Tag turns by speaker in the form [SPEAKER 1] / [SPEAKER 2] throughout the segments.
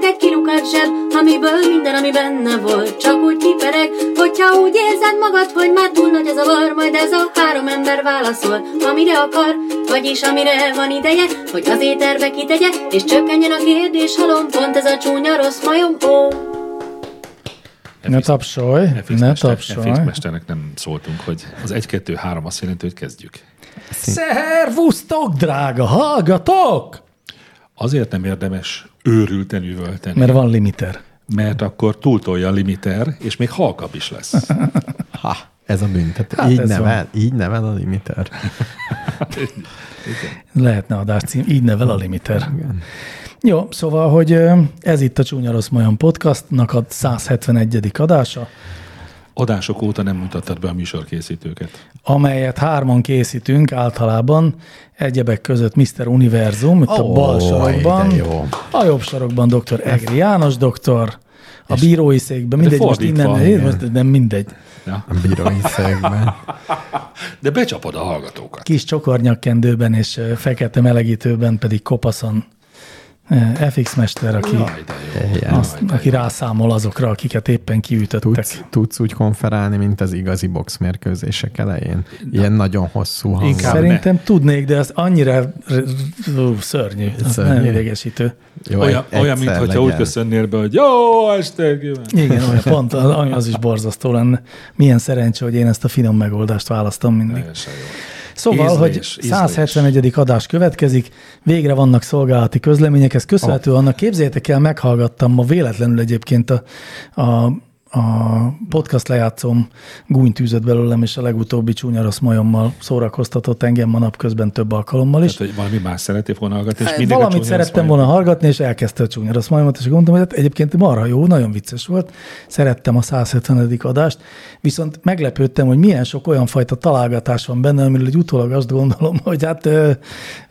[SPEAKER 1] egy kilukat zseb, amiből minden, ami benne volt, csak úgy kipereg, hogyha úgy érzed magad, hogy már túl nagy az a var, majd ez a három ember válaszol, amire akar, vagyis amire van ideje, hogy az éterbe kitegye, és csökkenjen a kérdés halom, pont ez a csúnya rossz majom, ó.
[SPEAKER 2] Ne tapsolj,
[SPEAKER 3] FX
[SPEAKER 2] ne
[SPEAKER 3] mester-
[SPEAKER 2] tapsolj.
[SPEAKER 3] FX mesternek nem szóltunk, hogy az 1-2-3 azt jelenti, hogy kezdjük.
[SPEAKER 2] Szervusztok, drága hallgatók!
[SPEAKER 3] Azért nem érdemes őrülten üvölteni, mert,
[SPEAKER 2] Mert van limiter.
[SPEAKER 3] mert akkor túltolja a limiter, és még halkap is lesz.
[SPEAKER 4] Ha, ez a büntet.
[SPEAKER 2] Hát
[SPEAKER 4] Hát így,
[SPEAKER 2] ez
[SPEAKER 4] nevel, így nevel a limiter.
[SPEAKER 2] Lehetne adáscím, így nevel a limiter. Igen. Jó, szóval, hogy ö, ez itt a Csúnya Rossz Majon podcastnak a 171. adása,
[SPEAKER 3] Adások óta nem mutattad be a műsorkészítőket.
[SPEAKER 2] amelyet hárman készítünk általában, egyebek között Mr. Univerzum, itt a
[SPEAKER 4] Ó,
[SPEAKER 2] bal sarokban,
[SPEAKER 4] de jó.
[SPEAKER 2] a jobb sarokban dr. Egri János doktor, a bírói székben, mindegy, most
[SPEAKER 3] fordítva,
[SPEAKER 2] innen,
[SPEAKER 3] igen.
[SPEAKER 2] most nem mindegy.
[SPEAKER 3] Ja?
[SPEAKER 4] A bírói szegben.
[SPEAKER 3] De becsapod a hallgatókat.
[SPEAKER 2] kis csokornyakkendőben és ö, fekete melegítőben pedig kopaszon ö, FX mester, aki,
[SPEAKER 3] Jaj, de jó.
[SPEAKER 4] Igen.
[SPEAKER 2] azt, aki rászámol azokra, akiket éppen kiütöttek.
[SPEAKER 4] Tudsz, tudsz úgy konferálni, mint az igazi boxmérkőzések elején. Ilyen nagyon hosszú hang.
[SPEAKER 3] Inkább.
[SPEAKER 2] Szerintem tudnék, de az annyira r- r- ú, szörnyű, az
[SPEAKER 4] Szörnyű.
[SPEAKER 2] nagyon idegesítő.
[SPEAKER 4] Jó,
[SPEAKER 3] Olyan,
[SPEAKER 4] egy-
[SPEAKER 3] olyan
[SPEAKER 4] egyszer
[SPEAKER 3] mintha úgy
[SPEAKER 4] legyen.
[SPEAKER 3] köszönnél be, hogy jó estét kívánok.
[SPEAKER 2] Igen, olyan pont az, ami az is borzasztó lenne. Milyen szerencsé, hogy én ezt a finom megoldást választom mindig.
[SPEAKER 3] Teljesen jó.
[SPEAKER 2] Szóval,
[SPEAKER 3] Ízlés,
[SPEAKER 2] hogy
[SPEAKER 3] ízlés.
[SPEAKER 2] 171. adás következik, végre vannak szolgálati közlemények, ez köszönhető oh. annak. Képzeljétek el, meghallgattam ma véletlenül egyébként a, a, a podcast lejátszom gúnytűzött belőlem, és a legutóbbi csúnya rossz majommal szórakoztatott engem ma napközben több alkalommal is.
[SPEAKER 3] Tehát, hogy valami más szeretnél volna hallgatni, és mindig a
[SPEAKER 2] Hát Valamit
[SPEAKER 3] csúnya
[SPEAKER 2] szerettem
[SPEAKER 3] azt
[SPEAKER 2] volna hallgatni, és elkezdte a csúnya rossz majomat, és gondoltam, hogy hát egyébként marha jó, nagyon vicces volt, szerettem a 170. adást, viszont meglepődtem, hogy milyen sok olyan fajta találgatás van benne, amiről egy utólag azt gondolom, hogy hát ö,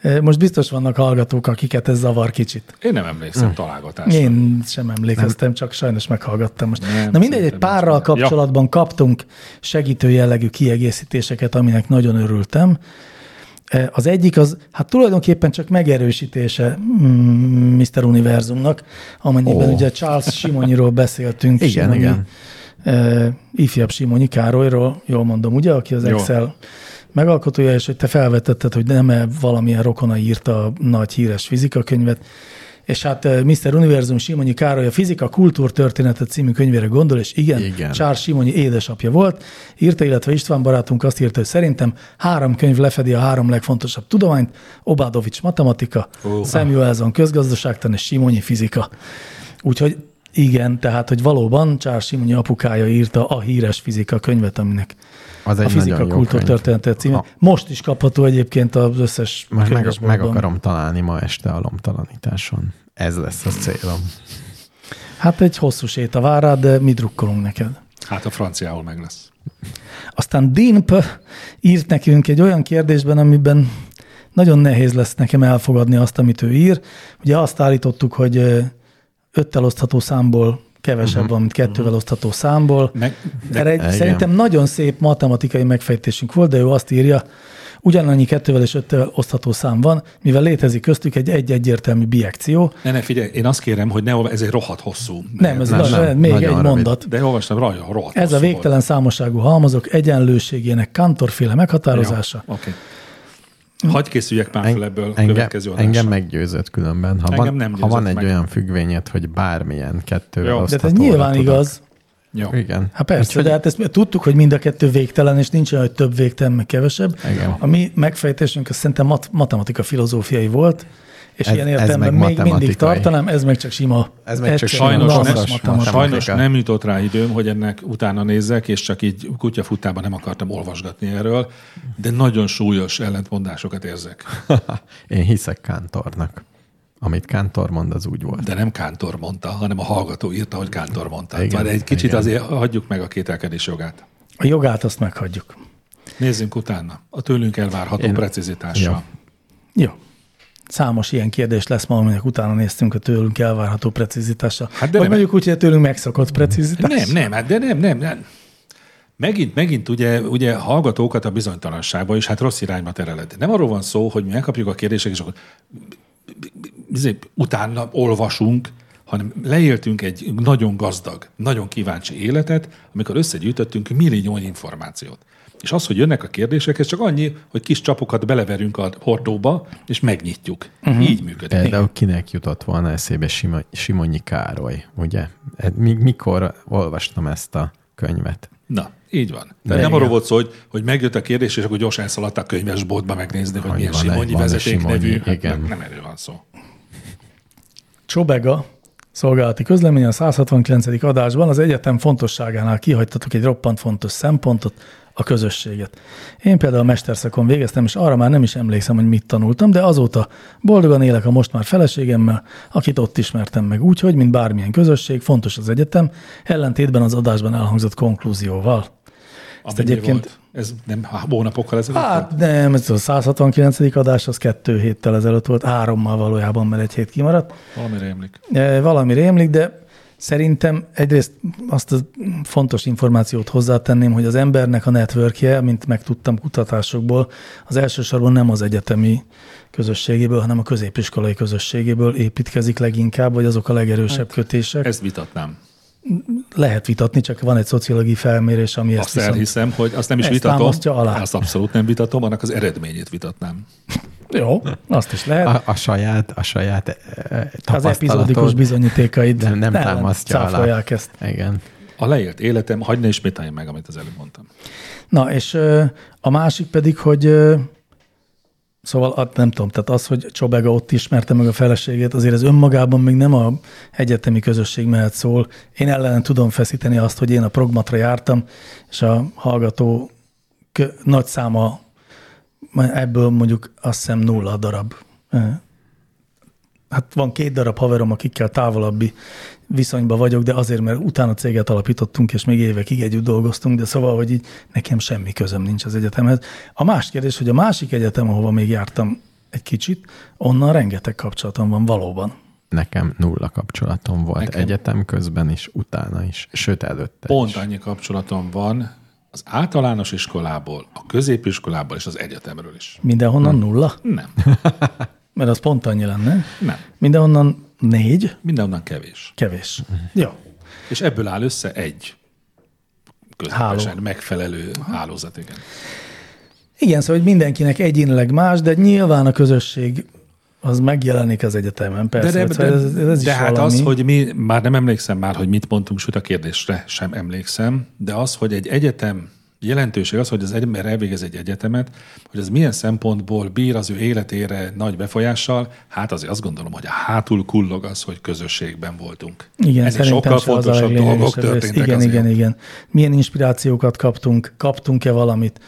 [SPEAKER 2] ö, most biztos vannak hallgatók, akiket ez zavar kicsit.
[SPEAKER 3] Én nem emlékszem hmm. találgatásra.
[SPEAKER 2] Hm. Én sem emlékeztem, csak sajnos meghallgattam most.
[SPEAKER 3] Nem,
[SPEAKER 2] Na mindegy, egy
[SPEAKER 3] szerintem nincs
[SPEAKER 2] párral
[SPEAKER 3] benne. Ja.
[SPEAKER 2] kapcsolatban kaptunk segítő jellegű kiegészítéseket, aminek nagyon örültem. Eh, Az egyik az, hát tulajdonképpen csak megerősítése mm, Mr. Univerzumnak, amennyiben
[SPEAKER 4] Ó.
[SPEAKER 2] ugye Charles Simonyiról beszéltünk.
[SPEAKER 4] Igen, igen.
[SPEAKER 2] eh, ifjabb Simonyi Károlyról, jól mondom, ugye, aki az
[SPEAKER 3] Jól.
[SPEAKER 2] Excel megalkotója, és hogy te felvetetted, hogy nem-e valamilyen rokona írta a nagy híres fizikakönyvet, és hát eh, Mr. Univerzum Simonyi Károly a Fizika Kultúrtörténetet című könyvére gondol, és igen,
[SPEAKER 4] Igen.
[SPEAKER 2] Charles Simonyi édesapja volt, írta, illetve István barátunk azt írta, hogy szerintem három könyv lefedi a három legfontosabb tudományt, Obádovics matematika,
[SPEAKER 3] Ó.
[SPEAKER 2] oh. Samuelson közgazdaságtan és Simonyi fizika. Úgyhogy igen, tehát, hogy valóban Charles Simonyi apukája írta a híres fizika könyvet, aminek
[SPEAKER 4] Az
[SPEAKER 2] a
[SPEAKER 4] egy
[SPEAKER 2] fizika
[SPEAKER 4] nagyon jó könyv.
[SPEAKER 2] kultúrtörténete címe.
[SPEAKER 4] Ha.
[SPEAKER 2] Most is kapható egyébként az összes
[SPEAKER 4] Most meg, meg
[SPEAKER 2] könyvesboltban.
[SPEAKER 4] akarom találni ma este a lomtalanításon. Ez lesz a célom.
[SPEAKER 2] Hát egy hosszú séta vár rád, de mi drukkolunk neked.
[SPEAKER 3] Hát a franciául meg lesz.
[SPEAKER 2] Aztán Dean P. írt nekünk egy olyan kérdésben, amiben nagyon nehéz lesz nekem elfogadni azt, amit ő ír. Ugye azt állítottuk, hogy ö, öttel osztható számból
[SPEAKER 4] Mhm.
[SPEAKER 2] kevesebb van, mint kettővel osztható számból.
[SPEAKER 3] Meg,
[SPEAKER 2] Erre egy,
[SPEAKER 4] Igen.
[SPEAKER 2] szerintem nagyon szép matematikai megfejtésünk volt, de ő azt írja, ugyanannyi kettővel és öttel osztható szám van, mivel létezik köztük egy egy-egyértelmű biekció.
[SPEAKER 3] ne, ne, figyelj, én azt kérem, hogy ne, olva- ez egy rohadt hosszú.
[SPEAKER 2] Nem, ez
[SPEAKER 3] de,
[SPEAKER 4] Nem,
[SPEAKER 2] nem,
[SPEAKER 4] nem,
[SPEAKER 2] még egy
[SPEAKER 4] nagyon rövid.
[SPEAKER 2] mondat.
[SPEAKER 3] de olvastam, rajta rohadt
[SPEAKER 2] Ez a
[SPEAKER 3] hosszú
[SPEAKER 2] végtelen számosságú halmazok egyenlőségének kantorféle
[SPEAKER 3] volt.
[SPEAKER 2] meghatározása.
[SPEAKER 3] Ja, Oké. Hagy készüljek már fel ebből a
[SPEAKER 4] engem,
[SPEAKER 3] következő adásra.
[SPEAKER 4] engem meggyőzött különben. Ha
[SPEAKER 3] Engem
[SPEAKER 4] van,
[SPEAKER 3] nem
[SPEAKER 4] ha van
[SPEAKER 3] győzött
[SPEAKER 4] egy
[SPEAKER 3] meg.
[SPEAKER 4] olyan függvényed, hogy bármilyen kettővel
[SPEAKER 3] Jó. De ez
[SPEAKER 2] De
[SPEAKER 4] oszthatóra
[SPEAKER 2] ez nyilván
[SPEAKER 4] tudok.
[SPEAKER 2] igaz.
[SPEAKER 3] Jó.
[SPEAKER 4] Igen.
[SPEAKER 2] Hát persze, Úgyhogy... de hát ezt mi tudtuk, hogy mind a kettő végtelen, és nincs olyan, hogy több végtelen, meg kevesebb.
[SPEAKER 4] Igen.
[SPEAKER 2] A mi megfejtésünk az szerintem mat- matematika filozófiai volt, és
[SPEAKER 4] Ez-
[SPEAKER 2] ilyen
[SPEAKER 4] ez
[SPEAKER 2] értelemben még
[SPEAKER 4] meg
[SPEAKER 2] mindig
[SPEAKER 4] matematikai.
[SPEAKER 2] tartanám, ez meg csak sima.
[SPEAKER 4] Ez meg csak
[SPEAKER 2] egyszerűen
[SPEAKER 3] Sajnos,
[SPEAKER 4] Lassas
[SPEAKER 2] lassas
[SPEAKER 3] nem,
[SPEAKER 2] matematika.
[SPEAKER 3] sajnos
[SPEAKER 4] matematika.
[SPEAKER 3] nem jutott rá időm, hogy ennek utána nézzek, és csak így kutyafutában nem akartam olvasgatni erről, de nagyon súlyos ellentmondásokat érzek.
[SPEAKER 4] Én hiszek Kántornak. Amit Kántor mond, az úgy volt.
[SPEAKER 3] De nem Kántor mondta, hanem a hallgató írta, hogy Kántor mondta.
[SPEAKER 4] Igen,
[SPEAKER 3] Igen, egy kicsit
[SPEAKER 4] igen.
[SPEAKER 3] azért hagyjuk meg a kételkedés jogát.
[SPEAKER 2] A jogát azt meghagyjuk.
[SPEAKER 3] Nézzünk utána. A tőlünk elvárható Én...
[SPEAKER 4] Én-
[SPEAKER 3] precizitással.
[SPEAKER 4] Jó.
[SPEAKER 2] Jó. Számos ilyen kérdés lesz ma, aminek utána néztünk a tőlünk elvárható precizitása.
[SPEAKER 3] Hát
[SPEAKER 2] Hát
[SPEAKER 3] de
[SPEAKER 2] de Vagy
[SPEAKER 3] nem-
[SPEAKER 2] mondjuk úgy, hogy a tőlünk megszokott precizitás.
[SPEAKER 3] Nem, nem, hát de nem, nem, nem. Megint, megint ugye, ugye hallgatókat a bizonytalanságba, és hát rossz irányba tereled. Nem arról van szó, hogy mi megkapjuk a kérdések, és akkor izé, utána olvasunk, hanem leéltünk egy nagyon gazdag, nagyon kíváncsi életet, amikor összegyűjtöttünk milliónyi információt. És az, hogy jönnek a kérdések, ez csak annyi, hogy kis csapokat beleverünk a hordóba, és megnyitjuk. Uh-huh. Így működik.
[SPEAKER 4] Például kinek jutott volna eszébe Sima, Simonyi Károly, ugye? Hát mi- Mikor olvastam ezt a könyvet?
[SPEAKER 3] Na, így van. De nem
[SPEAKER 4] igen.
[SPEAKER 3] arról volt szó, hogy, hogy megjött a kérdés, és akkor gyorsan elszaladtak könyvesboltba megnézni, hogy
[SPEAKER 4] Hogy
[SPEAKER 3] milyen
[SPEAKER 4] van-e-
[SPEAKER 3] Simonyi
[SPEAKER 4] van-e
[SPEAKER 3] vezeték
[SPEAKER 4] Simonyi,
[SPEAKER 3] nevű. Hát
[SPEAKER 4] igen.
[SPEAKER 3] Nem, nem erről van szó.
[SPEAKER 2] Csobega szolgálati közlemény a 169. adásban az egyetem fontosságánál kihagytatok egy roppant fontos szempontot, a közösséget. Én például mesterszakon végeztem, és arra már nem is emlékszem, hogy mit tanultam, de azóta boldogan élek a most már feleségemmel, akit ott ismertem meg úgy, hogy mint bármilyen közösség, fontos az egyetem, ellentétben az adásban elhangzott konklúzióval.
[SPEAKER 3] Ezt
[SPEAKER 2] egyébként-
[SPEAKER 3] Volt, ez nem há- hónapokkal ezelőtt? volt?
[SPEAKER 2] Hát nem, ez a 169. adás, az kettő héttel ezelőtt volt, hárommal valójában, mert egy hét kimaradt.
[SPEAKER 3] Valamire emlik.
[SPEAKER 2] E, Valami rémlik, de szerintem egyrészt azt a fontos információt hozzátenném, hogy az embernek a networkje, mint megtudtam kutatásokból, az elsősorban nem az egyetemi közösségéből, hanem a középiskolai közösségéből építkezik leginkább, vagy azok a legerősebb
[SPEAKER 4] Hát.
[SPEAKER 2] kötések.
[SPEAKER 3] Ezt vitatnám.
[SPEAKER 2] Lehet vitatni, csak van egy szociológiai felmérés, ami ezt
[SPEAKER 3] Azt elhiszem, hogy azt nem is
[SPEAKER 2] ezt
[SPEAKER 3] vitatom.
[SPEAKER 2] támasztja alá.
[SPEAKER 3] Azt abszolút nem vitatom, annak az eredményét vitatnám.
[SPEAKER 2] Jó, azt is lehet.
[SPEAKER 4] A, a saját, a saját eh,
[SPEAKER 2] Az epizódikus
[SPEAKER 4] tapasztalatod
[SPEAKER 2] bizonyítékaid
[SPEAKER 4] nem, nem
[SPEAKER 2] ellen
[SPEAKER 4] támasztja alá.
[SPEAKER 2] cáfolják ezt.
[SPEAKER 4] Igen.
[SPEAKER 3] A leélt életem, hagyd ne ismételjem meg, amit az előbb mondtam.
[SPEAKER 2] Na, és ö, a másik pedig, hogy ö, szóval hát nem tudom, tehát az, hogy Csobega ott ismerte meg a feleségét, azért ez önmagában még nem a egyetemi közösség mehet szól. Én ellen tudom feszíteni azt, hogy én a progmatra jártam, és a hallgató kö, nagy száma ebből mondjuk azt hiszem nulla darab. ö, Hát van két darab haverom, akikkel távolabbi viszonyban vagyok, de azért, mert utána céget alapítottunk, és még évekig együtt dolgoztunk, de szóval, hogy így nekem semmi közöm nincs az egyetemhez. A más kérdés, hogy a másik egyetem, ahova még jártam egy kicsit, onnan rengeteg kapcsolatom van valóban.
[SPEAKER 4] Nekem nulla kapcsolatom volt
[SPEAKER 3] Nekem-
[SPEAKER 4] Nekem. egyetem közben is, utána is, sőt előtte
[SPEAKER 3] Pont
[SPEAKER 4] is.
[SPEAKER 3] annyi kapcsolatom van az általános iskolából, a középiskolából és az egyetemről is. Hm.
[SPEAKER 2] Mindenhonnan nulla?
[SPEAKER 3] Nem,
[SPEAKER 2] Mert az pont annyi lenne.
[SPEAKER 3] nem.
[SPEAKER 2] Mindenhonnan négy,
[SPEAKER 3] Mindenonnan kevés.
[SPEAKER 2] kevés. Jó.
[SPEAKER 3] És ebből áll össze egy közepesen
[SPEAKER 2] Háló.
[SPEAKER 3] megfelelő hálózat, igen.
[SPEAKER 2] Igen, szóval hogy mindenkinek egyénileg más, de nyilván a közösség az megjelenik az egyetemen, persze. szóval ez, ez is
[SPEAKER 3] de hát
[SPEAKER 2] valami.
[SPEAKER 3] az, hogy mi, már nem emlékszem már, hogy mit mondtunk, sőt a kérdésre sem emlékszem, de az, hogy egy egyetem jelentőség az, hogy az ember elvégez egy egyetemet, hogy az milyen szempontból bír az ő életére nagy befolyással, hát azért azt gondolom, hogy a hátul kullog az, hogy közösségben voltunk.
[SPEAKER 2] Igen,
[SPEAKER 3] Ennél sokkal
[SPEAKER 2] szerintem se az a
[SPEAKER 3] fontosabb dolgok
[SPEAKER 2] leglényegesebb rész.
[SPEAKER 3] történtek
[SPEAKER 2] Igen,
[SPEAKER 3] azért.
[SPEAKER 2] igen, igen. Milyen inspirációkat kaptunk, kaptunk-e valamit?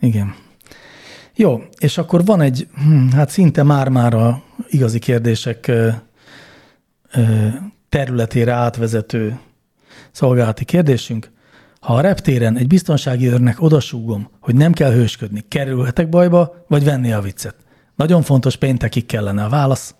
[SPEAKER 2] Igen. Jó, és akkor van egy, hm, hát szinte már-már a igazi kérdések ö, ö, területére átvezető szolgálati kérdésünk. Ha a reptéren egy biztonsági őrnek odasúgom, hogy nem kell hősködni, kerülhetek bajba, vagy venni a viccet? Nagyon fontos, péntekig kellene a válasz.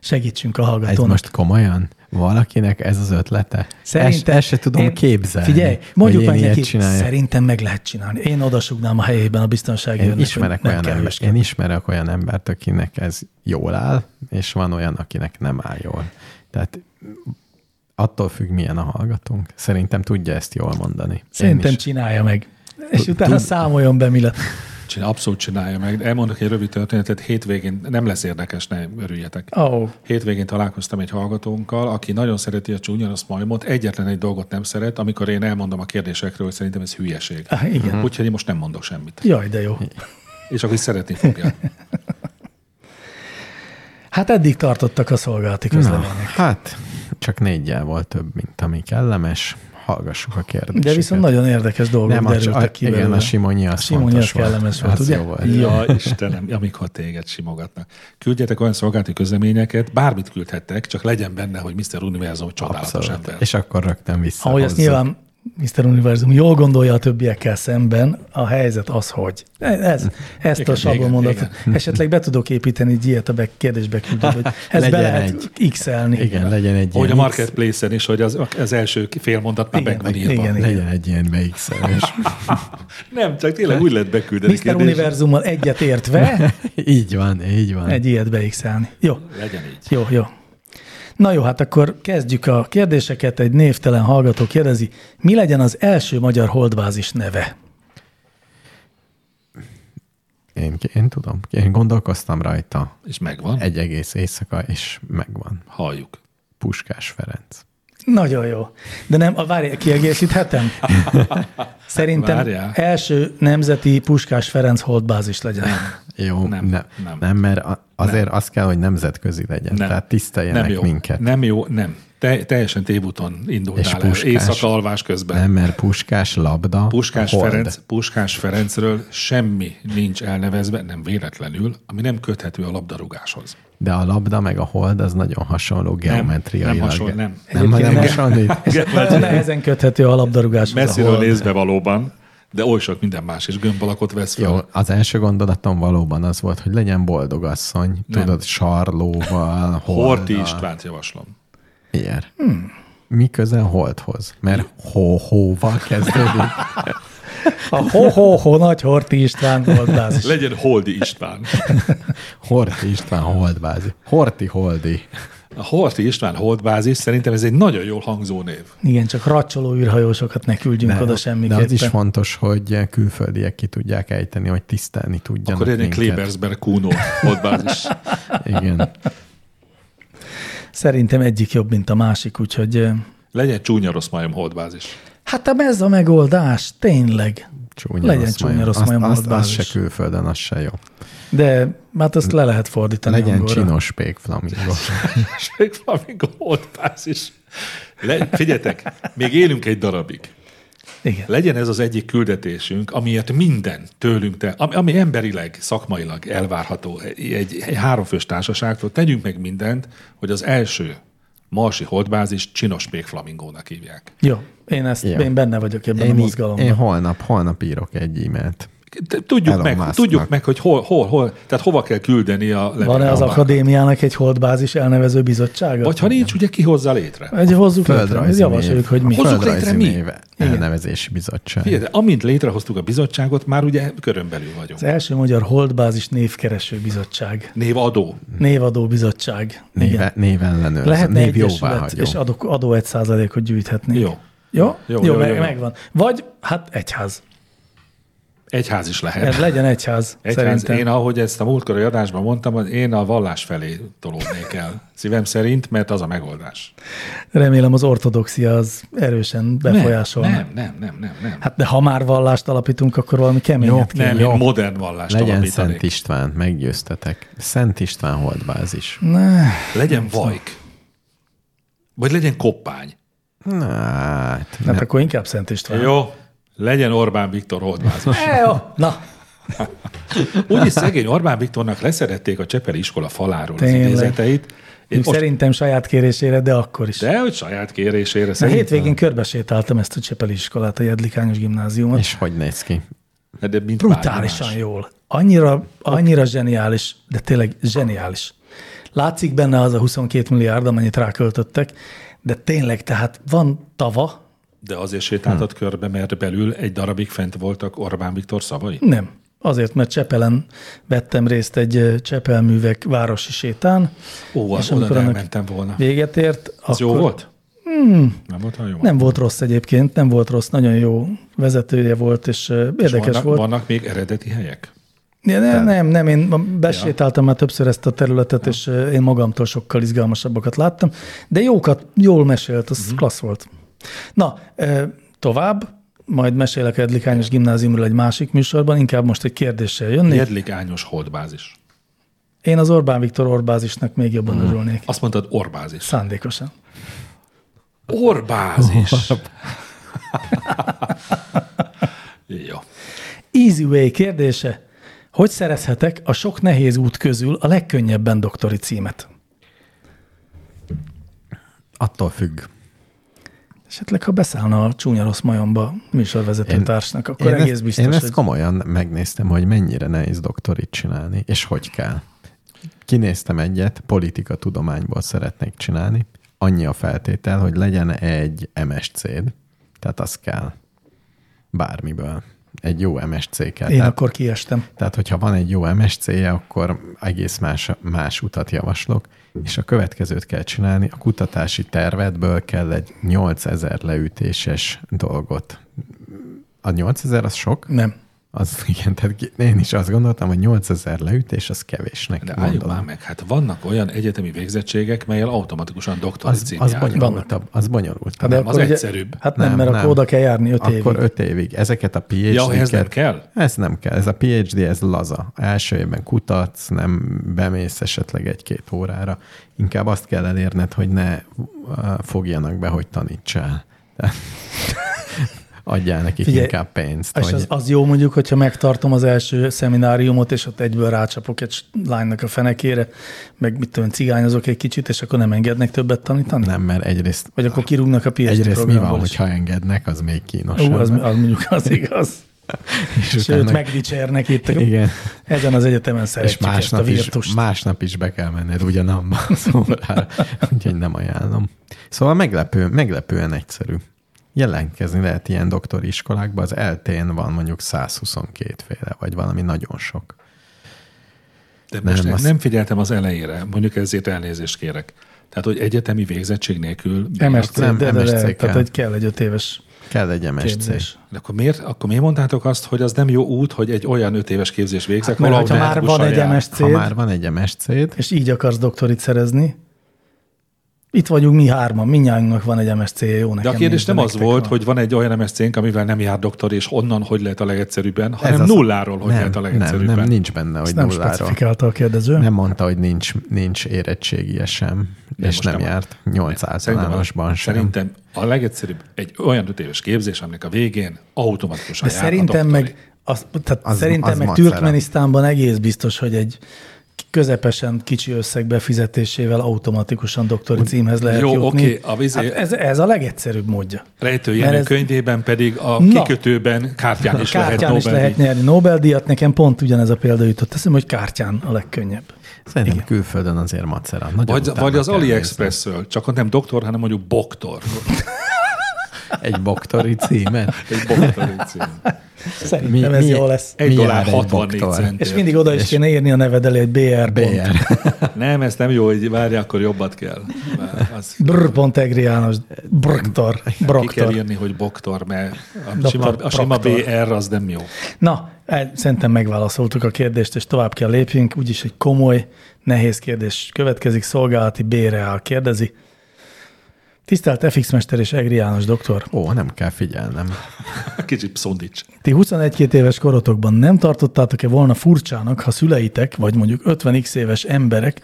[SPEAKER 2] Segítsünk a
[SPEAKER 4] Ez
[SPEAKER 2] hallgatónak.
[SPEAKER 4] most komolyan? Valakinek ez az ötlete? Szerintem. Ezt se tudom én, képzelni.
[SPEAKER 2] Figyelj,
[SPEAKER 4] hogy
[SPEAKER 2] mondjuk
[SPEAKER 4] én
[SPEAKER 2] meg
[SPEAKER 4] ilyet
[SPEAKER 2] neki,
[SPEAKER 4] csináljak.
[SPEAKER 2] szerintem meg lehet csinálni. Én odasugnám a helyében a biztonsági
[SPEAKER 4] Én
[SPEAKER 2] őrnek,
[SPEAKER 4] ismerek,
[SPEAKER 2] hogy
[SPEAKER 4] olyan
[SPEAKER 2] nem
[SPEAKER 4] ember,
[SPEAKER 2] kell
[SPEAKER 4] én ismerek olyan embert, akinek ez jól áll, és van olyan, akinek nem áll jól. Tehát attól függ, milyen a hallgatónk. Szerintem tudja ezt jól mondani. Én
[SPEAKER 2] Szerintem
[SPEAKER 4] is.
[SPEAKER 2] csinálja meg. És utána számoljon be, mi lett.
[SPEAKER 3] Csinál, abszolút csinálja meg. Elmondok egy rövid történetet, hétvégén nem lesz érdekes, ne örüljetek.
[SPEAKER 2] Oh.
[SPEAKER 3] Hétvégén találkoztam egy hallgatónkkal, aki nagyon szereti a csúnyanos majmot, egyetlen egy dolgot nem szeret, amikor én elmondom a kérdésekről, hogy szerintem ez hülyeség.
[SPEAKER 2] Ah,
[SPEAKER 4] Mhm.
[SPEAKER 2] igen.
[SPEAKER 3] Úgyhogy én most nem mondok semmit.
[SPEAKER 2] Jaj, de jó.
[SPEAKER 3] És akkor is szeretni fogja.
[SPEAKER 2] Hát eddig tartottak a szolgálati
[SPEAKER 4] Na,
[SPEAKER 2] közlemények.
[SPEAKER 4] hát csak négyel volt több, mint ami kellemes. Hallgassuk a kérdéseket.
[SPEAKER 2] De viszont nagyon érdekes dolgok
[SPEAKER 4] nem, a,
[SPEAKER 2] derültek
[SPEAKER 4] a,
[SPEAKER 2] ki
[SPEAKER 4] igen,
[SPEAKER 2] belőle.
[SPEAKER 4] a Simonyi az
[SPEAKER 2] Simonyi
[SPEAKER 4] fontos
[SPEAKER 2] az kellemes volt,
[SPEAKER 4] Az
[SPEAKER 2] ugye?
[SPEAKER 4] jó volt.
[SPEAKER 3] Ja, Istenem, amikor téged simogatnak. Küldjetek olyan szolgálati közleményeket, bármit küldhettek, csak legyen benne, hogy Mr. Univerzum csodálatos
[SPEAKER 4] Abszolút.
[SPEAKER 3] ember.
[SPEAKER 4] És akkor rögtön vissza.
[SPEAKER 2] Ahogy ezt nyilván Mr. Univerzum jól gondolja a többiekkel szemben, a helyzet az, hogy. Ez, ezt
[SPEAKER 3] Igen,
[SPEAKER 2] a sablon
[SPEAKER 3] igen,
[SPEAKER 2] mondatot. Esetleg be tudok építeni egy ilyet a be- kérdésbe küldöd, hogy ezt be
[SPEAKER 4] Legyen
[SPEAKER 2] lehet x-elni.
[SPEAKER 4] Igen, legyen egy
[SPEAKER 3] Hogy a
[SPEAKER 4] ilyen
[SPEAKER 3] marketplace-en is, hogy az, az első fél mondat már
[SPEAKER 2] Igen,
[SPEAKER 3] meg van írva.
[SPEAKER 2] igen, igen.
[SPEAKER 4] legyen egy ilyen bx
[SPEAKER 3] Nem, csak tényleg úgy lett beküldeni
[SPEAKER 2] Mr. Univerzummal egyet értve
[SPEAKER 4] Így van, így van.
[SPEAKER 2] egy ilyet beixelni. Jó,
[SPEAKER 3] Legyen így.
[SPEAKER 2] jó, jó. Na jó, hát akkor kezdjük a kérdéseket. Egy névtelen hallgató kérdezi, mi legyen az első magyar holdbázis neve?
[SPEAKER 4] Én, én tudom, én gondolkoztam rajta
[SPEAKER 3] És megvan. Egy.
[SPEAKER 4] egy egész éjszaka, és megvan.
[SPEAKER 3] Halljuk.
[SPEAKER 4] Puskás Ferenc.
[SPEAKER 2] Nagyon jó. De nem, a, várj, kiegészíthetem? Szerintem
[SPEAKER 3] Várjál.
[SPEAKER 2] első nemzeti Puskás Ferenc holdbázis legyen.
[SPEAKER 4] Jó,
[SPEAKER 3] Nem,
[SPEAKER 4] nem, ne,
[SPEAKER 3] nem.
[SPEAKER 4] nem. nem mert a- azért nem. az kell, hogy nemzetközi legyen. Nem. Tehát tiszteljenek
[SPEAKER 3] nem jó.
[SPEAKER 4] minket. Nem.
[SPEAKER 3] Nem jó, nem. Te, teljesen tévúton
[SPEAKER 4] És
[SPEAKER 3] indultál el.
[SPEAKER 4] Puskás.
[SPEAKER 3] Éjszaka alvás közben.
[SPEAKER 4] nem, mert Puskás labda.
[SPEAKER 3] Puskás
[SPEAKER 4] hold.
[SPEAKER 3] Ferenc, Puskás Ferencről semmi nincs elnevezve, nem véletlenül, ami nem köthető a labdarúgáshoz.
[SPEAKER 4] De a labda meg a hold az nagyon hasonló geometriailag.
[SPEAKER 3] nem hasonló, nem.
[SPEAKER 4] Nem, nem,
[SPEAKER 2] Egyébként
[SPEAKER 4] nem
[SPEAKER 2] nem.
[SPEAKER 4] hasonlít.
[SPEAKER 2] Nagyon nehezen köthető a labdarúgáshoz.
[SPEAKER 3] Messziről
[SPEAKER 2] ahol-
[SPEAKER 3] nézve valóban, de oly sok minden más is gömbalakot vesz fel.
[SPEAKER 4] Jó, az első gondolatom valóban az volt, hogy legyen boldog asszony,
[SPEAKER 3] Nem.
[SPEAKER 4] tudod, sarlóval,
[SPEAKER 3] Horti
[SPEAKER 4] holddal.
[SPEAKER 3] Istvánt javaslom.
[SPEAKER 4] Ilyen. Hmm. Mi köze a holdhoz? Mert ho-hóval kezdődik.
[SPEAKER 2] A ho-ho-ho nagy Horti István holdbázis.
[SPEAKER 3] Legyen Holdi István.
[SPEAKER 4] Horti István holdbázi. Horti holdi.
[SPEAKER 3] A Horti István holdbázis szerintem ez egy nagyon jól hangzó név.
[SPEAKER 2] Igen, csak racsoló űrhajósokat ne küldjünk oda
[SPEAKER 4] de az is
[SPEAKER 2] semmiképpen.
[SPEAKER 4] fontos, hogy külföldiek ki tudják ejteni, hogy tisztelni tudjanak
[SPEAKER 3] Akkor legyen
[SPEAKER 4] minket.
[SPEAKER 3] Klebersberg Kuno holdbázis.
[SPEAKER 4] Igen.
[SPEAKER 2] Szerintem egyik jobb, mint a másik, úgyhogy ö,
[SPEAKER 3] Legyen csúnya rossz majom holdbázis.
[SPEAKER 2] hát ám ez a megoldás, tényleg.
[SPEAKER 4] Csúnya
[SPEAKER 2] Legyen
[SPEAKER 4] rossz
[SPEAKER 2] csúnya
[SPEAKER 4] majom.
[SPEAKER 2] rossz
[SPEAKER 4] Azt-
[SPEAKER 2] majom
[SPEAKER 4] azt, azt,
[SPEAKER 2] holdbázis.
[SPEAKER 4] se külföldön, az se jó.
[SPEAKER 2] De hát azt le lehet fordítani
[SPEAKER 4] Legyen
[SPEAKER 2] angolra.
[SPEAKER 4] csinos pék flamingo.
[SPEAKER 3] Ség Flamingo holdbázis. Le, figyeljetek, még élünk egy darabig.
[SPEAKER 2] Igen.
[SPEAKER 3] Legyen ez az egyik küldetésünk, amiért minden tőlünk, te, ami, ami emberileg, szakmailag elvárható egy, egy háromfős társaságtól, tegyünk meg mindent, hogy az első marsi holdbázis csinos pék flamingónak hívják.
[SPEAKER 2] Jó, én, ezt,
[SPEAKER 4] Jó.
[SPEAKER 2] én benne vagyok ebben én a
[SPEAKER 4] Én, így-
[SPEAKER 2] mozgalomban.
[SPEAKER 4] én holnap, holnap írok egy e-mailt.
[SPEAKER 3] Te- Tudjuk
[SPEAKER 4] Elon
[SPEAKER 3] meg,
[SPEAKER 4] Musknak.
[SPEAKER 3] tudjuk meg, hogy hol, hol, hol, tehát hova kell küldeni a
[SPEAKER 2] Van-e az
[SPEAKER 3] levelet.
[SPEAKER 2] akadémiának egy holdbázis elnevező bizottsága?
[SPEAKER 3] Vagy ha nincs, ugye ki hozzá létre?
[SPEAKER 2] Egy hozzuk létre,
[SPEAKER 4] Földrajzi
[SPEAKER 2] javasoljuk,
[SPEAKER 4] név.
[SPEAKER 2] hogy mi.
[SPEAKER 3] Hozzuk létre
[SPEAKER 4] Földrajzi
[SPEAKER 3] mi?
[SPEAKER 4] név elnevezési bizottság.
[SPEAKER 3] Figyelj, de amint létrehoztuk a bizottságot, már ugye körönbelül vagyunk.
[SPEAKER 2] Az első magyar holdbázis névkereső bizottság,
[SPEAKER 3] Névadó.
[SPEAKER 2] névadó bizottság. Igen.
[SPEAKER 4] Néve, névellenőrző,
[SPEAKER 2] Lehetne
[SPEAKER 4] név
[SPEAKER 2] egy
[SPEAKER 4] jóváhagyó.
[SPEAKER 2] és adok, adó egy százalékot gyűjthetnénk.
[SPEAKER 3] Jó.
[SPEAKER 2] Jó?
[SPEAKER 3] Jó,
[SPEAKER 2] Jó, jó,
[SPEAKER 3] jó,
[SPEAKER 2] meg,
[SPEAKER 3] jó, jó.
[SPEAKER 2] megvan. Vagy, hát egyház.
[SPEAKER 3] Egyház is lehet.
[SPEAKER 2] Ez legyen egyház,
[SPEAKER 3] Egyház,
[SPEAKER 2] szerintem.
[SPEAKER 3] én, ahogy ezt a múltkori adásban mondtam, az én a vallás felé tolódnék el. Szívem szerint, mert az a megoldás.
[SPEAKER 2] Remélem az ortodoxia az erősen befolyásol.
[SPEAKER 3] Nem, nem, nem, nem, nem. Hát,
[SPEAKER 2] Hát de ha már vallást alapítunk, akkor valami keményet kell.
[SPEAKER 3] nem, én modern vallást
[SPEAKER 4] Legyen
[SPEAKER 3] alapítanék.
[SPEAKER 4] Szent István, meggyőztetek. Szent István holdbázis.
[SPEAKER 2] Ne, Hát
[SPEAKER 3] Legyen vajk. Vagy legyen koppány.
[SPEAKER 4] Na, hát,
[SPEAKER 2] hát akkor inkább Szent István.
[SPEAKER 3] Jó. Legyen Orbán Viktor holdvázis.
[SPEAKER 2] E, jó. Na,
[SPEAKER 3] Úgyis szegény Orbán Viktornak leszerették a Csepeli iskola faláról az
[SPEAKER 2] Tényleg.
[SPEAKER 3] idézeteit. Én
[SPEAKER 2] most...
[SPEAKER 3] most,
[SPEAKER 2] szerintem saját kérésére, de akkor is.
[SPEAKER 3] de hogy saját kérésére
[SPEAKER 2] A
[SPEAKER 3] szerintem.
[SPEAKER 2] hétvégén körbesétáltam ezt a Csepeli iskolát, a Jedlikányos gimnáziumot.
[SPEAKER 4] és hogy néz ki?
[SPEAKER 3] De mint
[SPEAKER 2] brutálisan
[SPEAKER 3] bármi
[SPEAKER 2] jól. Annyira, annyira zseniális, de tényleg zseniális. Látszik benne az a 22 milliárd, amennyit ráköltöttek, de tényleg, tehát van tava,
[SPEAKER 3] De azért sétáltat hmm. körbe, mert belül egy darabig fent voltak Orbán Viktor szavai?
[SPEAKER 2] nem. Azért, mert Csepelen vettem részt egy ö, Csepelművek városi sétán.
[SPEAKER 3] Ó, az oda
[SPEAKER 2] annak
[SPEAKER 3] elmentem volna.
[SPEAKER 2] Véget ért.
[SPEAKER 3] Az jó volt? Hmm. Nem volt olyan jó?
[SPEAKER 2] Nem volt rossz egyébként, nem volt rossz, nagyon jó vezetője volt, és ö, érdekes
[SPEAKER 3] vannak,
[SPEAKER 2] volt.
[SPEAKER 3] Vannak még eredeti helyek?
[SPEAKER 2] Ja, nem, nem, nem, én ma besétáltam már többször ezt a területet, és ö, én magamtól sokkal izgalmasabbakat láttam, de jókat, jól mesélt, az
[SPEAKER 4] Mhm.
[SPEAKER 2] uh-huh. klassz volt. Na, ö, tovább, majd mesélek Edlikányos gimnáziumról egy másik műsorban, inkább most egy kérdéssel jönnék.
[SPEAKER 3] Jedlik Ányos holdbázis.
[SPEAKER 2] Én az Orbán Viktor Orbázisnak még jobban
[SPEAKER 4] Mhm.
[SPEAKER 2] uh-huh. örülnék.
[SPEAKER 3] Azt mondtad Orbázis.
[SPEAKER 2] Szándékosan.
[SPEAKER 3] Orbázis! jó.
[SPEAKER 2] Easy way kérdése. Hogy szerezhetek a sok nehéz út közül a legkönnyebben doktori címet?
[SPEAKER 4] Attól függ.
[SPEAKER 2] Esetleg, ha beszállna a csúnya rossz majomba műsorvezetőtársnak, akkor
[SPEAKER 4] én
[SPEAKER 2] egész
[SPEAKER 4] ezt,
[SPEAKER 2] biztos,
[SPEAKER 4] én ezt
[SPEAKER 2] hogy...
[SPEAKER 4] komolyan megnéztem, hogy mennyire nehéz doktorit csinálni, és hogy kell. Kinéztem egyet, politika tudományból szeretnék csinálni. Annyi a feltétel, hogy legyen egy MSC-d, tehát az kell. Bármiből. egy jó MSC-kel.
[SPEAKER 2] Én
[SPEAKER 4] Tehát
[SPEAKER 2] akkor kiestem.
[SPEAKER 4] tehát, hogyha van egy jó MSC-je, akkor egész más, más utat javaslok, és a következőt kell csinálni. A kutatási tervedből kell egy 8000 leütéses dolgot. A 8000 az sok?
[SPEAKER 2] Nem.
[SPEAKER 4] Az, igen, tehát ki- én is azt gondoltam, hogy 8000 leütés az kevésnek.
[SPEAKER 3] De álljunk már
[SPEAKER 4] gondolom.
[SPEAKER 3] meg, hát vannak olyan egyetemi végzettségek, melyel automatikusan doktori
[SPEAKER 4] Az,
[SPEAKER 3] cím
[SPEAKER 4] az
[SPEAKER 3] jár.
[SPEAKER 4] bonyolultabb. Az bonyolultabb.
[SPEAKER 3] Nem, az egyszerűbb.
[SPEAKER 2] Hát nem, nem mert nem. akkor oda kell járni öt
[SPEAKER 4] akkor
[SPEAKER 2] évig.
[SPEAKER 4] Akkor öt évig. Ezeket a phd
[SPEAKER 3] Ja, ehhez nem kell?
[SPEAKER 4] Ez nem kell. Ez a PhD, ez laza. Első évben kutatsz, nem bemész esetleg egy-két órára. Inkább azt kell elérned, hogy ne uh, fogjanak be, hogy tanítsál. Tehát Adjál nekik
[SPEAKER 2] Figyelj,
[SPEAKER 4] Figyelj, inkább pénzt.
[SPEAKER 2] És
[SPEAKER 4] Hogy
[SPEAKER 2] az, az jó mondjuk, hogyha megtartom az első szemináriumot, és ott egyből rácsapok egy lánynak a fenekére, meg mit tudom, cigányozok egy kicsit, és akkor nem engednek többet tanítani?
[SPEAKER 4] Nem, mert egyrészt,
[SPEAKER 2] Vagy akkor kirúgnak a PhD
[SPEAKER 4] egyrészt mi van,
[SPEAKER 2] programból is?
[SPEAKER 4] hogyha engednek, az még kínos.
[SPEAKER 2] Ú, az, az mondjuk az igaz. Sőt, megdicsérnek itt.
[SPEAKER 4] Igen.
[SPEAKER 2] Ezen az egyetemen
[SPEAKER 4] És
[SPEAKER 2] szeretjük ezt a
[SPEAKER 4] másnap is,
[SPEAKER 2] virtust.
[SPEAKER 4] másnap is be kell menned ugyanabba az órára, úgyhogy nem ajánlom. Szóval meglepő, meglepően egyszerű. Jelentkezni lehet ilyen doktori iskolákba, az eltén van mondjuk 122 féle, vagy valami nagyon sok.
[SPEAKER 3] De most
[SPEAKER 4] Nem,
[SPEAKER 3] nem,
[SPEAKER 4] azt-
[SPEAKER 3] nem figyeltem az elejére, mondjuk ezért elnézést kérek. Tehát, hogy egyetemi végzettség nélkül...
[SPEAKER 2] MSC, nem,
[SPEAKER 4] Nem,
[SPEAKER 2] de, de,
[SPEAKER 4] MSC
[SPEAKER 2] de,
[SPEAKER 4] kell.
[SPEAKER 2] tehát hogy kell egy öt éves
[SPEAKER 4] Kell egy MSC.
[SPEAKER 2] képzés.
[SPEAKER 3] De akkor miért, akkor miért mondtátok azt, hogy az nem jó út, hogy egy olyan öt éves képzés végzek,
[SPEAKER 2] Hát, Mert
[SPEAKER 3] ahol
[SPEAKER 2] ha már van egy
[SPEAKER 3] automatikusan jár?
[SPEAKER 2] msc
[SPEAKER 4] Ha már van egy MSC-d,
[SPEAKER 2] és így akarsz doktorit szerezni, itt vagyunk mi hárman, mindnyájunknak van egy msc jó nekem.
[SPEAKER 3] De a kérdés
[SPEAKER 2] nincs,
[SPEAKER 3] nem az
[SPEAKER 2] nektek
[SPEAKER 3] volt,
[SPEAKER 2] van.
[SPEAKER 3] hogy van egy olyan MSC-nk, amivel nem jár doktor, és onnan hogy lehet a legegyszerűbben, hanem
[SPEAKER 4] az-
[SPEAKER 3] nulláról hogy
[SPEAKER 4] nem,
[SPEAKER 3] lehet a
[SPEAKER 4] nem,
[SPEAKER 3] legegyszerűbben.
[SPEAKER 4] nem, nincs benne, hogy
[SPEAKER 2] Ezt nem
[SPEAKER 4] nulláról.
[SPEAKER 2] specifikálta a kérdező.
[SPEAKER 4] Nem mondta, hogy nincs, nincs érettségie sem, és
[SPEAKER 3] most
[SPEAKER 4] nem,
[SPEAKER 3] nem.
[SPEAKER 4] járt 8
[SPEAKER 3] Szerintem,
[SPEAKER 4] általánosban
[SPEAKER 3] a,
[SPEAKER 4] sem.
[SPEAKER 3] szerintem a legegyszerűbb egy olyan öt éves képzés, aminek a végén automatikusan
[SPEAKER 2] De
[SPEAKER 3] jár
[SPEAKER 2] szerintem
[SPEAKER 3] a doktori.
[SPEAKER 2] meg, az, tehát
[SPEAKER 4] hát Az-
[SPEAKER 2] az, szerintem
[SPEAKER 4] az
[SPEAKER 2] az meg
[SPEAKER 4] macera.
[SPEAKER 2] Türkmenisztánban egész biztos, hogy egy közepesen kicsi összeg befizetésével automatikusan doktori címhez lehet
[SPEAKER 3] Jó,
[SPEAKER 2] jutni.
[SPEAKER 3] oké, a vízi-
[SPEAKER 2] hát ez, ez a legegyszerűbb módja.
[SPEAKER 3] Rejtő Jenő
[SPEAKER 2] Mert ez-
[SPEAKER 3] könyvében pedig a
[SPEAKER 2] Na.
[SPEAKER 3] kikötőben kártyán is lehet
[SPEAKER 2] Kártyán is
[SPEAKER 3] Nobel-díj.
[SPEAKER 2] lehet nyerni Nobel-díjat, nekem pont ugyanez a példa jutott eszembe, hogy kártyán a legkönnyebb.
[SPEAKER 4] Szerintem Igen. külföldön azért macera. Nagyon
[SPEAKER 3] Vagy,
[SPEAKER 4] utána
[SPEAKER 3] vagy az
[SPEAKER 4] kell nézni.
[SPEAKER 3] AliExpress-ről, csak ott nem doktor, hanem mondjuk boktor.
[SPEAKER 4] Egy boktori címet.
[SPEAKER 3] Egy boktori cím.
[SPEAKER 2] Szerintem ez jó lesz.
[SPEAKER 3] Egy
[SPEAKER 4] mi
[SPEAKER 3] dollár
[SPEAKER 4] jár
[SPEAKER 3] 64
[SPEAKER 4] boktor?
[SPEAKER 3] centért.
[SPEAKER 2] És mindig oda is kéne írni a neved elé, hogy BR. BR.
[SPEAKER 4] BR.
[SPEAKER 3] Nem, ez nem jó, hogy várj, akkor jobbat kell. Már Az,
[SPEAKER 2] Brr. pont Egri János. Broktor.
[SPEAKER 3] ki kell
[SPEAKER 2] Broktor.
[SPEAKER 3] írni, hogy boktor, mert a
[SPEAKER 2] Dr.
[SPEAKER 3] sima, a sima
[SPEAKER 2] Proctor.
[SPEAKER 3] BR az nem jó.
[SPEAKER 2] Na, el- szerintem megválaszoltuk a kérdést, és tovább kell lépjünk. Úgyis egy komoly, nehéz kérdés következik. Szolgálati B-reál kérdezi. Tisztelt FX Mester és Egri János doktor,
[SPEAKER 4] Ó, nem kell figyelnem.
[SPEAKER 3] Kicsit szondics.
[SPEAKER 2] ti 21 éves korotokban nem tartottátok-e volna furcsának, ha szüleitek, vagy mondjuk 50x éves emberek,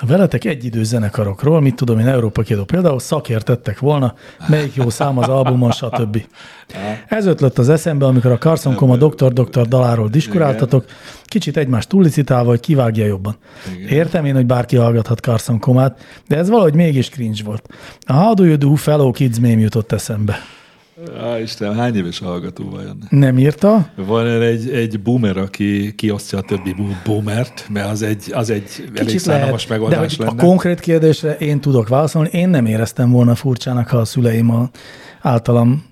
[SPEAKER 2] a veletek egyidő zenekarokról, mit tudom én, Európa kiadó például, szakértettek volna, melyik jó szám az albumon, stb. Ez ötlött az eszembe, amikor a Carson Koma doktor doktor daláról diskuráltatok, kicsit egymást túllicitálva, hogy kivágja jobban. Értem én, hogy bárki hallgathat Carson Komát, de ez valahogy mégis cringe volt. A How do you do fellow kids mém jutott eszembe.
[SPEAKER 3] Á, Istenem, hány éves hallgató vajon?
[SPEAKER 2] Nem írta?
[SPEAKER 3] Van erre egy, egy boomer, aki kiosztja a többi bu- boomert, mert az egy, az egy elég
[SPEAKER 2] Kicsit
[SPEAKER 3] szánalmas
[SPEAKER 2] lehet, de hogy
[SPEAKER 3] megoldás lenne.
[SPEAKER 2] a konkrét kérdésre én tudok válaszolni. Én nem éreztem volna furcsának, ha a szüleim a általam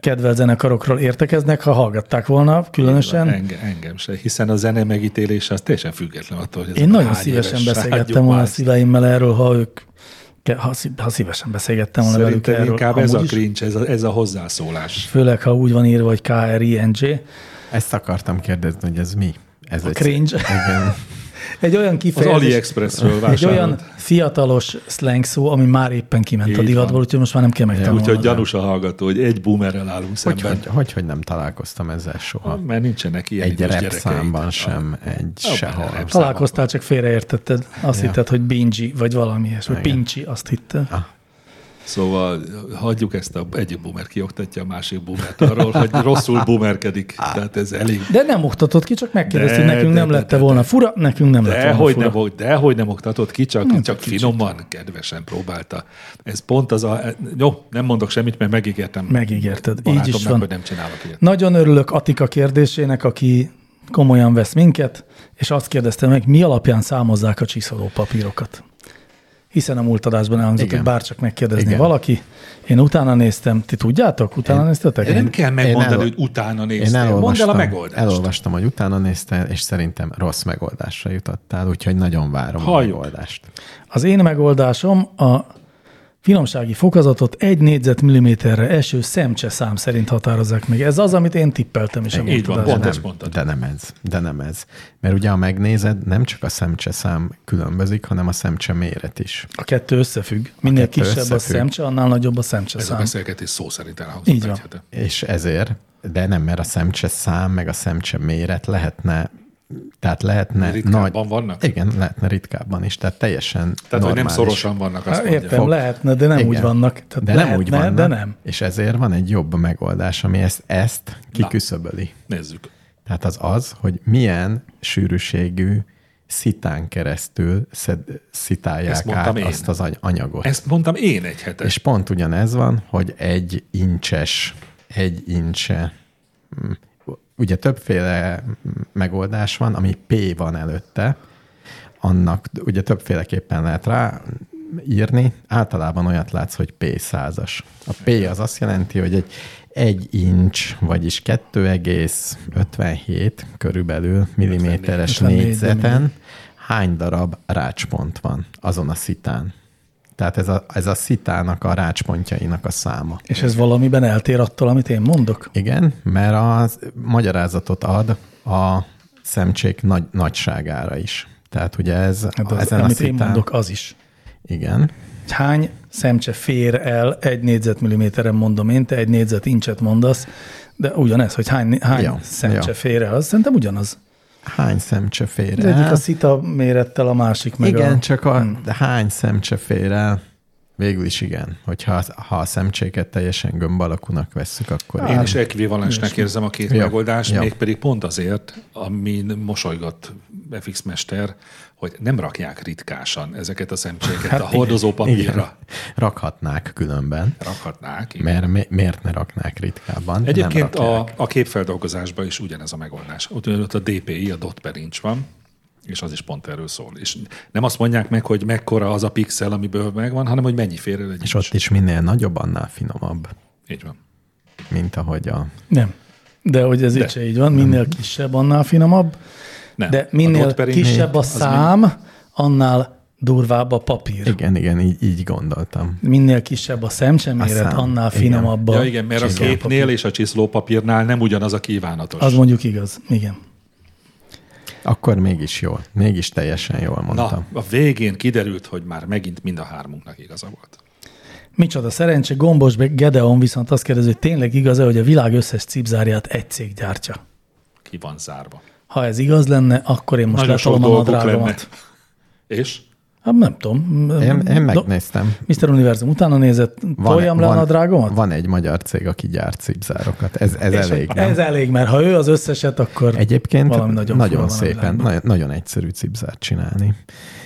[SPEAKER 2] kedvelt zenekarokról értekeznek, ha hallgatták volna különösen.
[SPEAKER 3] Engem, engem se, hiszen a zene megítélése az teljesen független attól, hogy ez
[SPEAKER 2] Én
[SPEAKER 3] a
[SPEAKER 2] nagyon
[SPEAKER 3] hány
[SPEAKER 2] szívesen
[SPEAKER 3] éves
[SPEAKER 2] beszélgettem
[SPEAKER 3] rádió
[SPEAKER 2] volna a
[SPEAKER 3] már-
[SPEAKER 2] szüleimmel erről, ha ők, ke- ha, szí- ha szívesen beszélgettem volna velük
[SPEAKER 3] Szerintem
[SPEAKER 2] erről.
[SPEAKER 3] inkább ez a
[SPEAKER 2] amúgy is.
[SPEAKER 3] cringe, ez a, ez a hozzászólás.
[SPEAKER 2] Főleg, ha úgy van írva, hogy K-R-I-N-G.
[SPEAKER 4] Ezt akartam kérdezni, hogy ez mi? Ez a egy
[SPEAKER 2] cringe.
[SPEAKER 4] Igen.
[SPEAKER 2] Egy olyan
[SPEAKER 3] Az
[SPEAKER 2] kifejezés,
[SPEAKER 3] AliExpressről
[SPEAKER 2] egy
[SPEAKER 3] vásárolt.
[SPEAKER 2] olyan fiatalos slang szó, ami már éppen kiment
[SPEAKER 3] Így
[SPEAKER 2] a divatból,
[SPEAKER 3] van.
[SPEAKER 2] úgyhogy most már nem kell megtanulni.
[SPEAKER 3] Úgyhogy gyanús a hallgató, hogy egy boomerrel állunk
[SPEAKER 4] Hogy,
[SPEAKER 3] szemben.
[SPEAKER 4] hogy, hogy, hogy nem találkoztam ezzel soha?
[SPEAKER 3] Mert nincsenek ilyen izé
[SPEAKER 4] Egy
[SPEAKER 3] idős
[SPEAKER 4] rap
[SPEAKER 3] gyerekeid.
[SPEAKER 4] számban sem, egy
[SPEAKER 3] a
[SPEAKER 4] sehol.
[SPEAKER 3] rap szám.
[SPEAKER 2] Találkoztál, csak félreértetted. Azt
[SPEAKER 4] Ja.
[SPEAKER 2] hitted, hogy bingy, vagy valami ilyesmi. Vagy
[SPEAKER 4] Igen.
[SPEAKER 2] pincsi, azt hitted.
[SPEAKER 3] Szóval hagyjuk ezt, a, egyik boomer kioktatja a másik boomert arról, hogy rosszul boomerkedik. Tehát ez elég.
[SPEAKER 2] De nem oktatott ki, csak megkérdeztük,
[SPEAKER 3] De,
[SPEAKER 2] nekünk
[SPEAKER 3] de,
[SPEAKER 2] nem
[SPEAKER 3] de,
[SPEAKER 2] lette
[SPEAKER 3] de,
[SPEAKER 2] volna fura, nekünk nem lett volna
[SPEAKER 3] Dehogy
[SPEAKER 2] fura.
[SPEAKER 3] nem, ok- dehogy nem oktatott ki, csak, csak finoman, kedvesen próbálta. Ez pont az a... Jó, nem mondok semmit, mert megígértem.
[SPEAKER 2] Megígérted. Így
[SPEAKER 3] barátomnak,
[SPEAKER 2] is van.
[SPEAKER 3] hogy nem csinálok ilyet.
[SPEAKER 2] Nagyon örülök Atika kérdésének, aki komolyan vesz minket, és azt kérdezte meg, mi alapján számozzák a csiszoló papírokat. hiszen a múlt adásban elhangzott,
[SPEAKER 4] Igen.
[SPEAKER 2] hogy bárcsak megkérdezni
[SPEAKER 4] Igen.
[SPEAKER 2] Igen. valaki. Én utána néztem. Ti tudjátok? Utána én, néztetek?
[SPEAKER 3] De Hát nem kell megmondani,
[SPEAKER 4] elol-
[SPEAKER 3] hogy utána
[SPEAKER 4] Én
[SPEAKER 3] néztél. Mondd el a
[SPEAKER 4] elolvastam,
[SPEAKER 3] megoldást.
[SPEAKER 4] elolvastam, hogy utána néztél, és szerintem rossz megoldásra jutottál, úgyhogy nagyon várom
[SPEAKER 3] Halljuk.
[SPEAKER 4] a megoldást.
[SPEAKER 2] Az én megoldásom a finomsági fokozatot egy négyzetmilliméterre eső szemcse szám szerint határozzák meg. Ez az, amit én tippeltem is. a
[SPEAKER 3] Így van,
[SPEAKER 2] múlt
[SPEAKER 3] pont
[SPEAKER 2] adásban.
[SPEAKER 3] ezt mondtad.
[SPEAKER 4] De nem ez, de nem ez. Mert ugye, ha megnézed, nem csak a szemcse szám különbözik, hanem a szemcse méret is.
[SPEAKER 2] A kettő összefügg. Minél
[SPEAKER 4] kettő
[SPEAKER 2] kisebb a
[SPEAKER 4] összefügg.
[SPEAKER 2] szemcse, annál nagyobb a szemcse
[SPEAKER 3] Ez a
[SPEAKER 2] szám.
[SPEAKER 3] beszélgetés szó szerint elhangzott
[SPEAKER 2] Így
[SPEAKER 3] egy
[SPEAKER 2] van.
[SPEAKER 3] hete.
[SPEAKER 4] És ezért, de nem, mert a szemcse szám, meg a szemcse méret lehetne, tehát lehetne
[SPEAKER 3] Ritkábban vannak?
[SPEAKER 4] Igen, lehetne ritkábban is, tehát teljesen
[SPEAKER 3] Tehát, hogy nem
[SPEAKER 4] normális.
[SPEAKER 3] szorosan vannak, azt
[SPEAKER 2] Há,
[SPEAKER 3] mondja.
[SPEAKER 2] értem, lehetne, de nem
[SPEAKER 4] Igen.
[SPEAKER 2] úgy vannak. Tehát
[SPEAKER 4] de
[SPEAKER 2] lehetne,
[SPEAKER 4] nem úgy vannak,
[SPEAKER 2] De nem.
[SPEAKER 4] És ezért van egy jobb megoldás, ami ezt, ezt kiküszöböli.
[SPEAKER 3] Nézzük.
[SPEAKER 4] Tehát az az, hogy milyen sűrűségű szitán keresztül szed,
[SPEAKER 3] Ezt
[SPEAKER 4] szitálják
[SPEAKER 3] mondtam
[SPEAKER 4] át
[SPEAKER 3] én.
[SPEAKER 4] én. azt az any- anyagot.
[SPEAKER 3] Ezt mondtam én egy hete.
[SPEAKER 4] És pont ugyanez van, hogy egy incses, egy incse. Mm. Ugye többféle mm, megoldás van, ami P van előtte, annak ugye többféleképpen lehet rá írni, általában olyat látsz, hogy P százas. A P az azt jelenti, hogy egy egy incs, vagyis 2,57 körülbelül milliméteres
[SPEAKER 2] 54
[SPEAKER 4] négyzeten hány darab rácspont van azon a szitán. Tehát ez a, ez a szitának, a rácspontjainak a száma.
[SPEAKER 2] És ez valamiben eltér attól, amit én mondok?
[SPEAKER 4] Igen, mert az magyarázatot ad a szemcsék nagy, nagyságára is. Tehát ugye ez
[SPEAKER 2] Hát az,
[SPEAKER 4] ezen a
[SPEAKER 2] amit én
[SPEAKER 4] szitán...
[SPEAKER 2] mondok, az is.
[SPEAKER 4] Igen,
[SPEAKER 2] Hogy Hány szemcse fér el egy négyzetmilliméteren, mondom én, te egy négyzetincset mondasz, de ugyanez, hogy hány, hány
[SPEAKER 4] Ja,
[SPEAKER 2] ja, szemcse
[SPEAKER 4] ja.
[SPEAKER 2] ja. fér el, az szerintem ugyanaz.
[SPEAKER 4] hány szemcse fér
[SPEAKER 2] Az
[SPEAKER 4] el?
[SPEAKER 2] egyik a szita mérettel, a másik meg
[SPEAKER 4] hát- igen,
[SPEAKER 2] a... Hmm.
[SPEAKER 4] csak a, de hány szemcse fér el? Végül is igen. Hogyha ha a szemcséket teljesen gömb alakúnak vesszük,
[SPEAKER 3] Én
[SPEAKER 4] akkor
[SPEAKER 2] Hát,
[SPEAKER 4] igen.
[SPEAKER 3] is ekvivalensnek érzem a két
[SPEAKER 4] Ja,
[SPEAKER 3] ja, megoldást,
[SPEAKER 4] ja.
[SPEAKER 3] ja. mégpedig pont azért, amin mosolygott FX Mester, hogy nem rakják ritkásan ezeket a szemcséket hát a hordozó papírra.
[SPEAKER 4] Rakhatnák különben.
[SPEAKER 3] Rakhatnák. igen.
[SPEAKER 4] Mert mi- miért ne raknák ritkábban?
[SPEAKER 3] Egyébként
[SPEAKER 4] nem
[SPEAKER 3] a,
[SPEAKER 4] rakják.
[SPEAKER 3] a képfeldolgozásban is ugyanez a megoldás. Ott, ott a DPI, a dot per inch van, és az is pont erről szól. És nem azt mondják meg, hogy mekkora az a pixel, amiből megvan, hanem hogy mennyi fér el egy
[SPEAKER 4] És
[SPEAKER 3] inch.
[SPEAKER 4] ott is minél nagyobb, annál finomabb,
[SPEAKER 3] Így van.
[SPEAKER 4] mint ahogy a...
[SPEAKER 2] Nem. De hogy ez itt se így van, minél kisebb, annál finomabb,
[SPEAKER 3] Nem.
[SPEAKER 2] de
[SPEAKER 3] a
[SPEAKER 2] minél
[SPEAKER 3] dot per inch-
[SPEAKER 2] kisebb a
[SPEAKER 3] az
[SPEAKER 2] szám, annál durvább a papír.
[SPEAKER 4] Igen, igen, így, így gondoltam.
[SPEAKER 2] Minél kisebb a szemcseméret,
[SPEAKER 4] szám,
[SPEAKER 2] annál
[SPEAKER 4] igen.
[SPEAKER 2] finomabb a
[SPEAKER 3] Ja igen, mert a képnél és a csiszlópapírnál nem ugyanaz a kívánatos.
[SPEAKER 2] Az mondjuk igaz, igen.
[SPEAKER 4] Akkor mégis jól, mégis teljesen jól mondtam.
[SPEAKER 3] Na, a végén kiderült, hogy már megint mind a hármunknak igaza volt.
[SPEAKER 2] Micsoda szerencse, Gombos be- Gedeon viszont azt kérdezi, hogy tényleg igaz-e, hogy a világ összes cipzárját egy cég gyártja?
[SPEAKER 3] Ki van zárva.
[SPEAKER 2] Ha ez igaz lenne, akkor én most
[SPEAKER 3] Nagyon sok
[SPEAKER 2] letolom a
[SPEAKER 3] dolgok lenne.
[SPEAKER 2] nadrágomat.
[SPEAKER 3] És?
[SPEAKER 2] Hát nem tudom.
[SPEAKER 4] Én, én
[SPEAKER 2] Do-
[SPEAKER 4] megnéztem.
[SPEAKER 2] Mr. Univerzum utána nézett, toljam le a nadrágomat?
[SPEAKER 4] van egy magyar cég, aki gyárt cipzárokat. Ez, ez
[SPEAKER 2] És
[SPEAKER 4] elég, nem?
[SPEAKER 2] Ez elég, mert ha ő az összeset, akkor
[SPEAKER 4] Egyébként
[SPEAKER 2] valami nagyon,
[SPEAKER 4] nagyon,
[SPEAKER 2] fura
[SPEAKER 4] nagyon
[SPEAKER 2] van a
[SPEAKER 4] szépen,
[SPEAKER 2] világban.
[SPEAKER 4] nagyon, nagyon egyszerű cipzárt csinálni,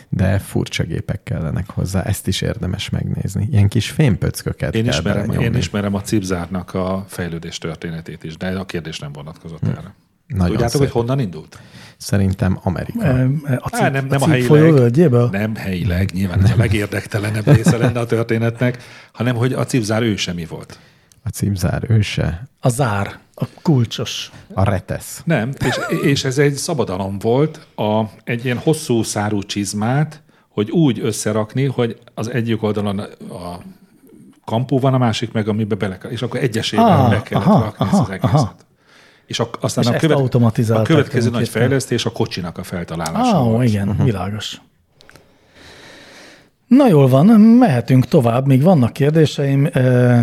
[SPEAKER 4] de furcsa gépek kellenek hozzá, ezt is érdemes megnézni. Ilyen kis fémpöcköket
[SPEAKER 3] Én
[SPEAKER 4] kell
[SPEAKER 3] ismerem, én
[SPEAKER 4] belenyomni.
[SPEAKER 3] ismerem a cipzárnak a fejlődés történetét is, de a kérdés nem vonatkozott erre.
[SPEAKER 4] Hm. Nagyon
[SPEAKER 3] Tudjátok,
[SPEAKER 4] szép.
[SPEAKER 3] hogy honnan indult?
[SPEAKER 4] Szerintem Amerika.
[SPEAKER 2] E, A cip,
[SPEAKER 3] Á, Hát nem, nem a,
[SPEAKER 2] a cip
[SPEAKER 3] helyileg.
[SPEAKER 2] folyóvölgyéből?
[SPEAKER 3] Nem helyileg, nyilván ez a legérdektelenebb része lenne a történetnek, hanem hogy a cipzár ő semmi volt.
[SPEAKER 4] A cipzár őse,
[SPEAKER 2] A zár, a kulcsos.
[SPEAKER 4] a retesz.
[SPEAKER 3] Nem, és, és ez egy szabadalom volt, a, egy ilyen hosszú szárú csizmát, hogy úgy összerakni, hogy az egyik oldalon a kampó van, a másik meg, amiben bele kell, és akkor egyesével ah,
[SPEAKER 2] Ah,
[SPEAKER 3] le kellett aha,
[SPEAKER 2] aha,
[SPEAKER 3] rakni aha,
[SPEAKER 2] aha,
[SPEAKER 3] ezt az egészet. Aha.
[SPEAKER 2] aha.
[SPEAKER 3] És a, aztán
[SPEAKER 2] És
[SPEAKER 3] a,
[SPEAKER 2] ezt
[SPEAKER 3] követ, a
[SPEAKER 2] automatizálták
[SPEAKER 3] következő nagy
[SPEAKER 2] tulajdonképpen.
[SPEAKER 3] fejlesztés a kocsinak a feltalálása
[SPEAKER 2] Á, ó,
[SPEAKER 3] volt.
[SPEAKER 2] igen, uh-huh. világos. Na jól van, mehetünk tovább, még vannak kérdéseim. Ö,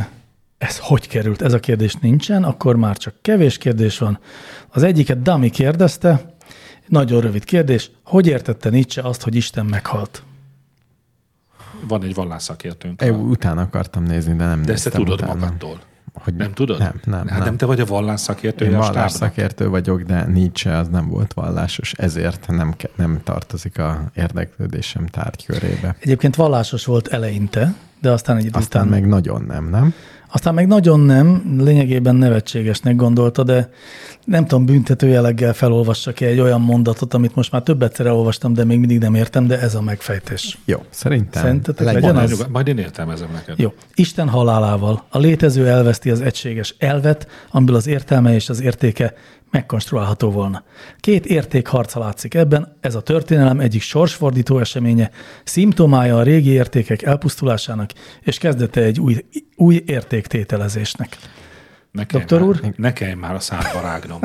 [SPEAKER 2] Ez hogy került? Ez a kérdés nincsen, akkor már csak kevés kérdés van. Az egyiket Dami kérdezte, nagyon rövid kérdés, hogy értette Nietzsche azt, hogy Isten meghalt?
[SPEAKER 3] Van egy vallásszakértőnk.
[SPEAKER 4] E, utána akartam nézni, de nem
[SPEAKER 3] De ezt te
[SPEAKER 4] néztem
[SPEAKER 3] tudod
[SPEAKER 4] utána.
[SPEAKER 3] magadtól.
[SPEAKER 4] Hogy
[SPEAKER 3] Nem tudod?
[SPEAKER 4] Nem, nem,
[SPEAKER 3] Hát nem te vagy a vallásszakértője
[SPEAKER 4] Én
[SPEAKER 3] a stábnak.
[SPEAKER 4] vallásszakértő vagyok, de Nietzsche az nem volt vallásos, ezért nem, ke- nem tartozik a érdeklődésem tárgykörébe.
[SPEAKER 2] Egyébként vallásos volt eleinte, de aztán egy idő
[SPEAKER 4] Aztán
[SPEAKER 2] után
[SPEAKER 4] meg nagyon nem, nem?
[SPEAKER 2] Aztán meg nagyon nem, lényegében nevetségesnek gondolta, de nem tudom, büntető jelleggel felolvassak egy olyan mondatot, amit most már több egyszer elolvastam, de még mindig nem értem, de ez a megfejtés.
[SPEAKER 4] Jó, szerintem.
[SPEAKER 2] Szerintetek
[SPEAKER 4] legyen
[SPEAKER 2] legyen
[SPEAKER 4] az.
[SPEAKER 2] az?
[SPEAKER 3] Nyugodt, majd én értelmezem neked.
[SPEAKER 2] Jó. Isten halálával a létező elveszti az egységes elvet, amiből az értelme és az értéke megkonstruálható volna. Két érték harca látszik ebben, ez a történelem egyik sorsfordító eseménye, szimptomája a régi értékek elpusztulásának, és kezdete egy új, új értéktételezésnek.
[SPEAKER 3] Ne kellj
[SPEAKER 2] Doktor
[SPEAKER 3] már,
[SPEAKER 2] úr?
[SPEAKER 3] Ne kelljen már a számba rágnom.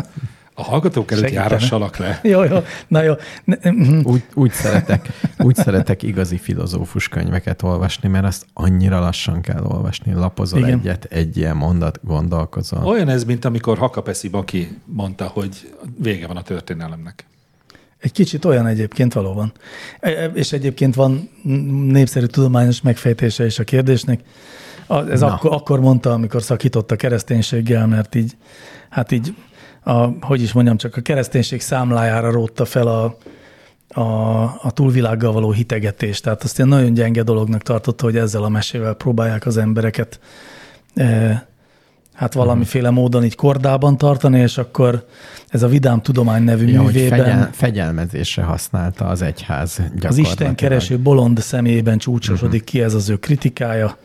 [SPEAKER 3] A hallgatók előtt
[SPEAKER 2] Segítene.
[SPEAKER 3] járassalak le.
[SPEAKER 2] Jó, jó, na jó. Ne, mhm.
[SPEAKER 4] Úgy, úgy, szeretek, úgy szeretek igazi filozófus könyveket olvasni, mert azt annyira lassan kell olvasni. Lapozol
[SPEAKER 2] Igen.
[SPEAKER 4] Igen. egyet, egy ilyen mondat, gondolkozol.
[SPEAKER 3] Olyan ez, mint amikor Hakapeszi Baki mondta, hogy vége van a történelemnek.
[SPEAKER 2] Egy kicsit olyan egyébként valóban. E- e- És egyébként van n- népszerű tudományos megfejtése is a kérdésnek. A- Ez
[SPEAKER 4] Na.
[SPEAKER 2] akkor, akkor mondta, amikor szakított a kereszténységgel, mert így, hát így, a, hogy is mondjam, csak a kereszténység számlájára rótta fel a, a, a túlvilággal való hitegetést. Tehát azt én nagyon gyenge dolognak tartotta, hogy ezzel a mesével próbálják az embereket e, hát
[SPEAKER 4] Mhm.
[SPEAKER 2] valamiféle módon így kordában tartani, és akkor ez a Vidám Tudomány nevű
[SPEAKER 4] Ja, hogy
[SPEAKER 2] művében...
[SPEAKER 4] fegyel, fegyelmezésre használta az egyház
[SPEAKER 2] Az
[SPEAKER 4] gyakorlatilag. Mhm.
[SPEAKER 2] Isten kereső bolond személyében csúcsosodik uh-huh. ki ez az ő kritikája.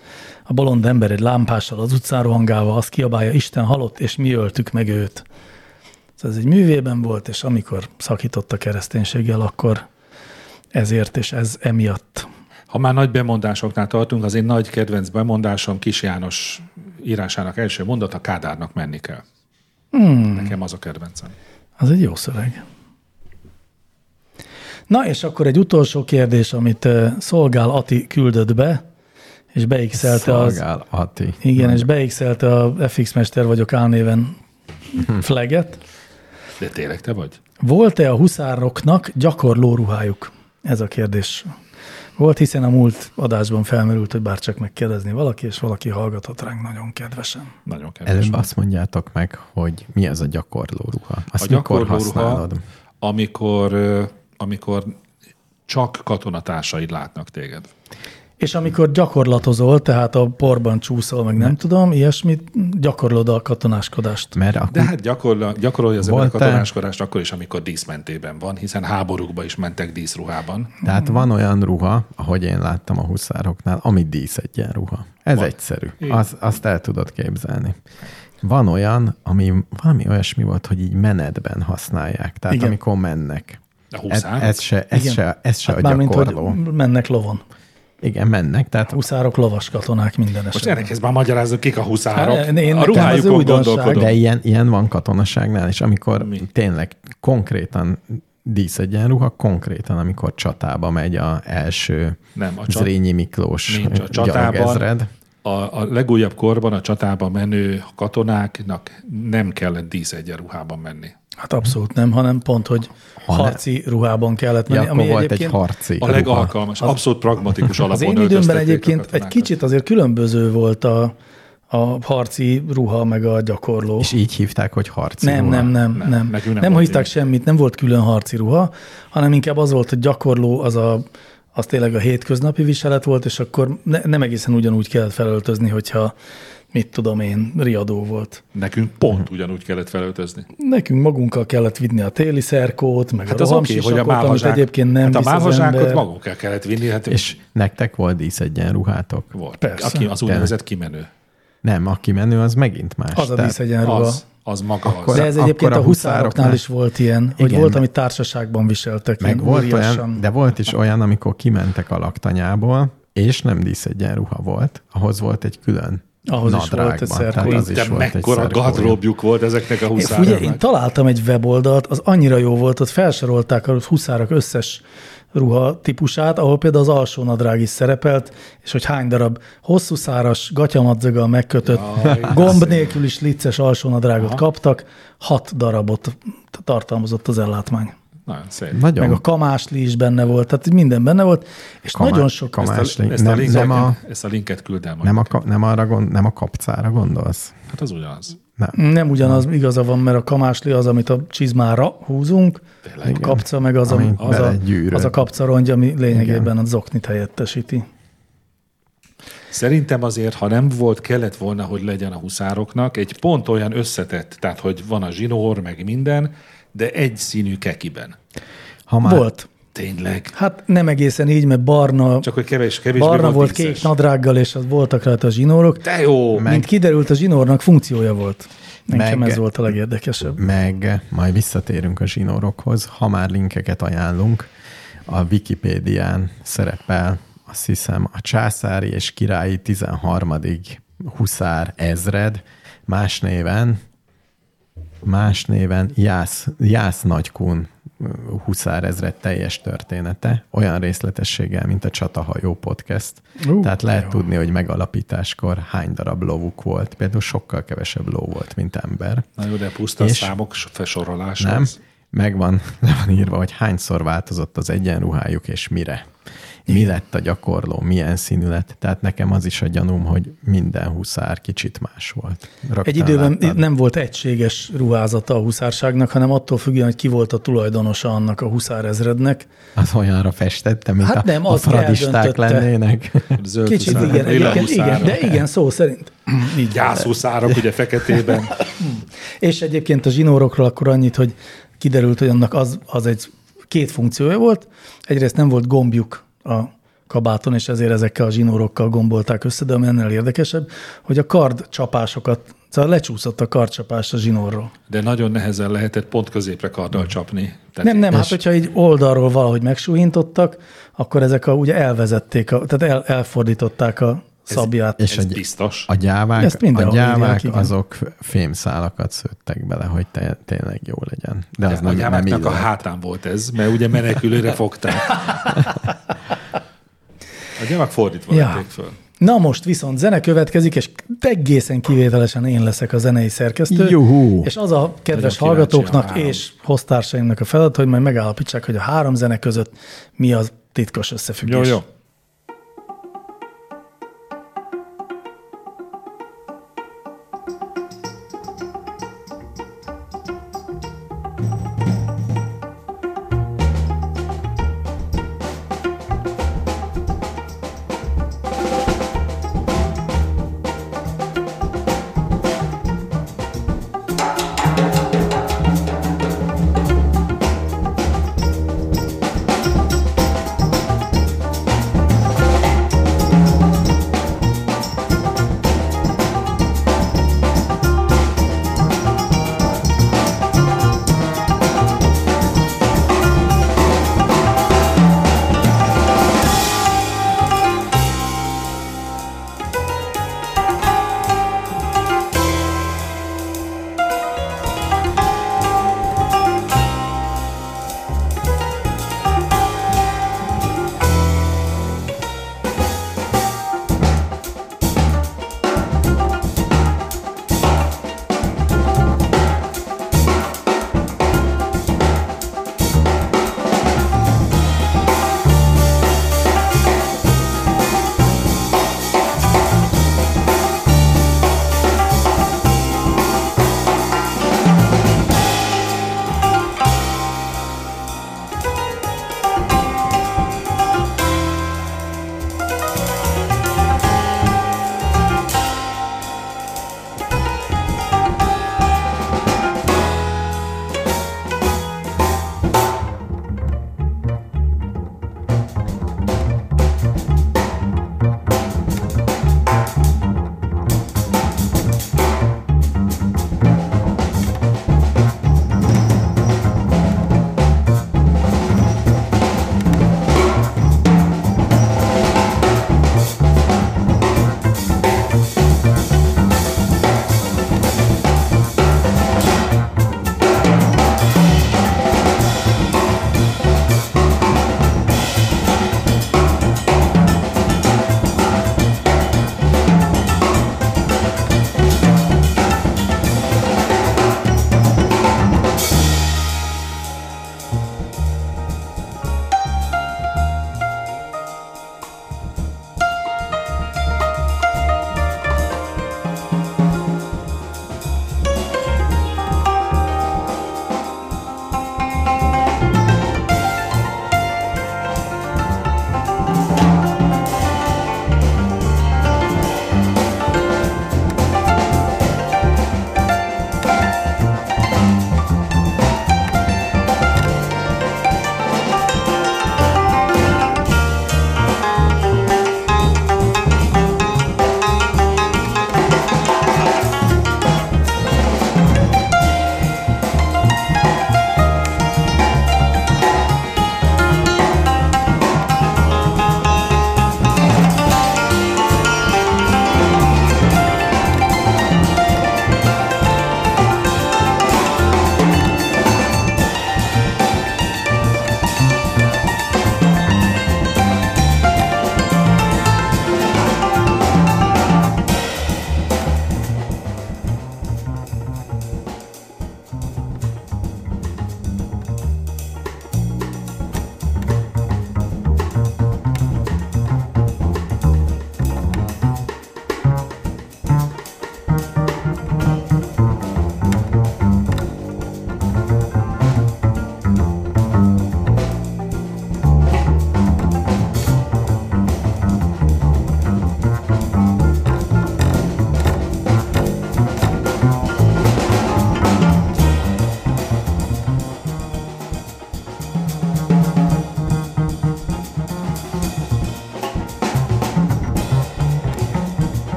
[SPEAKER 2] A bolond ember egy lámpással az utcán rohangálva azt kiabálja, Isten halott, és mi öltük meg őt. Szóval ez egy művében volt, és amikor szakított a kereszténységgel, akkor ezért és ez emiatt.
[SPEAKER 3] Ha már nagy bemondásoknál tartunk, az én nagy kedvenc bemondásom Kis János írásának első mondata, Kádárnak menni kell. Hmm. Nekem az a kedvencem.
[SPEAKER 2] Az egy jó szöveg. Na és akkor egy utolsó kérdés, amit ö, Szolgál Ati küldött be, és beixelte az
[SPEAKER 4] Szolgál, Ati.
[SPEAKER 2] Igen, és beixelte a FX Mester vagyok álnéven
[SPEAKER 4] Hm.
[SPEAKER 2] flaget.
[SPEAKER 3] De tényleg te vagy?
[SPEAKER 2] Volt-e a huszároknak gyakorló ruhájuk? Ez a kérdés. Volt, hiszen a múlt adásban felmerült, hogy bárcsak megkérdezni valaki, és valaki hallgatott ránk nagyon kedvesen.
[SPEAKER 3] Nagyon kedves.
[SPEAKER 4] Előbb azt mondjátok meg, hogy mi ez a gyakorló ruha. Azt
[SPEAKER 3] a
[SPEAKER 4] mikor
[SPEAKER 3] gyakorló ruha,
[SPEAKER 4] használod?
[SPEAKER 3] amikor, ö, amikor csak katonatársaid látnak téged.
[SPEAKER 2] És amikor gyakorlatozol, tehát a porban csúszol, meg nem tudom, ilyesmit, gyakorlod a katonáskodást.
[SPEAKER 4] Mert akkor
[SPEAKER 3] De hát gyakorla, gyakorolja az ember
[SPEAKER 4] Volt-e?
[SPEAKER 3] katonáskodást akkor is, amikor díszmentében van, hiszen háborúkba is mentek díszruhában.
[SPEAKER 4] Tehát van olyan ruha, ahogy én láttam a huszároknál, ami dísz egy ilyen ruha. Ez van. egyszerű. Az, azt el tudod képzelni. Van olyan, ami valami olyasmi volt, hogy így menetben használják. Tehát
[SPEAKER 2] Igen.
[SPEAKER 4] Igen. amikor mennek.
[SPEAKER 3] A
[SPEAKER 4] Ez,
[SPEAKER 3] huszárok?
[SPEAKER 4] ez se, ez
[SPEAKER 2] Igen.
[SPEAKER 4] se, ez se hát a
[SPEAKER 2] mármint, hogy
[SPEAKER 4] gyakorló. Hogy...
[SPEAKER 2] mennek lovon.
[SPEAKER 4] Igen, mennek. Tehát
[SPEAKER 2] Huszárok, lovas katonák minden
[SPEAKER 3] Most
[SPEAKER 2] esetben.
[SPEAKER 3] ennek ez már magyarázok, kik a huszárok.
[SPEAKER 2] Hát, én- én-
[SPEAKER 3] a
[SPEAKER 2] nekem az
[SPEAKER 3] ruhájukon
[SPEAKER 2] újdonság.
[SPEAKER 3] gondolkodom.
[SPEAKER 4] de ilyen, ilyen van katonaságnál is, amikor
[SPEAKER 3] Mi?
[SPEAKER 4] Mi? tényleg konkrétan dísz egy ilyen ruha, konkrétan, amikor csatába megy a első
[SPEAKER 3] Nem, a csat-
[SPEAKER 4] Zrínyi Miklós
[SPEAKER 3] Nincs a
[SPEAKER 4] gyalogezred.
[SPEAKER 3] csatában. A, a legújabb korban a csatában menő katonáknak nem kellett díszegyenruhában menni.
[SPEAKER 2] Hát abszolút nem, hanem pont, hogy
[SPEAKER 4] ne-
[SPEAKER 2] harci ruhában kellett menni.
[SPEAKER 4] Ja, akkor volt egy harci
[SPEAKER 3] A
[SPEAKER 4] ruha.
[SPEAKER 3] legalkalmas, abszolút pragmatikus
[SPEAKER 2] Az
[SPEAKER 3] alapon
[SPEAKER 2] én időmben
[SPEAKER 3] öltöztették a
[SPEAKER 2] egyébként egy
[SPEAKER 3] katonákat.
[SPEAKER 2] kicsit azért különböző volt a, a harci ruha, meg a gyakorló.
[SPEAKER 4] És így hívták, hogy harci
[SPEAKER 2] Nem,
[SPEAKER 4] ruha.
[SPEAKER 2] nem, nem,
[SPEAKER 3] Nem,
[SPEAKER 2] nem.
[SPEAKER 3] nekünk
[SPEAKER 2] Nem,
[SPEAKER 3] nem
[SPEAKER 2] nem
[SPEAKER 3] volt
[SPEAKER 2] hívták
[SPEAKER 3] ilyen.
[SPEAKER 2] semmit, nem volt külön harci ruha, hanem inkább az volt, hogy gyakorló az a az tényleg a hétköznapi viselet volt, és akkor ne, nem egészen ugyanúgy kellett felöltözni, hogyha mit tudom én, riadó volt.
[SPEAKER 3] Nekünk pont ugyanúgy kellett felöltözni.
[SPEAKER 2] Nekünk magunkkal kellett vinni a téli szerkót, meg
[SPEAKER 3] Hát
[SPEAKER 2] a
[SPEAKER 3] az oké, hogy a
[SPEAKER 2] rohamsisakot, amit
[SPEAKER 3] mávazsák,
[SPEAKER 2] egyébként nem
[SPEAKER 3] hát a
[SPEAKER 2] visz az
[SPEAKER 3] mávazsákot
[SPEAKER 2] ember.
[SPEAKER 3] magunkkal kellett vinni, hát
[SPEAKER 4] És nektek volt díszegyenruhátok?
[SPEAKER 3] volt.
[SPEAKER 2] Persze.
[SPEAKER 3] Aki az úgynevezett kimenő.
[SPEAKER 4] Nem, aki menő, az megint más.
[SPEAKER 2] Az a
[SPEAKER 4] Tehát
[SPEAKER 2] díszegyenruha.
[SPEAKER 3] Az, az maga
[SPEAKER 4] Akkor-
[SPEAKER 3] az.
[SPEAKER 2] De ez egyébként
[SPEAKER 4] akkor
[SPEAKER 2] a
[SPEAKER 4] a
[SPEAKER 2] huszároknál
[SPEAKER 4] huszároknál-
[SPEAKER 2] is volt ilyen, hogy
[SPEAKER 4] Igen,
[SPEAKER 2] volt,
[SPEAKER 4] meg-
[SPEAKER 2] amit társaságban viseltek.
[SPEAKER 4] Meg
[SPEAKER 2] ilyen
[SPEAKER 4] volt
[SPEAKER 2] óriásan.
[SPEAKER 4] olyan, de volt is olyan, amikor kimentek a laktanyából, és nem díszegyenruha volt, ahhoz volt egy külön
[SPEAKER 2] Ahhoz is
[SPEAKER 4] nadrágban.
[SPEAKER 2] volt egy
[SPEAKER 4] Tehát
[SPEAKER 2] szerkója.
[SPEAKER 4] az is
[SPEAKER 3] De
[SPEAKER 4] volt egy
[SPEAKER 3] mekkora
[SPEAKER 4] szerkója.
[SPEAKER 3] gardróbjuk volt ezeknek a
[SPEAKER 2] Én, ugye, én
[SPEAKER 3] huszároknak.
[SPEAKER 2] találtam egy weboldalt, az annyira jó volt, ott felsorolták a huszárok összes ruha típusát, ahol például az alsó nadrág is szerepelt, és hogy hány darab hosszú száras, gatyamadzaggal megkötött,
[SPEAKER 3] Jaj,
[SPEAKER 2] gomb nélkül is licces alsó nadrágot kaptak, hat darabot t- tartalmazott az ellátmány.
[SPEAKER 3] Nagyon szép.
[SPEAKER 4] Nagyon
[SPEAKER 2] Meg a kamásli is benne volt, tehát minden benne volt, és
[SPEAKER 4] kamá-
[SPEAKER 2] nagyon sok...
[SPEAKER 4] kamás,
[SPEAKER 3] Ezt a,
[SPEAKER 4] nem,
[SPEAKER 3] ezt, a
[SPEAKER 4] nem,
[SPEAKER 3] linket,
[SPEAKER 4] nem, a,
[SPEAKER 3] ezt a linket küld el majd.
[SPEAKER 4] nem, a, ka- nem, arra gond, nem a kapcára gondolsz?
[SPEAKER 3] Hát az ugyanaz.
[SPEAKER 2] Nem ugyanaz, igaza van, mert a kamásli az, amit a csizmára húzunk,
[SPEAKER 3] Tényleg.
[SPEAKER 2] a kapca meg az,
[SPEAKER 4] Ami
[SPEAKER 2] ami az, a,
[SPEAKER 4] belegyűröd.
[SPEAKER 2] az a kapca rongy, ami lényegében a zoknit helyettesíti.
[SPEAKER 3] Szerintem azért, ha nem volt, kellett volna, hogy legyen a huszároknak egy pont olyan összetett, tehát hogy van a zsinór, meg minden, de egy színű kekiben.
[SPEAKER 4] Ha már,
[SPEAKER 2] Volt.
[SPEAKER 3] Tényleg.
[SPEAKER 2] Hát nem egészen így, mert barna,
[SPEAKER 3] Csak hogy kevés, kevés
[SPEAKER 2] barna volt kék nadrággal, és az voltak rajta a zsinórok.
[SPEAKER 3] De jó!
[SPEAKER 2] Mint kiderült, a zsinórnak funkciója volt. Nekem
[SPEAKER 4] Meg-
[SPEAKER 2] ez volt a legérdekesebb.
[SPEAKER 4] meg majd visszatérünk a zsinórokhoz, ha már linkeket ajánlunk, a Wikipédián szerepel, azt hiszem, a császári és királyi 13. huszár ezred, más néven, más néven Jász, Jász Nagykun huszár ezred teljes története, olyan részletességgel, mint a Csatahajó podcast.
[SPEAKER 2] Ú,
[SPEAKER 4] Uh, Tehát lehet jó. tudni, hogy megalapításkor hány darab lovuk volt. Például sokkal kevesebb ló volt, mint ember.
[SPEAKER 3] Na jó, de puszta a
[SPEAKER 4] És-
[SPEAKER 3] számok felsorolása.
[SPEAKER 4] Nem,
[SPEAKER 3] az.
[SPEAKER 4] megvan, le van írva, hogy hányszor változott az egyenruhájuk, és mire. Mi lett a gyakorló, milyen színű lett. Tehát nekem az is a gyanúm, hogy minden huszár kicsit más volt. Rögtön
[SPEAKER 2] Egy időben
[SPEAKER 4] láttad.
[SPEAKER 2] nem volt egységes ruházata a huszárságnak, hanem attól függően, hogy ki volt a tulajdonosa annak a huszárezrednek.
[SPEAKER 4] Az olyanra festette, mint
[SPEAKER 2] Hát
[SPEAKER 4] hát a,
[SPEAKER 2] nem,
[SPEAKER 4] nem, a
[SPEAKER 2] az
[SPEAKER 4] fradisták
[SPEAKER 2] eldöntötte.
[SPEAKER 4] lennének.
[SPEAKER 3] Zöld
[SPEAKER 2] Kicsit
[SPEAKER 3] huszárok,
[SPEAKER 2] igen,
[SPEAKER 3] lila
[SPEAKER 2] egyébként, igen,
[SPEAKER 3] huszárok.
[SPEAKER 2] de igen, szó szerint. Így
[SPEAKER 3] gyászhuszárok ugye feketében.
[SPEAKER 2] És egyébként a zsinórokról akkor annyit, hogy kiderült, hogy annak az, az egy két funkciója volt. Egyrészt nem volt gombjuk a kabáton, és ezért ezekkel a zsinórokkal gombolták össze, de ami ennél érdekesebb, hogy a kard csapásokat, szóval lecsúszott a kardcsapás a zsinórról.
[SPEAKER 3] De nagyon nehezen lehetett pont középre karddal csapni. Tehát
[SPEAKER 2] Nem, nem, hát hogyha így oldalról valahogy megsúhintottak, akkor ezek a, ugye elvezették, a, tehát el, elfordították a szabját.
[SPEAKER 4] és
[SPEAKER 3] Ez
[SPEAKER 4] egy-
[SPEAKER 3] biztos.
[SPEAKER 4] A gyávák,
[SPEAKER 2] Ezt mindenhol
[SPEAKER 4] a gyávák
[SPEAKER 2] írják, igen.
[SPEAKER 4] azok fémszálakat szőttek bele, hogy te, tényleg jó legyen. De az
[SPEAKER 3] a
[SPEAKER 4] nem, nem így
[SPEAKER 3] gyámáknak hát a
[SPEAKER 4] lett.
[SPEAKER 3] hátán volt ez, mert ugye menekülőre fogták. A gyámák fordítva
[SPEAKER 2] Ja.
[SPEAKER 3] ja. vették föl.
[SPEAKER 2] Na most viszont zene következik, és egészen kivételesen én leszek a zenei szerkesztő.
[SPEAKER 4] Juhú!
[SPEAKER 2] És az a
[SPEAKER 3] Nagyon
[SPEAKER 2] kedves
[SPEAKER 3] kíváncsi a
[SPEAKER 2] hallgatóknak
[SPEAKER 3] három.
[SPEAKER 2] és hoztársaimnak a feladat, hogy majd megállapítsák, hogy a három zene között mi az titkos összefüggés.
[SPEAKER 3] Jó, jó.
[SPEAKER 5] Thank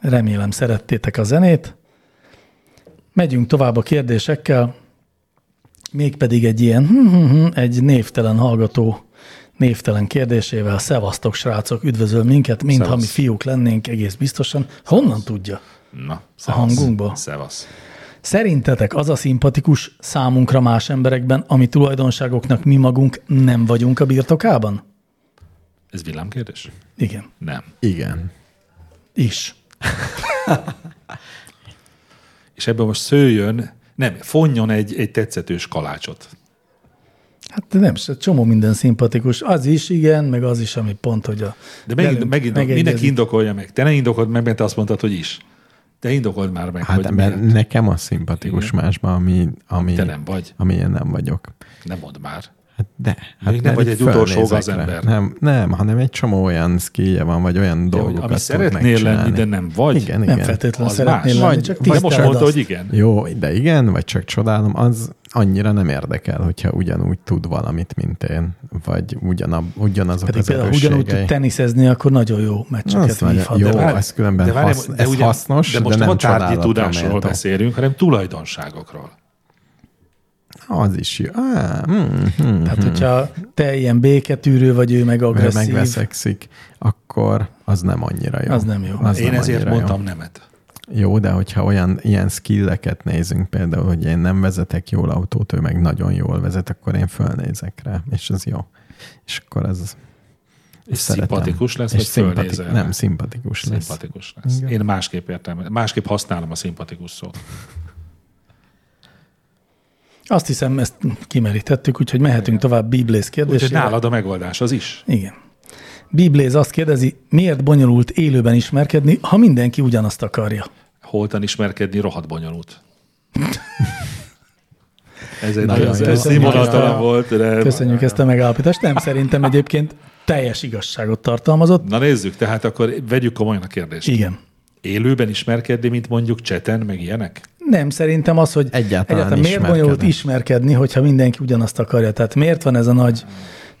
[SPEAKER 2] Remélem szerettétek a zenét. Megyünk tovább a kérdésekkel, mégpedig egy ilyen, hm, egy névtelen hallgató névtelen kérdésével. Szevasztok, srácok, üdvözöl minket, mintha mi
[SPEAKER 3] Szevasz.
[SPEAKER 2] fiúk lennénk egész biztosan. Honnan tudja?
[SPEAKER 3] Na,
[SPEAKER 2] hangunkba?
[SPEAKER 3] Szevasz.
[SPEAKER 2] Szerintetek az a szimpatikus számunkra más emberekben, ami tulajdonságoknak mi magunk nem vagyunk a birtokában?
[SPEAKER 3] Ez villámkérdés?
[SPEAKER 2] Igen.
[SPEAKER 3] Nem.
[SPEAKER 4] Igen.
[SPEAKER 2] Is.
[SPEAKER 3] És ebből most szőjön, nem, fonjon egy, egy tetszetős kalácsot.
[SPEAKER 2] Hát nem, s- csomó minden szimpatikus. Az is, igen, meg az is, ami pont, hogy a...
[SPEAKER 3] De megint,
[SPEAKER 2] velünk
[SPEAKER 3] megint
[SPEAKER 2] megegyezik.
[SPEAKER 3] mindenki indokolja meg. Te ne indokold meg, mert te azt mondtad, hogy is. Te indokold már meg,
[SPEAKER 4] Hát
[SPEAKER 3] hogy
[SPEAKER 4] mert
[SPEAKER 3] miért.
[SPEAKER 4] nekem a szimpatikus
[SPEAKER 3] Igen.
[SPEAKER 4] másban, ami, ami,
[SPEAKER 3] te nem vagy.
[SPEAKER 4] ami én nem vagyok.
[SPEAKER 3] Nem mondd már.
[SPEAKER 4] Hát de.
[SPEAKER 3] nem
[SPEAKER 4] Hát mert
[SPEAKER 3] vagy
[SPEAKER 4] így
[SPEAKER 3] egy utolsó
[SPEAKER 4] fölnézek
[SPEAKER 3] gazember.
[SPEAKER 4] rá. Nem, nem, hanem egy csomó olyan skillje van, vagy olyan
[SPEAKER 3] De, hogy
[SPEAKER 4] dolgokat
[SPEAKER 3] ami
[SPEAKER 4] tud
[SPEAKER 3] szeretnél
[SPEAKER 4] megcsinálni.
[SPEAKER 3] lenni, de nem vagy.
[SPEAKER 4] Igen,
[SPEAKER 2] Nem
[SPEAKER 4] igen.
[SPEAKER 2] feltétlenül
[SPEAKER 3] Az
[SPEAKER 2] szeretnél
[SPEAKER 3] más.
[SPEAKER 2] lenni,
[SPEAKER 4] Vagy-
[SPEAKER 2] csak
[SPEAKER 4] vagy
[SPEAKER 3] De most
[SPEAKER 2] tiszteld
[SPEAKER 3] mondta,
[SPEAKER 2] azt.
[SPEAKER 3] hogy igen.
[SPEAKER 4] Jó, de igen, vagy csak csodálom, az annyira nem érdekel, hogyha ugyanúgy tud valamit, mint én, vagy ugyanab, ugyanazok
[SPEAKER 2] Pedig
[SPEAKER 4] az
[SPEAKER 2] például ha ugyanúgy tud
[SPEAKER 4] erősségei.
[SPEAKER 2] teniszezni, akkor nagyon jó meccseket
[SPEAKER 4] Azt mondja,
[SPEAKER 2] vívhat. Hát,
[SPEAKER 4] jó,
[SPEAKER 2] de-
[SPEAKER 4] várj, ez különben
[SPEAKER 3] várj,
[SPEAKER 4] hasz- ez hasznos,
[SPEAKER 3] de most
[SPEAKER 4] de
[SPEAKER 3] nem a
[SPEAKER 4] nem
[SPEAKER 3] tárgyi
[SPEAKER 4] csodálatra
[SPEAKER 3] tudásról
[SPEAKER 4] méltó.
[SPEAKER 3] beszélünk, hanem tulajdonságokról.
[SPEAKER 4] Az is jó. Á, mm, mm,
[SPEAKER 2] Tehát, hát, hogyha te ilyen béketűrő vagy, ő meg
[SPEAKER 4] mert
[SPEAKER 2] agresszív,
[SPEAKER 4] megveszekszik, akkor az nem annyira jó.
[SPEAKER 2] Az nem jó.
[SPEAKER 4] Az
[SPEAKER 3] Én
[SPEAKER 4] nem
[SPEAKER 3] ezért
[SPEAKER 4] annyira
[SPEAKER 3] mondtam nemet.
[SPEAKER 4] Jó. jó, de hogyha olyan ilyen skilleket nézünk, például, hogy én nem vezetek jól autót, ő meg nagyon jól vezet, akkor én fölnézek rá, és az jó. És akkor az
[SPEAKER 3] És
[SPEAKER 4] szeretem.
[SPEAKER 3] szimpatikus lesz,
[SPEAKER 4] és
[SPEAKER 3] vagy
[SPEAKER 4] szimpati-
[SPEAKER 3] fölnézel?
[SPEAKER 4] Nem, szimpatikus lesz.
[SPEAKER 3] Szimpatikus lesz.
[SPEAKER 4] Igen.
[SPEAKER 3] Én másképp értem, másképp használom a szimpatikus szót.
[SPEAKER 2] azt hiszem, ezt kimerítettük, úgyhogy mehetünk tovább Biblész
[SPEAKER 3] Úgyhogy
[SPEAKER 2] kérdésére.
[SPEAKER 3] nálad a megoldás az is.
[SPEAKER 2] Igen. Bibléz azt kérdezi, miért bonyolult élőben ismerkedni, ha mindenki ugyanazt akarja?
[SPEAKER 3] Holtan ismerkedni rohadt bonyolult. Ez egy nagyon,
[SPEAKER 4] Nagyon jó.
[SPEAKER 3] ez
[SPEAKER 2] Köszönjük ezt
[SPEAKER 3] színvonaltalan
[SPEAKER 2] a-
[SPEAKER 3] volt, de...
[SPEAKER 2] Köszönjük ezt a megállapítást. Nem, szerintem egyébként teljes igazságot tartalmazott.
[SPEAKER 3] Na nézzük, tehát akkor vegyük komolyan a kérdést.
[SPEAKER 2] Igen.
[SPEAKER 3] Élőben ismerkedni, mint mondjuk cseten, meg ilyenek?
[SPEAKER 2] Nem, szerintem az, hogy
[SPEAKER 4] Egyáltalán
[SPEAKER 2] miért bonyolult
[SPEAKER 4] ismerkedni.
[SPEAKER 2] ismerkedni, hogyha mindenki ugyanazt akarja. Tehát miért van ez a nagy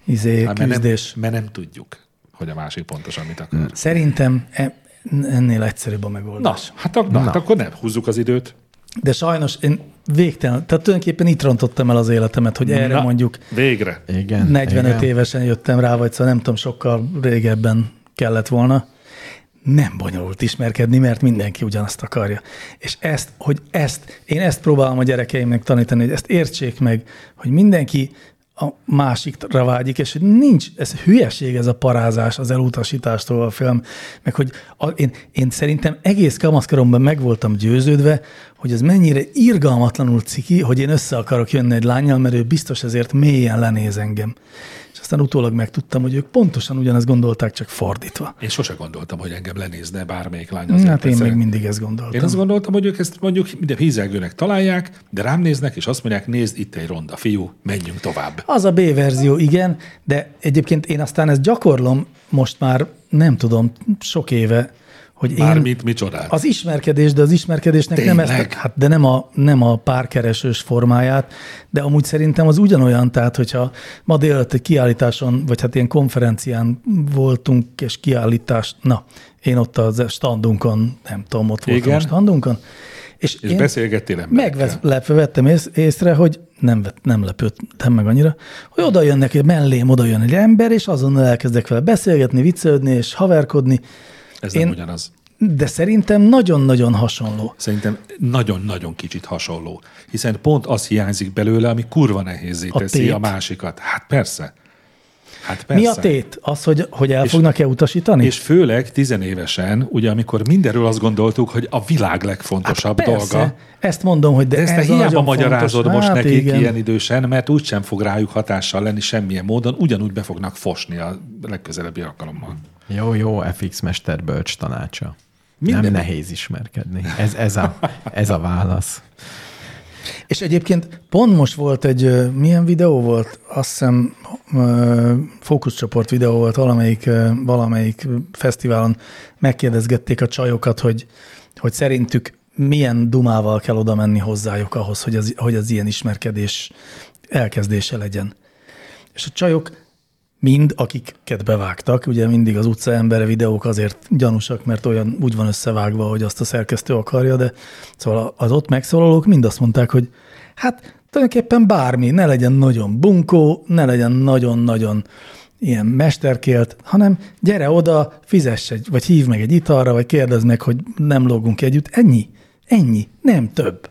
[SPEAKER 2] izé,
[SPEAKER 3] Hát, mert, nem,
[SPEAKER 2] küzdés?
[SPEAKER 3] mert nem tudjuk, hogy a másik pontosan mit akar.
[SPEAKER 2] Szerintem e- ennél egyszerűbb a
[SPEAKER 3] Na,
[SPEAKER 2] megoldás.
[SPEAKER 3] hát, ak- na, hát akkor nem, húzzuk az időt.
[SPEAKER 2] De sajnos én végtelen, tehát tulajdonképpen itt rontottam el az életemet, hogy erre
[SPEAKER 3] na,
[SPEAKER 2] mondjuk
[SPEAKER 3] Végre.
[SPEAKER 4] Igen.
[SPEAKER 2] 45
[SPEAKER 4] igen.
[SPEAKER 2] évesen jöttem rá, vagy szóval nem tudom, sokkal régebben kellett volna. Nem bonyolult ismerkedni, mert mindenki ugyanazt akarja. És ezt, hogy ezt, én ezt próbálom a gyerekeimnek tanítani, hogy ezt értsék meg, hogy mindenki a másikra vágyik, és hogy nincs, ez hülyeség ez a parázás, az elutasítástól a film, meg hogy a, én, én szerintem egész kamaszkoromban meg voltam győződve, hogy ez mennyire irgalmatlanul ciki, hogy én össze akarok jönni egy lányjal, mert ő biztos ezért mélyen lenéz engem. És aztán utólag megtudtam, hogy ők pontosan ugyanezt gondolták, csak fordítva.
[SPEAKER 3] Én sose gondoltam, hogy engem lenézne bármelyik lány
[SPEAKER 2] Azért
[SPEAKER 3] azért.
[SPEAKER 2] hát én
[SPEAKER 3] mert
[SPEAKER 2] még
[SPEAKER 3] szeret-
[SPEAKER 2] mindig ezt gondoltam.
[SPEAKER 3] Én azt gondoltam, hogy ők ezt mondjuk minden hízelgőnek találják, de rám néznek, és azt mondják, nézd, itt egy ronda fiú, menjünk tovább.
[SPEAKER 2] Az a B verzió, igen, de egyébként én aztán ezt gyakorlom most már, nem tudom, sok éve, hogy én
[SPEAKER 3] Bármit, micsodát.
[SPEAKER 2] az ismerkedés, de az ismerkedésnek nem
[SPEAKER 3] Tényleg?
[SPEAKER 2] ezt, hát de nem a, nem a párkeresős formáját, de amúgy szerintem az ugyanolyan, tehát hogyha ma délelőtt egy kiállításon, vagy hát ilyen konferencián voltunk, és kiállítás, na, én ott az standunkon, nem tudom, ott voltam
[SPEAKER 3] Igen.
[SPEAKER 2] a standunkon, és,
[SPEAKER 3] És beszélgettél emberekkel.
[SPEAKER 2] Meglepve vettem ész, észre, hogy nem, vett, nem lepődtem meg annyira, hogy oda jönnek, egy mellém oda jön egy ember, és azonnal elkezdek vele beszélgetni, viccelődni és haverkodni,
[SPEAKER 3] Ez nem
[SPEAKER 2] én-
[SPEAKER 3] ugyanaz.
[SPEAKER 2] de szerintem nagyon-nagyon hasonló.
[SPEAKER 3] Szerintem nagyon-nagyon kicsit hasonló, hiszen pont az hiányzik belőle, ami kurva nehézé
[SPEAKER 2] A
[SPEAKER 3] teszi
[SPEAKER 2] tét.
[SPEAKER 3] a másikat. Hát persze. Hát persze.
[SPEAKER 2] Persze. Mi a tét? Az, hogy, hogy el
[SPEAKER 3] És-
[SPEAKER 2] fognak-e utasítani?
[SPEAKER 3] És főleg tizenévesen, ugye amikor mindenről azt gondoltuk, hogy a világ legfontosabb hát
[SPEAKER 2] Persze,
[SPEAKER 3] dolga.
[SPEAKER 2] ezt mondom, hogy de,
[SPEAKER 3] De ezt te
[SPEAKER 2] ez a
[SPEAKER 3] hiába
[SPEAKER 2] nagyon
[SPEAKER 3] magyarázod
[SPEAKER 2] fontos.
[SPEAKER 3] most
[SPEAKER 2] hát
[SPEAKER 3] nekik
[SPEAKER 2] igen.
[SPEAKER 3] ilyen idősen, mert úgysem fog rájuk hatással lenni semmilyen módon, ugyanúgy be fognak fosni a legközelebbi alkalommal.
[SPEAKER 4] Jó, jó, FX Mester bölcs tanácsa.
[SPEAKER 3] Minden-
[SPEAKER 4] Minden. Nem nehéz ismerkedni. Ez, ez, a, ez a válasz.
[SPEAKER 2] És egyébként pont most volt egy, ö, milyen videó volt? Azt hiszem ö, fókuszcsoport videó volt valamelyik, ö, valamelyik fesztiválon. Megkérdezgették a csajokat, hogy, hogy szerintük milyen dumával kell oda menni hozzájuk ahhoz, hogy az, hogy az ilyen ismerkedés elkezdése legyen. És a csajok mind, akiket bevágtak. Ugye mindig az utca embere videók azért gyanúsak, mert olyan úgy van összevágva, hogy azt a szerkesztő akarja, de szóval az ott megszólalók mind azt mondták, hogy hát tulajdonképpen bármi, ne legyen nagyon bunkó, ne legyen nagyon-nagyon ilyen mesterkélt, hanem gyere oda, fizess egy, vagy hív meg egy italra, vagy kérdezd meg, hogy nem lógunk együtt. Ennyi, ennyi, nem több.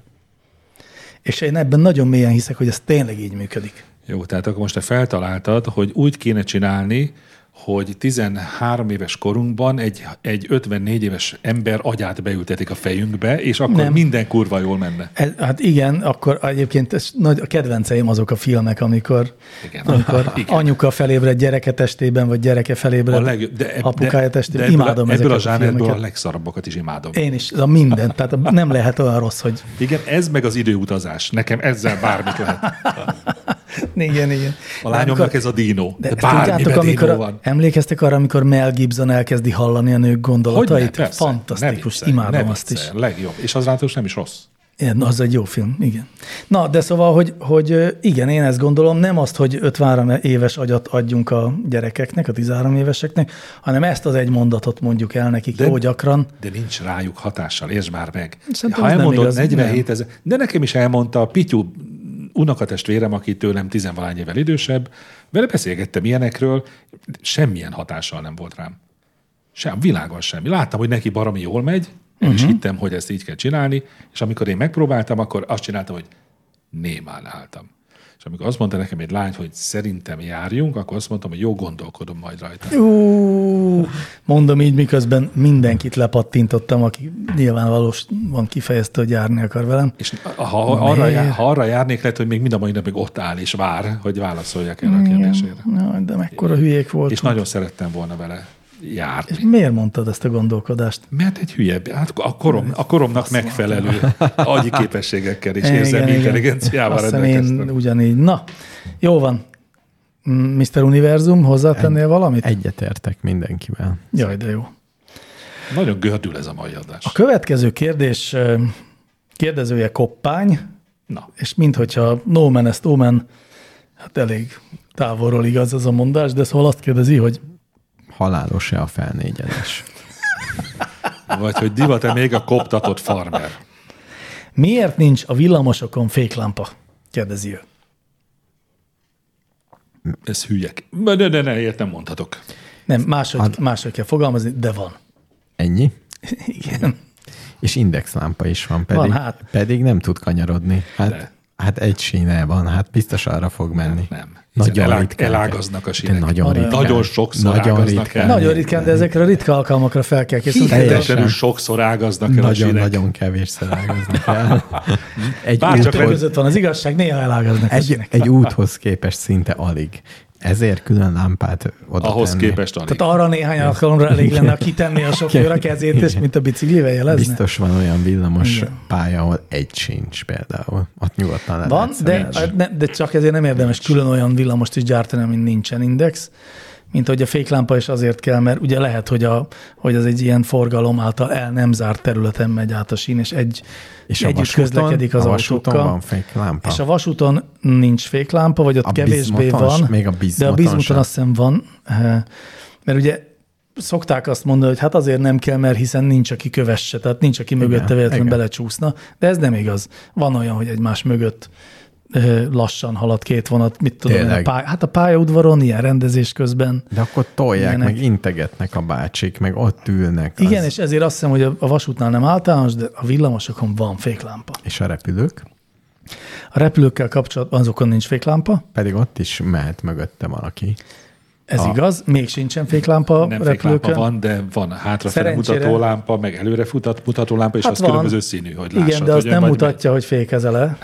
[SPEAKER 2] És én ebben nagyon mélyen hiszek, hogy ez tényleg így működik.
[SPEAKER 3] Jó, tehát akkor most te feltaláltad, hogy úgy kéne csinálni, hogy 13 éves korunkban egy, egy 54 éves ember agyát beültetik a fejünkbe, és akkor
[SPEAKER 2] Nem.
[SPEAKER 3] Nem. minden kurva jól menne.
[SPEAKER 2] Ez, hát igen, akkor egyébként ez nagy, a kedvenceim azok a filmek, amikor,
[SPEAKER 3] Igen.
[SPEAKER 2] amikor
[SPEAKER 3] Igen.
[SPEAKER 2] anyuka felébred gyereke testében, vagy gyereke felébred
[SPEAKER 3] A legjobb, de, eb-
[SPEAKER 2] apukája
[SPEAKER 3] de, de
[SPEAKER 2] testében.
[SPEAKER 3] ebből,
[SPEAKER 2] Imádom
[SPEAKER 3] a, ebből a
[SPEAKER 2] ezeket a,
[SPEAKER 3] zsánerből a
[SPEAKER 2] filmeket.
[SPEAKER 3] legszarabbakat is imádom.
[SPEAKER 2] Én is, a minden, tehát nem lehet olyan rossz, hogy
[SPEAKER 3] Igen, ez meg az időutazás. Nekem ezzel bármit lehet.
[SPEAKER 2] igen, igen.
[SPEAKER 3] A lányomnak ez a dínó. De, de bármiben
[SPEAKER 2] tudjátok, amikor
[SPEAKER 3] dínó
[SPEAKER 2] a,
[SPEAKER 3] van.
[SPEAKER 2] emlékeztek arra, amikor Mel Gibson elkezdi hallani a nők gondolatait?
[SPEAKER 3] persze.
[SPEAKER 2] Fantasztikus,
[SPEAKER 3] viccelj,
[SPEAKER 2] imádom
[SPEAKER 3] ne
[SPEAKER 2] azt is.
[SPEAKER 3] viccelj, Legjobb. És az ráadásul nem is rossz.
[SPEAKER 2] Igen, az egy jó film, igen. Na, de szóval, hogy, hogy ö, igen, én ezt gondolom, nem azt, hogy 53 éves agyat adjunk a gyerekeknek, a 13 éveseknek, hanem ezt az egy mondatot mondjuk el nekik
[SPEAKER 3] De-
[SPEAKER 2] jó gyakran.
[SPEAKER 3] De nincs rájuk hatással, értsd már meg.
[SPEAKER 2] Szerintem
[SPEAKER 3] ha
[SPEAKER 2] ez nem
[SPEAKER 3] elmondod
[SPEAKER 2] igaz,
[SPEAKER 3] 47 ezer, de nekem is elmondta a Pityu unokatestvérem, aki tőlem tizenvalány évvel idősebb, vele beszélgettem ilyenekről, semmilyen hatással nem volt rám. Sem, világon semmi. Láttam, hogy neki baromi jól megy, el
[SPEAKER 2] Mhm.
[SPEAKER 3] is hittem, hogy ezt így kell csinálni, és amikor én megpróbáltam, akkor azt csináltam, hogy némán álltam. És amikor azt mondta nekem egy lány, hogy szerintem járjunk, akkor azt mondtam, hogy jó, gondolkodom majd rajta.
[SPEAKER 2] Ú, mondom így, miközben mindenkit lepattintottam, aki nyilvánvalóan kifejezte, hogy járni akar velem.
[SPEAKER 3] És ha, ha, arra, jár, ha arra járnék, lehet, hogy még mind a mai napig ott áll és vár, hogy válaszoljak erre a kérdésére.
[SPEAKER 2] Jaj, de mekkora hülyék
[SPEAKER 3] És
[SPEAKER 2] voltunk.
[SPEAKER 3] nagyon szerettem volna vele járni.
[SPEAKER 2] Miért mondtad ezt a gondolkodást?
[SPEAKER 3] Mert egy hülyebb, hát a, korom, a koromnak megfelelő agyi képességekkel és érzelmi intelligenciával
[SPEAKER 2] Azt hiszem én
[SPEAKER 3] rendelkeztem.
[SPEAKER 2] ugyanígy. Na, jó van. Mm, Mr. Univerzum, hozzátennél valamit?
[SPEAKER 4] Egyetértek mindenkivel.
[SPEAKER 2] Jaj, de jó.
[SPEAKER 3] Nagyon gördül ez a mai adás.
[SPEAKER 2] A következő kérdés ö, kérdezője koppány,
[SPEAKER 3] Na,
[SPEAKER 2] és minthogyha no man ezt omen, hát elég távolról igaz ez a mondás, de szóval azt kérdezi, hogy
[SPEAKER 4] Halálos-e a felnégyenes?
[SPEAKER 3] vagy hogy divat-e még a koptatott farmer?
[SPEAKER 2] miért nincs a villamosokon féklámpa? Kérdezi ő.
[SPEAKER 3] Ez hülyek. Ne, ne, ne, ne, ilyet nem mondhatok.
[SPEAKER 2] Nem, máshogy,
[SPEAKER 3] Hát-
[SPEAKER 2] máshogy kell fogalmazni, de van.
[SPEAKER 4] Ennyi?
[SPEAKER 2] Igen.
[SPEAKER 4] És indexlámpa is van, pedig,
[SPEAKER 2] hát.
[SPEAKER 4] pedig nem tud kanyarodni. Hát, hát egy sínel van, hát biztos arra fog menni.
[SPEAKER 3] Nem. Hiszen elá, elágaznak a sinek.
[SPEAKER 4] De nagyon ritkán.
[SPEAKER 3] Nagyon sokszor
[SPEAKER 4] Nagyon
[SPEAKER 3] ágaznak
[SPEAKER 4] ritkán.
[SPEAKER 3] el.
[SPEAKER 2] Nagyon ritkán, de ezekre a ritka alkalmakra fel kell készülni.
[SPEAKER 4] Teljesen.
[SPEAKER 3] Hihetetlenül sokszor ágaznak el a sinek.
[SPEAKER 4] Nagyon-nagyon kevésszer ágaznak el. Egy,
[SPEAKER 3] Bár csak
[SPEAKER 2] Kettő
[SPEAKER 4] úthoz,
[SPEAKER 2] között van az igazság, néha elágaznak.
[SPEAKER 4] egy, egy úthoz képest szinte alig. Ezért külön lámpát oda
[SPEAKER 3] Ahhoz
[SPEAKER 4] tenni.
[SPEAKER 3] képest alig.
[SPEAKER 2] Tehát arra néhány alkalomra elég lenne, ha kitenni a sofőr a kezét, és mint a biciklivel jelezne.
[SPEAKER 4] Biztos van olyan villamos pálya, ahol egy sincs például. Ott nyugodtan le
[SPEAKER 2] Van,
[SPEAKER 4] lehet
[SPEAKER 2] de,
[SPEAKER 4] szerelni.
[SPEAKER 2] ne, de csak ezért nem érdemes külön olyan villamost is gyártani, amin nincsen index, mint hogy a féklámpa is azért kell, mert ugye lehet, hogy, a, hogy az egy ilyen forgalom által el nem zárt területen megy át a sín, és egy
[SPEAKER 4] És a
[SPEAKER 2] együtt
[SPEAKER 4] vasúton,
[SPEAKER 2] közlekedik az
[SPEAKER 4] a vasúton
[SPEAKER 2] autókkal.
[SPEAKER 4] van fék lámpa.
[SPEAKER 2] És a vasúton nincs féklámpa, vagy ott
[SPEAKER 4] A
[SPEAKER 2] kevésbé
[SPEAKER 4] bizmoton
[SPEAKER 2] van.
[SPEAKER 4] s- még a
[SPEAKER 2] de a
[SPEAKER 4] bizmoton
[SPEAKER 2] bizmuton
[SPEAKER 4] sem.
[SPEAKER 2] azt hiszem van, eh, mert ugye szokták azt mondani, hogy hát azért nem kell, mert hiszen nincs, aki kövesse, tehát nincs, aki mögötte véletlenül
[SPEAKER 4] igen.
[SPEAKER 2] belecsúszna, de ez nem igaz. Van olyan, hogy egymás mögött eh, lassan halad két vonat, mit tudom én, a
[SPEAKER 4] Tényleg.
[SPEAKER 2] pály- hát a pályaudvaron, ilyen rendezés közben.
[SPEAKER 4] De akkor tolják,
[SPEAKER 2] Ilyenek.
[SPEAKER 4] meg integetnek a bácsik, meg ott ülnek.
[SPEAKER 2] Igen,
[SPEAKER 4] az,
[SPEAKER 2] és ezért azt hiszem, hogy a- a vasútnál nem általános, de a villamosokon van féklámpa.
[SPEAKER 4] és a repülők,
[SPEAKER 2] A repülőkkel kapcsolatban azokon nincs féklámpa,
[SPEAKER 4] pedig ott is mehet mögötte valaki.
[SPEAKER 2] ez igaz, még sincsen féklámpa a
[SPEAKER 3] Nem
[SPEAKER 2] repülőkön.
[SPEAKER 3] féklámpa van, de van hátrafele
[SPEAKER 2] Szerencsére-
[SPEAKER 3] mutató lámpa, meg előre futat, mutató lámpa, és
[SPEAKER 2] Hát
[SPEAKER 3] az
[SPEAKER 2] van.
[SPEAKER 3] különböző színű, hogy lássad.
[SPEAKER 2] Igen, de
[SPEAKER 3] hogy
[SPEAKER 2] azt
[SPEAKER 3] ön
[SPEAKER 2] nem
[SPEAKER 3] vagy
[SPEAKER 2] mutatja, hogy fékezel-e,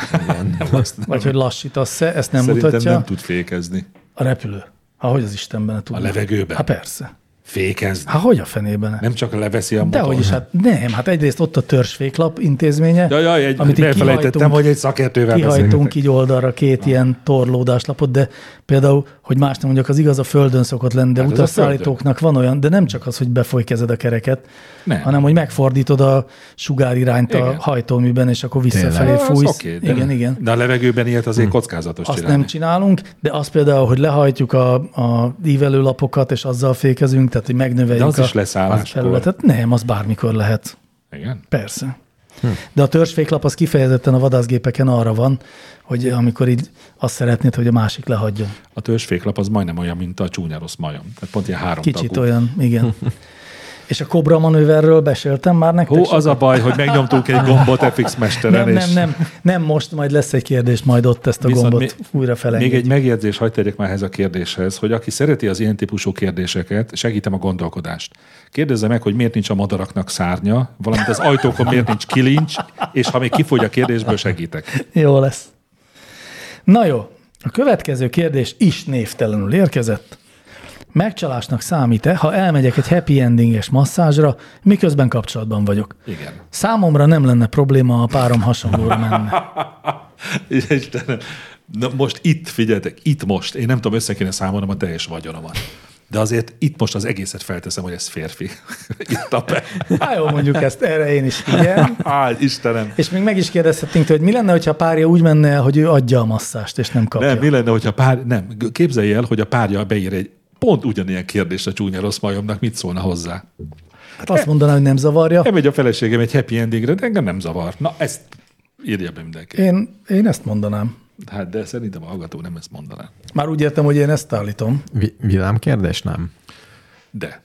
[SPEAKER 3] mi.
[SPEAKER 2] vagy hogy lassítasz-e, ezt nem
[SPEAKER 3] Szerintem
[SPEAKER 2] mutatja.
[SPEAKER 3] nem tud fékezni.
[SPEAKER 2] A repülő. Há, hogy az Istenben ne tudna.
[SPEAKER 3] A levegőben?
[SPEAKER 2] Hát persze.
[SPEAKER 3] Fékezni.
[SPEAKER 2] Há, hogy a fenében? Ne?
[SPEAKER 3] Nem csak leveszi a motor.
[SPEAKER 2] Dehogy is, hát nem. Hát egyrészt ott a törzsféklap intézménye,
[SPEAKER 3] Ja, ja, egy,
[SPEAKER 2] amit
[SPEAKER 3] amit
[SPEAKER 2] így
[SPEAKER 3] elfelejtettem,
[SPEAKER 2] kihajtunk,
[SPEAKER 3] hogy egy szakértővel beszélgetek.
[SPEAKER 2] kihajtunk így oldalra két ilyen torlódáslapot, de például, hogy hogy más nem mondjak, az igaz a földön szokott lenni, de
[SPEAKER 3] Hát ez
[SPEAKER 2] hát
[SPEAKER 3] a
[SPEAKER 2] utasszállítóknak van olyan, de nem csak az, hogy befolykezed a kereket,
[SPEAKER 3] Nem.
[SPEAKER 2] hanem hogy megfordítod a sugárirányt
[SPEAKER 3] Igen.
[SPEAKER 2] a hajtóműben, és akkor visszafelé
[SPEAKER 3] Az
[SPEAKER 2] fújsz.
[SPEAKER 3] oké, de-
[SPEAKER 2] igen, igen. Hm.
[SPEAKER 3] De a levegőben ilyet azért kockázatos
[SPEAKER 2] Azt
[SPEAKER 3] csinálni.
[SPEAKER 2] nem csinálunk, de az például, hogy lehajtjuk a, a ívelőlapokat, és azzal fékezünk, tehát hogy
[SPEAKER 3] De
[SPEAKER 2] megnöveljük
[SPEAKER 3] az
[SPEAKER 2] a
[SPEAKER 3] is leszálláskor.
[SPEAKER 2] felületet. Nem, az bármikor lehet.
[SPEAKER 3] Igen.
[SPEAKER 2] Persze.
[SPEAKER 3] Hm.
[SPEAKER 2] De a törzsféklap az kifejezetten a vadászgépeken arra van, hogy amikor így azt szeretnéd, hogy a másik lehagyjon.
[SPEAKER 3] A törzsféklap az majdnem olyan, mint a csúnya rossz majom. Tehát pont ilyen három
[SPEAKER 2] Kicsit
[SPEAKER 3] tagú.
[SPEAKER 2] olyan, igen. És a kobra manőverről beséltem már nektek?
[SPEAKER 3] Hú,
[SPEAKER 2] sokat?
[SPEAKER 3] az a baj, hogy megnyomtunk egy gombot FX mesteren,
[SPEAKER 2] nem, nem,
[SPEAKER 3] és
[SPEAKER 2] nem, nem most, majd lesz egy kérdés, majd ott ezt a
[SPEAKER 3] Viszont
[SPEAKER 2] gombot
[SPEAKER 3] mi-
[SPEAKER 2] újra
[SPEAKER 3] Még egy
[SPEAKER 2] felengedjük.
[SPEAKER 3] megjegyzés, hagyd tegyek már ehhez a kérdéshez, hogy aki szereti az ilyen típusú kérdéseket, segítem a gondolkodást. Kérdezze meg, hogy miért nincs a madaraknak szárnya, valamint az ajtókon miért nincs kilincs, és ha még kifogy a kérdésből, segítek.
[SPEAKER 2] Jó lesz. Na jó, a következő kérdés is névtelenül érkezett. Megcsalásnak számít-e, ha elmegyek egy happy endinges masszázsra, miközben kapcsolatban vagyok?
[SPEAKER 3] Igen.
[SPEAKER 2] Számomra nem lenne probléma, ha a párom hasonlóra menne.
[SPEAKER 3] Istenem. Na most itt, figyeljetek, itt most, én nem tudom, össze kéne számolnom a teljes vagyonomat. De azért itt most az egészet felteszem, hogy ez férfi. Itt a pe.
[SPEAKER 2] Hát jó, mondjuk ezt, erre én is igen.
[SPEAKER 3] Áj, Istenem.
[SPEAKER 2] És még meg is kérdezhetnénk tőle, hogy mi lenne, hogyha a párja úgy menne el, hogy ő adja a masszást, és nem kapja.
[SPEAKER 3] Nem, mi lenne, hogyha pár... Nem, képzelj el, hogy a párja beír egy pont ugyanilyen kérdést a csúnya rossz majomnak, mit szólna hozzá?
[SPEAKER 2] hát azt mondaná, hogy nem zavarja.
[SPEAKER 3] Elmegy a feleségem egy happy endingre, de engem nem zavar. Na, ezt írja be mindenki.
[SPEAKER 2] Én, én ezt mondanám.
[SPEAKER 3] Hát, de szerintem a hallgató nem ezt mondaná.
[SPEAKER 2] Már úgy értem, hogy én ezt állítom.
[SPEAKER 4] Vi- villámkérdés nem?
[SPEAKER 3] De,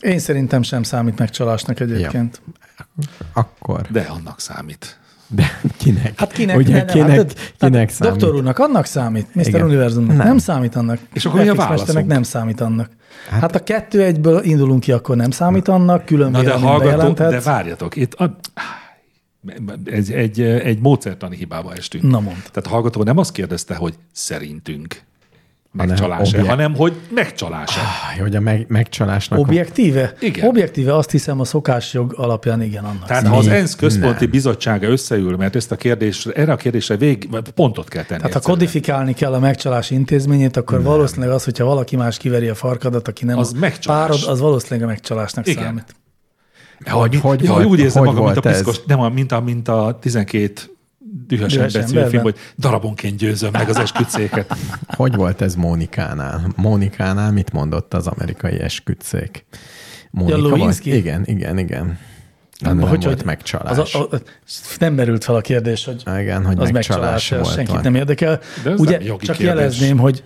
[SPEAKER 2] Én szerintem sem számít megcsalásnak egyébként. Ja.
[SPEAKER 4] Akkor.
[SPEAKER 3] de annak számít.
[SPEAKER 4] De kinek?
[SPEAKER 2] Hát kinek,
[SPEAKER 4] Ugye,
[SPEAKER 2] ne-
[SPEAKER 4] kinek,
[SPEAKER 2] hát,
[SPEAKER 4] hát, kinek
[SPEAKER 2] hát,
[SPEAKER 4] számít?
[SPEAKER 2] Doktor úrnak annak számít, Mr.
[SPEAKER 4] Igen.
[SPEAKER 2] Univerzumnak nem.
[SPEAKER 4] Nem.
[SPEAKER 2] nem számít annak.
[SPEAKER 3] És akkor mi a
[SPEAKER 2] FX
[SPEAKER 3] válaszunk?
[SPEAKER 2] mesternek nem számít annak. Hát, hát a kettő egyből indulunk ki, akkor nem számít annak, külön
[SPEAKER 3] Na de
[SPEAKER 2] véleményt
[SPEAKER 3] hallgató, de
[SPEAKER 2] bejelenthetsz.
[SPEAKER 3] várjatok, itt a, egy, egy, egy módszertani hibába estünk.
[SPEAKER 2] Na mondd.
[SPEAKER 3] Tehát a hallgató nem azt kérdezte, hogy szerintünk megcsalás-e,
[SPEAKER 4] objekt-
[SPEAKER 3] hanem hogy megcsalás-e.
[SPEAKER 4] Aj, hogy a meg, megcsalásnak...
[SPEAKER 2] Objektíve?
[SPEAKER 3] Igen.
[SPEAKER 2] Objektíve azt hiszem a szokásjog alapján igen annak. Tehát,
[SPEAKER 3] Tehát ha az
[SPEAKER 4] Mi?
[SPEAKER 3] ENSZ központi
[SPEAKER 4] Nem.
[SPEAKER 3] bizottsága összeül, mert ezt a kérdésre, erre a kérdésre vég, pontot kell tenni.
[SPEAKER 2] Tehát Hát ha
[SPEAKER 3] egyszerűen.
[SPEAKER 2] kodifikálni kell a megcsalás intézményét, akkor nem. valószínűleg az, hogyha valaki más kiveri a farkadat, aki nem
[SPEAKER 3] Az
[SPEAKER 2] a
[SPEAKER 3] megcsalás.
[SPEAKER 2] párod, az valószínűleg a megcsalásnak
[SPEAKER 3] Igen.
[SPEAKER 2] számít.
[SPEAKER 3] Hogy, hogy,
[SPEAKER 4] hogy
[SPEAKER 3] hogy, hogy
[SPEAKER 4] volt-
[SPEAKER 3] úgy érzem
[SPEAKER 4] hogy
[SPEAKER 3] magam, mint a
[SPEAKER 4] volt ez?
[SPEAKER 3] piszkos, nem, mint a, mint a 12 dühös,
[SPEAKER 2] Dühös
[SPEAKER 3] ember című
[SPEAKER 2] emberben?
[SPEAKER 3] film, hogy darabonként győzöm meg az esküdszéket.
[SPEAKER 4] Hogy volt ez Mónikánál? Mónikánál mit mondott az amerikai esküdszék? Mónika volt-
[SPEAKER 2] Lewinsky?
[SPEAKER 4] Igen, igen, igen. Nem, nem volt megcsalás.
[SPEAKER 2] Az a, a, nem merült fel a kérdés, hogy
[SPEAKER 4] Á, igen, hogy
[SPEAKER 2] az
[SPEAKER 4] megcsalás
[SPEAKER 2] megcsalás, ez
[SPEAKER 4] volt,
[SPEAKER 2] senkit
[SPEAKER 4] vagy.
[SPEAKER 2] nem érdekel.
[SPEAKER 3] De ez
[SPEAKER 2] Ugye
[SPEAKER 3] nem jogi
[SPEAKER 2] csak
[SPEAKER 3] kérdés.
[SPEAKER 2] jelezném, hogy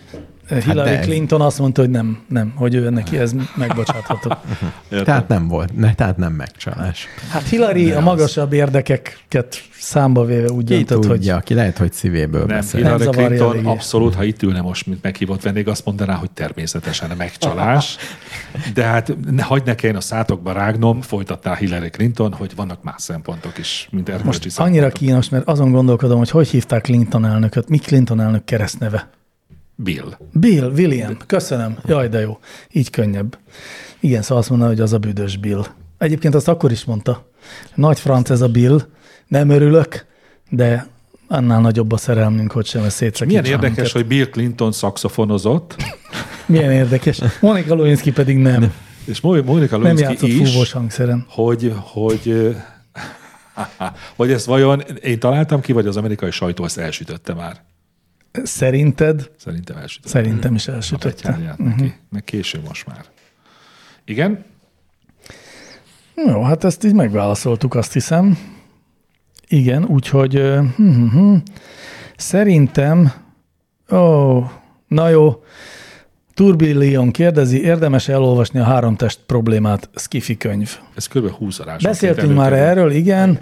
[SPEAKER 2] Hillary
[SPEAKER 4] Hát de ez-
[SPEAKER 2] Clinton azt mondta, hogy nem, nem, hogy ő neki ez megbocsátható.
[SPEAKER 4] Tehát nem volt, ne, tehát nem megcsalás.
[SPEAKER 2] Hát Hillary a magasabb érdekeket számba véve úgy
[SPEAKER 4] Ki
[SPEAKER 2] döntött, hogy
[SPEAKER 4] tudja, ki lehet, hogy szívéből
[SPEAKER 3] Nem,
[SPEAKER 4] beszél.
[SPEAKER 3] Hillary
[SPEAKER 2] zavarja
[SPEAKER 3] Clinton
[SPEAKER 2] eléggé.
[SPEAKER 3] abszolút, ha itt ülne most, mint meghívott vendég, azt mondaná, hogy természetesen a megcsalás. De hát ne, hagyd ne kelljen a szátokba rágnom, folytattál Hillary Clinton, hogy vannak más szempontok is, mint erkölcsi
[SPEAKER 2] most annyira kínos, mert azon gondolkodom, hogy hogy hívták Clinton elnököt, mi Clinton elnök keresztneve?
[SPEAKER 3] Bill.
[SPEAKER 2] Bill, William, köszönöm. Jaj, de jó. Így könnyebb. Igen, szóval azt mondaná, hogy az a büdös Bill. Egyébként azt akkor is mondta. Nagy franc ez a Bill, nem örülök, de annál nagyobb a szerelmünk, hogy sem szétszakítsa.
[SPEAKER 3] Milyen
[SPEAKER 2] minket.
[SPEAKER 3] érdekes, hogy Bill Clinton szakszofonozott,
[SPEAKER 2] Milyen érdekes. Monika Lewinsky pedig nem. Nem,
[SPEAKER 3] és Mo- Monica
[SPEAKER 2] nem
[SPEAKER 3] Lewinsky
[SPEAKER 2] játszott
[SPEAKER 3] is,
[SPEAKER 2] fúvós hangszeren.
[SPEAKER 3] hogy, hogy, ö, hogy ezt vajon én találtam ki, vagy az amerikai sajtó ezt elsütötte már.
[SPEAKER 2] Szerinted?
[SPEAKER 3] Szerintem elsütötte.
[SPEAKER 2] Szerintem is
[SPEAKER 3] Szerintem.
[SPEAKER 2] elsütötte. Mhm.
[SPEAKER 3] Neki. Meg késő most már. Igen?
[SPEAKER 2] Jó, hát ezt így megválaszoltuk, azt hiszem. Igen, úgyhogy ö, hm, hm, hm. szerintem, ó, na jó, Turbillion kérdezi, érdemes elolvasni a három test problémát, Skifi könyv.
[SPEAKER 3] Ez kb. 20 arás.
[SPEAKER 2] Beszéltünk már erről, igen.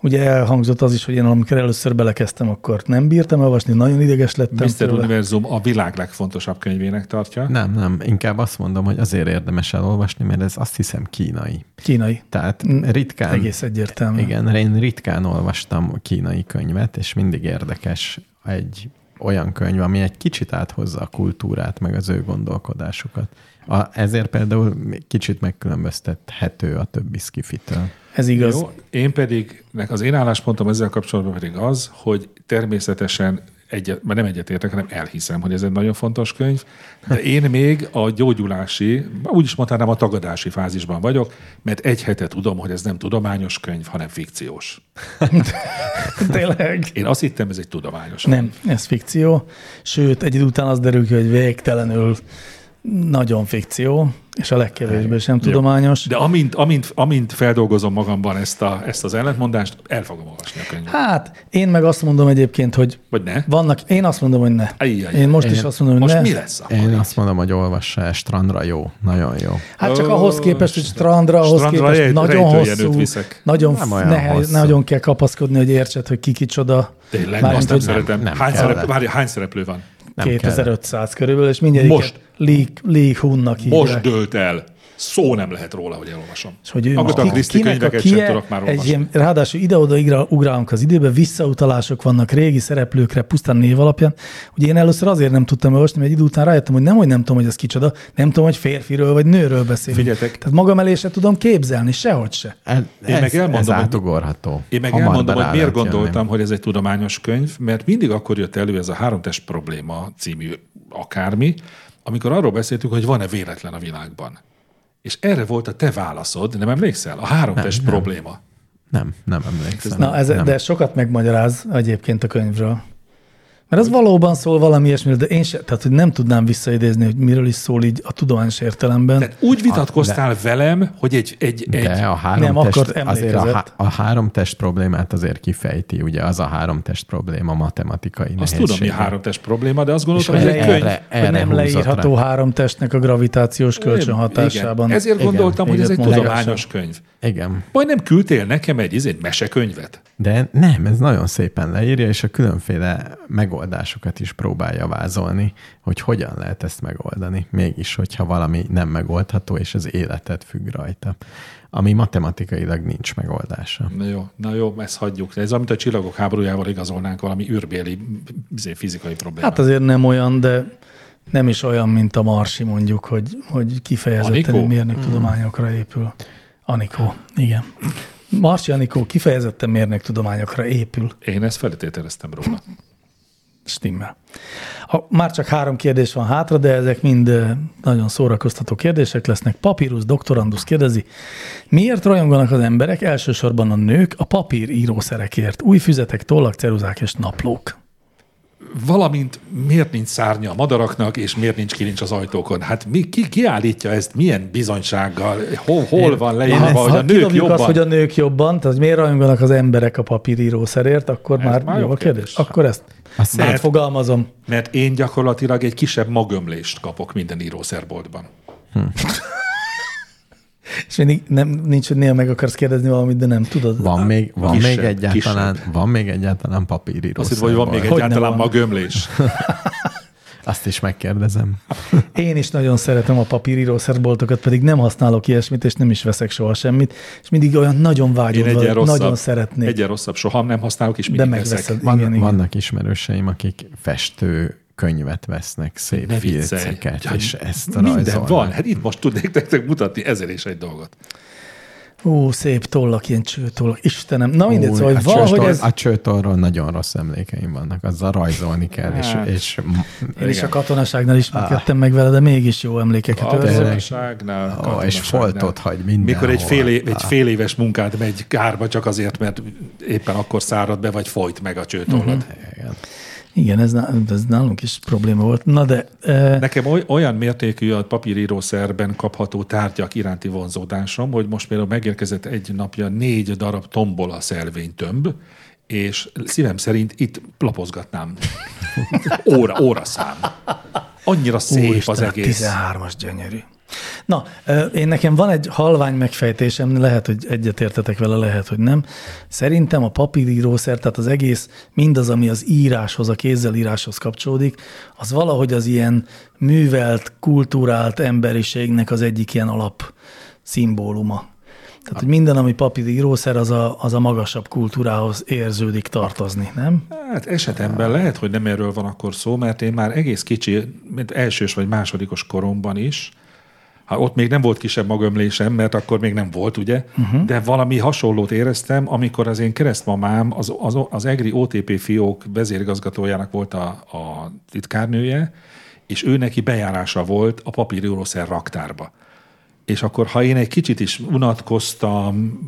[SPEAKER 2] Ugye elhangzott az is, hogy én amikor először belekezdtem, akkor nem bírtam elolvasni, nagyon ideges lettem.
[SPEAKER 3] Mr.
[SPEAKER 2] tőle.
[SPEAKER 3] Univerzum a világ legfontosabb könyvének tartja.
[SPEAKER 4] Nem, nem, inkább azt mondom, hogy azért érdemes elolvasni, mert ez azt hiszem kínai.
[SPEAKER 2] Kínai.
[SPEAKER 4] Tehát ritkán...
[SPEAKER 2] Mm, Egész egyértelmű.
[SPEAKER 4] Igen, én ritkán olvastam kínai könyvet, és mindig érdekes egy olyan könyv, ami egy kicsit áthozza a kultúrát, meg az ő gondolkodásukat. A, ezért például kicsit megkülönböztethető a többi skifitől.
[SPEAKER 2] Ez igaz.
[SPEAKER 3] Jó, én pedig, nek az én álláspontom ezzel kapcsolatban pedig az, hogy természetesen egyet, mert nem egyetértek, hanem elhiszem, hogy ez egy nagyon fontos könyv, de én még a gyógyulási, úgy is mondanám a tagadási fázisban vagyok, mert egy hete tudom, hogy ez nem tudományos könyv, hanem fikciós.
[SPEAKER 2] Tényleg.
[SPEAKER 3] Én azt hittem, ez egy tudományos
[SPEAKER 2] Nem, ez fikció. Sőt, egy idő után az derül ki, hogy végtelenül nagyon fikció, és a legkevésbé sem tudományos.
[SPEAKER 3] De amint, amint, amint feldolgozom magamban ezt, a, ezt az ellentmondást, el fogom olvasni a könyvet.
[SPEAKER 2] Hát, én meg azt mondom egyébként, hogy
[SPEAKER 3] Vagy ne?
[SPEAKER 2] vannak, én azt mondom, hogy ne.
[SPEAKER 3] Ajjaj.
[SPEAKER 2] Én most is
[SPEAKER 4] Én-
[SPEAKER 2] azt mondom, hogy
[SPEAKER 3] Most
[SPEAKER 2] ne.
[SPEAKER 3] mi lesz akkor?
[SPEAKER 4] Én azt mondom, hogy olvassa el, strandra jó, nagyon jó.
[SPEAKER 2] Hát csak
[SPEAKER 3] Ó,
[SPEAKER 2] ahhoz képest, hogy strandra, ahhoz
[SPEAKER 3] strandra
[SPEAKER 2] képest
[SPEAKER 3] egy-
[SPEAKER 2] nagyon
[SPEAKER 3] rejtőjenőt
[SPEAKER 2] hosszú,
[SPEAKER 3] viszek.
[SPEAKER 2] nagyon,
[SPEAKER 4] Nem
[SPEAKER 2] f-
[SPEAKER 4] olyan
[SPEAKER 2] nehe,
[SPEAKER 4] hosszú.
[SPEAKER 2] nagyon kell kapaszkodni, hogy értsed, hogy ki kicsoda.
[SPEAKER 3] Tényleg,
[SPEAKER 2] Mármint,
[SPEAKER 3] azt nem
[SPEAKER 2] hogy
[SPEAKER 3] szeretem.
[SPEAKER 4] nem
[SPEAKER 3] hány,
[SPEAKER 4] kell.
[SPEAKER 3] szerep, várj, hány szereplő van?
[SPEAKER 4] Nem
[SPEAKER 2] 2500 körülbelül, és mindjárt
[SPEAKER 3] Most.
[SPEAKER 2] Lee, Lee Hunnak hívják.
[SPEAKER 3] Most dőlt el. Szó nem lehet róla, hogy elolvasom.
[SPEAKER 2] És hogy ő
[SPEAKER 3] Agatha
[SPEAKER 2] most ki-
[SPEAKER 3] Christie
[SPEAKER 2] kinek a
[SPEAKER 3] könyveket
[SPEAKER 2] kie,
[SPEAKER 3] sem tudok már
[SPEAKER 2] egy
[SPEAKER 3] olvasni.
[SPEAKER 2] ilyen, ráadásul ide-oda igra- ugrálunk az időbe, visszautalások vannak régi szereplőkre, pusztán név alapján. Ugye én először azért nem tudtam olvasni, mert egy idő után rájöttem, hogy nem, hogy nem tudom, hogy ez kicsoda, nem tudom, hogy férfiről vagy nőről beszélünk.
[SPEAKER 3] Figyeljetek.
[SPEAKER 2] Tehát magam elé se tudom képzelni, sehogy se.
[SPEAKER 4] El,
[SPEAKER 3] Én
[SPEAKER 4] ez,
[SPEAKER 3] meg elmondom,
[SPEAKER 4] ez
[SPEAKER 3] hogy-
[SPEAKER 4] átugorható.
[SPEAKER 3] Én meg
[SPEAKER 4] Hamar
[SPEAKER 3] elmondom,
[SPEAKER 4] be
[SPEAKER 3] hogy
[SPEAKER 4] rá
[SPEAKER 3] miért
[SPEAKER 4] lehet jönni.
[SPEAKER 3] gondoltam, hogy ez egy tudományos könyv, mert mindig akkor jött elő ez a háromtest probléma című akármi, amikor arról beszéltük, hogy van-e véletlen a világban. És erre volt a te válaszod, nem emlékszel? A háromtest probléma.
[SPEAKER 4] Nem, nem emlékszem.
[SPEAKER 2] Na, ez,
[SPEAKER 4] nem.
[SPEAKER 2] de ez sokat megmagyaráz egyébként a könyvről. Mert az valóban szól valami ilyesmiről, de én se, tehát hogy nem tudnám visszaidézni, hogy miről is szól így a tudományos értelemben.
[SPEAKER 3] Tehát úgy vitatkoztál velem, hogy egy, egy, egy
[SPEAKER 4] De a három
[SPEAKER 2] Nem,
[SPEAKER 4] test,
[SPEAKER 2] akkor
[SPEAKER 4] azért a, há-
[SPEAKER 2] emlékezett.
[SPEAKER 4] a három test problémát azért kifejti, ugye az a három test probléma matematikai
[SPEAKER 3] azt tudom, mi a háromtest probléma, de azt gondoltam,
[SPEAKER 4] És
[SPEAKER 3] hogy ez
[SPEAKER 4] hogy
[SPEAKER 3] egy
[SPEAKER 4] erre-
[SPEAKER 3] könyv.
[SPEAKER 2] hogy nem
[SPEAKER 4] húzott
[SPEAKER 2] leírható
[SPEAKER 4] rá.
[SPEAKER 2] három testnek a gravitációs kölcsön hatásában.
[SPEAKER 3] Igen. Ezért gondoltam, hogy ez egy
[SPEAKER 2] Így ott mondták.
[SPEAKER 3] tudományos könyv.
[SPEAKER 4] Igen.
[SPEAKER 3] Majd nem küldtél nekem egy, izé, egy mesekönyvet?
[SPEAKER 4] De nem, ez nagyon szépen leírja, és a különféle megoldásokat is próbálja vázolni, hogy hogyan lehet ezt megoldani, mégis, hogyha valami nem megoldható, és az életet függ rajta, ami matematikailag nincs megoldása.
[SPEAKER 3] Na jó, na jó, ezt hagyjuk. Ez amit a csillagok háborújával igazolnánk, valami űrbéli izé, fizikai probléma.
[SPEAKER 2] Hát azért nem olyan, de nem is olyan, mint a Marsi mondjuk, hogy, hogy kifejezetten
[SPEAKER 3] Anikó? Hmm.
[SPEAKER 2] mérnöktudományokra épül. Anikó, igen. Marsi Anikó kifejezetten mérnöktudományokra épül.
[SPEAKER 3] Én ezt feltételeztem róla.
[SPEAKER 2] Stimmel. Ha már csak három kérdés van hátra, de ezek mind ö, nagyon szórakoztató kérdések lesznek. Papírus doktorandus kérdezi, miért rajonganak az emberek, elsősorban a nők, a papír írószerekért? Új füzetek, tollak, ceruzák és naplók.
[SPEAKER 3] Valamint miért nincs szárnya a madaraknak, és miért nincs kilincs az ajtókon? Hát mi, ki, ki állítja ezt, milyen bizonysággal, hol, hol van leírva,
[SPEAKER 2] Ha
[SPEAKER 3] hogy a nők
[SPEAKER 2] kidobjuk
[SPEAKER 3] jobban?
[SPEAKER 2] azt, hogy a nők jobban, tehát miért rajonganak az emberek a papír írószerért, akkor már,
[SPEAKER 3] már
[SPEAKER 2] jó
[SPEAKER 3] jó
[SPEAKER 2] a kérdés.
[SPEAKER 3] kérdés.
[SPEAKER 2] Akkor ezt
[SPEAKER 4] Azt
[SPEAKER 2] Mert... fogalmazom.
[SPEAKER 3] Mert én gyakorlatilag egy kisebb magömlést kapok minden írószerboltban.
[SPEAKER 2] És mindig nem, nincs, hogy néha meg akarsz kérdezni valamit, de nem tudod.
[SPEAKER 4] Van még, van
[SPEAKER 3] Kisebb,
[SPEAKER 4] még egyáltalán, van még egyáltalán papíríró.
[SPEAKER 3] Azt hittem, hogy van még
[SPEAKER 4] szemból.
[SPEAKER 2] Hogyne
[SPEAKER 3] egyáltalán
[SPEAKER 2] van.
[SPEAKER 3] magömlés.
[SPEAKER 4] Azt is megkérdezem.
[SPEAKER 3] Hát
[SPEAKER 2] Én is nagyon szeretem a papírírószerboltokat, pedig nem használok ilyesmit, és nem is veszek soha semmit, és mindig olyan nagyon
[SPEAKER 3] Én
[SPEAKER 2] vágyom,
[SPEAKER 3] egyen
[SPEAKER 2] vala-
[SPEAKER 3] rosszabb,
[SPEAKER 2] nagyon szeretnék,
[SPEAKER 3] Egyen rosszabb, soha nem használok, és
[SPEAKER 2] de
[SPEAKER 3] mindig
[SPEAKER 2] megveszed.
[SPEAKER 3] eszek.
[SPEAKER 2] Van, igen,
[SPEAKER 4] Van,
[SPEAKER 2] igen.
[SPEAKER 4] vannak ismerőseim, akik festő könyvet vesznek, szép
[SPEAKER 3] Ne viccelj.
[SPEAKER 4] filceket,
[SPEAKER 3] Ja,
[SPEAKER 4] és ezt
[SPEAKER 3] Minden
[SPEAKER 4] rajzolnak.
[SPEAKER 3] van. Hát itt most tudnék nektek mutatni ezer és egy dolgot.
[SPEAKER 2] Ó, szép tollak, ilyen csőtollak. Istenem, na mindegy,
[SPEAKER 4] Új,
[SPEAKER 2] szóval
[SPEAKER 4] a
[SPEAKER 3] hát
[SPEAKER 2] hogy valahogy
[SPEAKER 4] csőtól-
[SPEAKER 2] ez...
[SPEAKER 4] A csőtorról nagyon rossz emlékeim vannak, azzal rajzolni kell, és,
[SPEAKER 3] Hát.
[SPEAKER 4] és
[SPEAKER 2] Én is
[SPEAKER 3] Igen. Ah.
[SPEAKER 2] a katonaságnál ismerkedtem meg vele, de mégis jó emlékeket őrzök.
[SPEAKER 3] Katonaságnál, katonaságnál.
[SPEAKER 4] és foltot hagy mindenhol.
[SPEAKER 3] Mikor egy fél, é- egy fél éves munkád megy kárba csak azért, mert éppen akkor szárad be, vagy folyt meg a csőtollad.
[SPEAKER 4] Igen.
[SPEAKER 2] Igen, ez, ná- ez nálunk is probléma volt. Na de, eh,
[SPEAKER 3] Nekem oly- olyan mértékű a papírírószerben kapható tárgyak iránti vonzódásom, hogy most például megérkezett egy napja négy darab tombola szelvénytömb, és szívem szerint itt lapozgatnám. Óra, óra szám. Annyira szép az
[SPEAKER 2] Úristen, a
[SPEAKER 3] egész.
[SPEAKER 2] 13-as gyönyörű. Na, ö, én nekem van egy halvány megfejtésem, lehet, hogy egyetértetek vele, lehet, hogy nem. Szerintem a papírírószer, tehát az egész, mindaz, ami az íráshoz, a kézzel íráshoz kapcsolódik, az valahogy az ilyen művelt, kultúrált emberiségnek az egyik ilyen alap szimbóluma. Tehát, hogy minden, ami papírírószer, az a, az a magasabb kultúrához érződik tartozni, nem?
[SPEAKER 3] Hát esetemben lehet, hogy nem erről van akkor szó, mert én már egész kicsi, mint elsős vagy másodikos koromban is Hát ott még nem volt kisebb magömlésem, mert akkor még nem volt, ugye? Uh-huh. De valami hasonlót éreztem, amikor az én keresztmamám, az, az, az EGRI OTP fiók vezérigazgatójának volt a, a titkárnője, és ő neki bejárása volt a papírjórószer raktárba. És akkor, ha én egy kicsit is unatkoztam,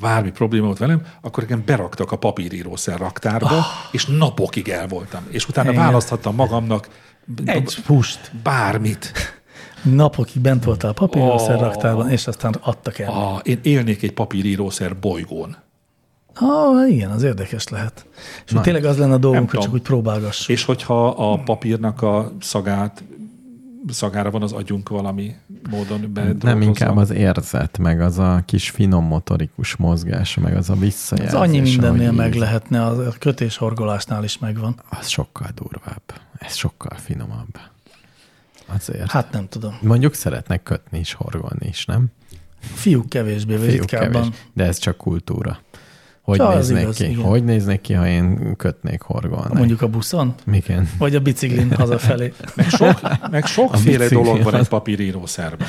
[SPEAKER 3] bármi probléma volt velem, akkor engem beraktak a papírírószer raktárba,
[SPEAKER 4] Ah.
[SPEAKER 3] oh. és napokig el voltam. És utána
[SPEAKER 2] Igen.
[SPEAKER 3] választhattam magamnak
[SPEAKER 2] Egy pust.
[SPEAKER 3] bármit.
[SPEAKER 2] Napokig bent voltál a papírószer
[SPEAKER 3] Ó.
[SPEAKER 2] raktárban, és aztán adtak el.
[SPEAKER 3] A, én élnék egy papírírószer bolygón.
[SPEAKER 2] Ah, igen, az érdekes lehet. És hogy tényleg az lenne a
[SPEAKER 3] Nem
[SPEAKER 2] dolgunk, hogy
[SPEAKER 3] tudom.
[SPEAKER 2] csak úgy próbálgass.
[SPEAKER 3] És hogyha a papírnak a szagát, szagára van az agyunk valami módon bedolgozva.
[SPEAKER 4] Nem, inkább az érzet, meg az a kis finom motorikus mozgás, meg az a visszajelzés.
[SPEAKER 2] Ez annyi mindennél
[SPEAKER 4] ahogy
[SPEAKER 2] meg
[SPEAKER 4] így-
[SPEAKER 2] lehetne, a kötéshorgolásnál is megvan.
[SPEAKER 4] Az sokkal durvább. Ez sokkal finomabb. Azért. Hát,
[SPEAKER 2] Hát nem tudom.
[SPEAKER 4] Mondjuk szeretnek kötni is, horgolni is, nem?
[SPEAKER 2] Fiúk kevésbé, vagy
[SPEAKER 4] Fiúk kevés.
[SPEAKER 2] ritkábban.
[SPEAKER 4] De ez csak kultúra. Hogy
[SPEAKER 2] Ja, az
[SPEAKER 4] néznék
[SPEAKER 2] igaz,
[SPEAKER 4] ki?
[SPEAKER 2] igen.
[SPEAKER 4] Hogy néznék ki, ha én kötnék, horgolnék?
[SPEAKER 2] Mondjuk a buszon,
[SPEAKER 4] Igen.
[SPEAKER 2] vagy a biciklin hazafelé.
[SPEAKER 3] Meg, sok, meg sokféle
[SPEAKER 4] bicikli
[SPEAKER 3] dolog van
[SPEAKER 4] az.
[SPEAKER 3] egy papírírószerben.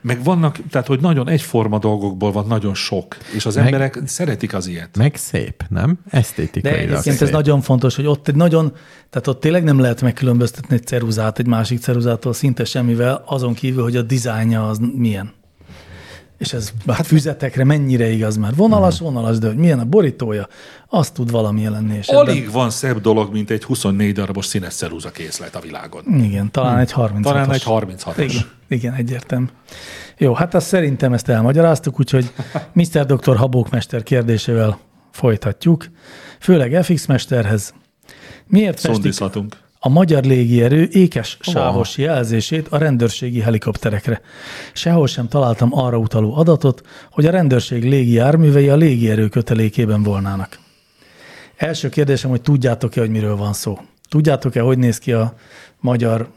[SPEAKER 3] Meg vannak, tehát hogy nagyon egyforma dolgokból van nagyon sok, és az
[SPEAKER 4] Meg-
[SPEAKER 3] meg, emberek szeretik az ilyet.
[SPEAKER 4] Meg szép, nem?
[SPEAKER 2] De
[SPEAKER 4] Esztétikailag
[SPEAKER 2] egyébként ez
[SPEAKER 4] szép.
[SPEAKER 2] nagyon fontos, hogy ott egy nagyon, tehát ott tényleg nem lehet megkülönböztetni egy ceruzát egy másik ceruzától szinte semmivel, azon kívül, hogy a dizájnja az milyen. És ez hát füzetekre mennyire igaz már. Vonalas,
[SPEAKER 4] Hmm.
[SPEAKER 2] vonalas, de hogy milyen a borítója, az tud valami jelenni. És ebben-
[SPEAKER 3] Alig van szebb dolog, mint egy 24 darabos színes ceruza készlet a világon.
[SPEAKER 2] Igen, talán egy 36
[SPEAKER 3] Hmm. Talán egy 36-os.
[SPEAKER 2] Igen, igen, egyértelmű. Jó, hát azt szerintem ezt elmagyaráztuk, úgyhogy Mr. Dr. Habókmester kérdésével folytatjuk, főleg FX mesterhez. Miért festik
[SPEAKER 3] Szondizhatunk.
[SPEAKER 2] a magyar légierő ékes sávos jelzését a rendőrségi helikopterekre? Sehol sem találtam arra utaló adatot, hogy a rendőrség légijárművei a légierő kötelékében volnának. Első kérdésem, hogy tudjátok-e, hogy miről van szó? Tudjátok-e, hogy néz ki a magyar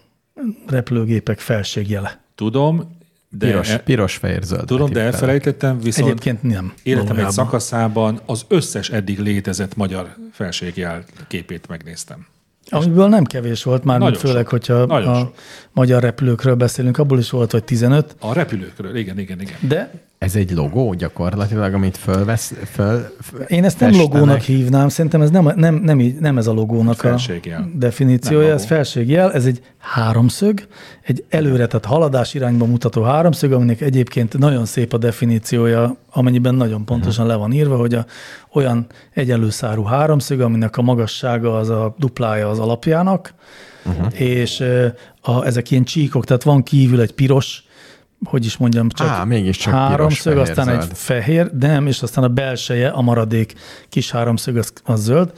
[SPEAKER 2] repülőgépek felségjele?
[SPEAKER 3] Tudom, de, e-
[SPEAKER 4] Piros, piros fehér zöld.
[SPEAKER 3] tudom, de elfelejtettem, viszont
[SPEAKER 2] Egyébként nem.
[SPEAKER 3] Szóval Életem
[SPEAKER 2] valójában.
[SPEAKER 3] egy szakaszában az összes eddig létezett magyar felségjel képét megnéztem.
[SPEAKER 2] Amiből nem kevés volt már,
[SPEAKER 3] Nagyon
[SPEAKER 2] mint főleg,
[SPEAKER 3] sok.
[SPEAKER 2] hogyha
[SPEAKER 3] Nagyon
[SPEAKER 2] a
[SPEAKER 3] sok.
[SPEAKER 2] magyar repülőkről beszélünk, abból is volt, hogy 15,
[SPEAKER 3] A repülőkről, igen, igen, igen.
[SPEAKER 2] de
[SPEAKER 4] Ez egy logó gyakorlatilag, amit fölvesz, föl,
[SPEAKER 2] Én ezt nem
[SPEAKER 4] festenek.
[SPEAKER 2] logónak hívnám, szerintem ez nem, nem, nem, így- nem ez a logónak a
[SPEAKER 3] Felségjel. Nem
[SPEAKER 2] definíciója,
[SPEAKER 3] logó.
[SPEAKER 2] ez felségjel, ez egy háromszög, egy előre, tehát haladás irányba mutató háromszög, aminek egyébként nagyon szép a definíciója, amennyiben nagyon pontosan le van írva, hogy a, olyan egyenlőszárú háromszög, aminek a magassága az a duplája az alapjának, és ö, a, ezek ilyen csíkok, tehát van kívül egy piros, hogy is mondjam, csak
[SPEAKER 4] Á, mégiscsak piros,
[SPEAKER 2] háromszög,
[SPEAKER 4] fehér,
[SPEAKER 2] aztán egy
[SPEAKER 4] zöld.
[SPEAKER 2] fehér, de nem, és aztán a belseje, a maradék kis háromszög, az, az zöld.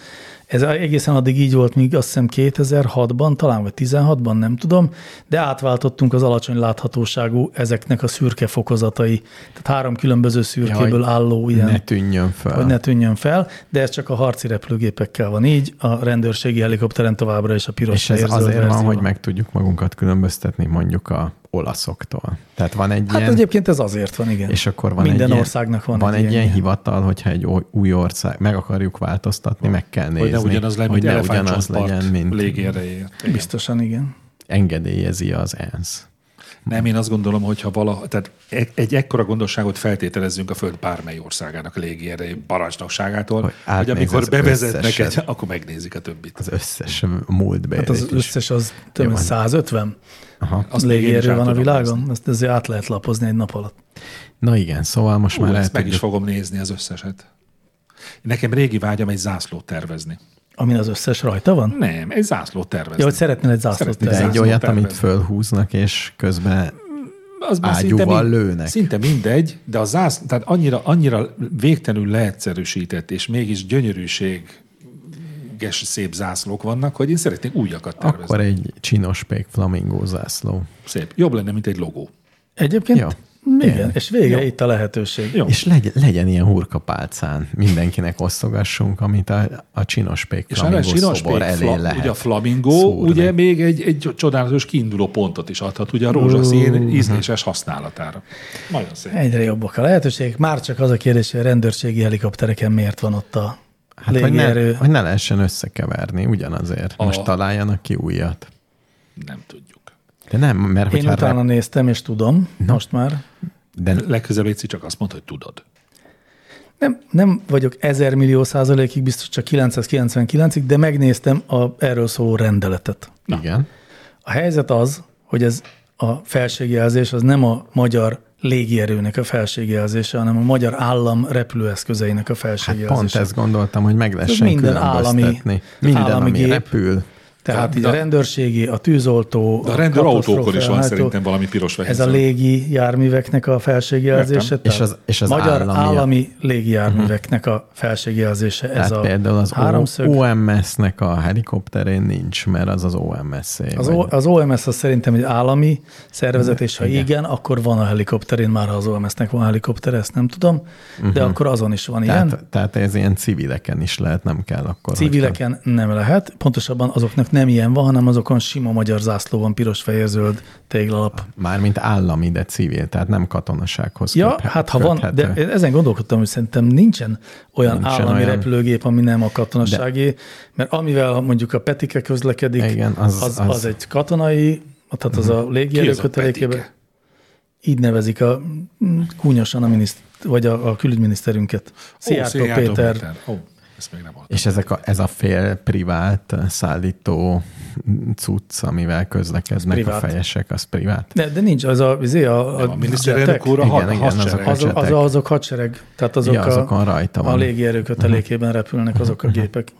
[SPEAKER 2] Ez egészen addig így volt, míg azt hiszem 2006-ban, talán vagy 16-ban, nem tudom, de átváltottunk az alacsony láthatóságú ezeknek a szürke fokozatai. Tehát három különböző szürkéből
[SPEAKER 4] Jaj,
[SPEAKER 2] álló ilyen
[SPEAKER 4] ne tűnjön föl.
[SPEAKER 2] hogy ne tűnjön fel, de ez csak a harci repülőgépekkel van így, a rendőrségi helikopteren továbbra is a piros
[SPEAKER 4] És ez
[SPEAKER 2] fehér,
[SPEAKER 4] azért
[SPEAKER 2] zöld
[SPEAKER 4] van,
[SPEAKER 2] verzió
[SPEAKER 4] hogy meg tudjuk magunkat különböztetni mondjuk a olaszoktól. Tehát van egy
[SPEAKER 2] Hát
[SPEAKER 4] ilyen,
[SPEAKER 2] egyébként ez azért van, igen.
[SPEAKER 4] és akkor van
[SPEAKER 2] Minden
[SPEAKER 4] egy
[SPEAKER 2] országnak
[SPEAKER 4] ilyen,
[SPEAKER 2] van,
[SPEAKER 4] van egy ilyen,
[SPEAKER 2] ilyen.
[SPEAKER 4] hivatal, hogyha egy oly- új ország, meg akarjuk változtatni, meg kell nézni,
[SPEAKER 3] Hogy ne ugyanaz legyen,
[SPEAKER 4] hogy
[SPEAKER 3] mint
[SPEAKER 4] ne ugyanaz legyen, mint
[SPEAKER 3] légéreért.
[SPEAKER 2] Biztosan igen.
[SPEAKER 4] engedélyezi az ENSZ.
[SPEAKER 3] Nem, én azt gondolom, hogyha valaha, tehát e- egy ekkora gondosságot feltételezzünk a föld bármely országának légierei parancsnokságától,
[SPEAKER 4] Hogy
[SPEAKER 3] hogy, hogy
[SPEAKER 4] átnéz
[SPEAKER 3] amikor
[SPEAKER 4] az
[SPEAKER 3] bevezetnek
[SPEAKER 4] összeset.
[SPEAKER 3] egy, akkor megnézik a többit.
[SPEAKER 4] Az összes múltbéli
[SPEAKER 2] Hát az
[SPEAKER 4] kis-
[SPEAKER 2] összes az több
[SPEAKER 4] van.
[SPEAKER 2] 150
[SPEAKER 4] Aha.
[SPEAKER 2] az
[SPEAKER 3] Azt még én is
[SPEAKER 2] légierő
[SPEAKER 3] át
[SPEAKER 2] van a
[SPEAKER 3] tudom
[SPEAKER 2] világon, ezt azért át lehet lapozni egy nap alatt.
[SPEAKER 4] Na igen, szóval most
[SPEAKER 3] Ú,
[SPEAKER 4] már
[SPEAKER 3] ezt
[SPEAKER 4] lehet,
[SPEAKER 3] meg is fogom nézni az összeset. Nekem régi vágyam egy zászlót tervezni.
[SPEAKER 2] Amin az összes rajta van?
[SPEAKER 3] Nem, egy zászlót tervezni.
[SPEAKER 2] Ja, hogy szeretnél egy zászlót
[SPEAKER 3] Szeretnék
[SPEAKER 2] tervezni.
[SPEAKER 4] de egy
[SPEAKER 3] zászlót
[SPEAKER 4] olyat,
[SPEAKER 3] tervezni.
[SPEAKER 4] amit fölhúznak, és közben
[SPEAKER 3] az már
[SPEAKER 4] Ágyúval
[SPEAKER 3] mind-
[SPEAKER 4] lőnek.
[SPEAKER 3] Szinte mindegy, de a zász, tehát annyira, annyira végtelenül leegyszerűsített, és mégis gyönyörűség szép zászlók vannak, hogy én szeretnék újakat tervezni.
[SPEAKER 4] akkor
[SPEAKER 3] Akkor...
[SPEAKER 4] egy csinos pék flamingó zászló.
[SPEAKER 3] Szép. Jobb lenne, mint egy logó.
[SPEAKER 2] Egyébként?
[SPEAKER 4] Ja.
[SPEAKER 2] Igen, és végre itt a lehetőség.
[SPEAKER 3] Jó.
[SPEAKER 4] És legyen, legyen ilyen hurkapálcán, mindenkinek osztogassunk, amit a, a csinos pék
[SPEAKER 3] És a
[SPEAKER 4] flamingó
[SPEAKER 3] sinos
[SPEAKER 4] szobor elé
[SPEAKER 3] fla,
[SPEAKER 4] lehet.
[SPEAKER 3] ugye a flamingó,
[SPEAKER 4] szúrni.
[SPEAKER 3] ugye még egy, egy csodálatos kiinduló pontot is adhat, ugye a rózsaszín ízléses használatára. Nagyon szép.
[SPEAKER 2] Egyre jobbak a lehetőségek. Már csak az a kérdés, hogy a rendőrségi helikoptereken miért van ott a
[SPEAKER 4] Hát, hogy, ne,
[SPEAKER 2] légierő.
[SPEAKER 4] hogy ne lehessen összekeverni ugyanazért. A... Most találjanak ki újat.
[SPEAKER 3] Nem tudjuk.
[SPEAKER 4] De nem, mert
[SPEAKER 2] Én
[SPEAKER 4] hogyha...
[SPEAKER 2] utána
[SPEAKER 4] rá-
[SPEAKER 2] néztem, és tudom, most már.
[SPEAKER 4] De
[SPEAKER 3] Legközelebb Léci csak azt mondta, hogy tudod.
[SPEAKER 2] Nem, nem vagyok ezer millió százalékig, biztos csak 999-ig, de megnéztem a erről szóló rendeletet.
[SPEAKER 4] igen.
[SPEAKER 2] A helyzet az, hogy ez a felségjelzés az nem a magyar légierőnek a felségjelzése, hanem a magyar állam repülőeszközeinek a
[SPEAKER 4] Hát
[SPEAKER 2] felségjelzése.
[SPEAKER 4] pont ezt gondoltam, hogy meg lehessen
[SPEAKER 2] minden állami-
[SPEAKER 4] különböztetni. Minden,
[SPEAKER 2] állami
[SPEAKER 4] ami
[SPEAKER 2] gép.
[SPEAKER 4] repül.
[SPEAKER 2] Tehát így
[SPEAKER 3] de-
[SPEAKER 2] a rendőrségi, a tűzoltó,
[SPEAKER 3] De a rendőrautókon is van
[SPEAKER 4] hát
[SPEAKER 2] katasztrófaelhártó,
[SPEAKER 3] szerintem valami piros
[SPEAKER 2] Ez a
[SPEAKER 3] vehízon.
[SPEAKER 2] légi járműveknek a felségjelzése.
[SPEAKER 3] Értem.
[SPEAKER 2] tehát
[SPEAKER 4] És az- és az
[SPEAKER 2] magyar
[SPEAKER 4] állami- Mhm.
[SPEAKER 2] állami, állami légi járműveknek a felségjelzése. Ez
[SPEAKER 4] Tehát
[SPEAKER 2] a
[SPEAKER 4] például az
[SPEAKER 2] háromszög.
[SPEAKER 4] OMS-nek a helikopterén nincs, mert az az OMS-é.
[SPEAKER 2] az,
[SPEAKER 4] vagy-
[SPEAKER 2] o, az OMS az szerintem egy állami szervezet, és ha igen, akkor van a helikopterén, már ha az OMS-nek van helikopter, ezt nem tudom, de akkor azon is van ilyen.
[SPEAKER 4] tehát, tehát ez ilyen civileken is lehet, nem kell akkor. hogyha-
[SPEAKER 2] Civileken nem lehet, pontosabban azoknak nem ilyen van, hanem azokon sima magyar zászló van, piros-fehér-zöld téglalap.
[SPEAKER 4] Mármint állami, de civil, tehát nem katonasághoz
[SPEAKER 2] Ja,
[SPEAKER 4] köthe-
[SPEAKER 2] hát ha van,
[SPEAKER 4] köthető.
[SPEAKER 2] de én ezen gondolkodtam, hogy szerintem nincsen olyan
[SPEAKER 4] Nincsen
[SPEAKER 2] nincsen állami
[SPEAKER 4] olyan.
[SPEAKER 2] olyan. repülőgép, ami nem a katonaságé, de. mert amivel mondjuk a Petike közlekedik,
[SPEAKER 4] Igen, az-
[SPEAKER 2] az, az,
[SPEAKER 4] az-
[SPEAKER 2] az, az egy katonai, tehát az a
[SPEAKER 3] Ki
[SPEAKER 2] légierő
[SPEAKER 3] az a
[SPEAKER 2] kötelékében.
[SPEAKER 3] Petike?
[SPEAKER 2] Így nevezik a mm, kúnyosan a miniszt, vagy a, a külügyminiszterünket. Szijjártó
[SPEAKER 3] Ó,
[SPEAKER 2] Péter. Péter.
[SPEAKER 3] Ó, ezt még nem hallottam.
[SPEAKER 4] És ezek a, ez a fél privát szállító cucc, amivel közlekednek a
[SPEAKER 2] privát.
[SPEAKER 4] fejesek, az privát.
[SPEAKER 2] De, de nincs, az a, az a, a,
[SPEAKER 3] A miniszterelnök úr a
[SPEAKER 4] Igen,
[SPEAKER 3] had-
[SPEAKER 4] igen, azok
[SPEAKER 3] hadsereg.
[SPEAKER 4] a
[SPEAKER 2] az, az,
[SPEAKER 4] hadsereg.
[SPEAKER 2] azok hadsereg, tehát azok
[SPEAKER 4] Ja, azokon rajta
[SPEAKER 2] a, a
[SPEAKER 4] van.
[SPEAKER 2] légierő kötelékében repülnek azok a gépek.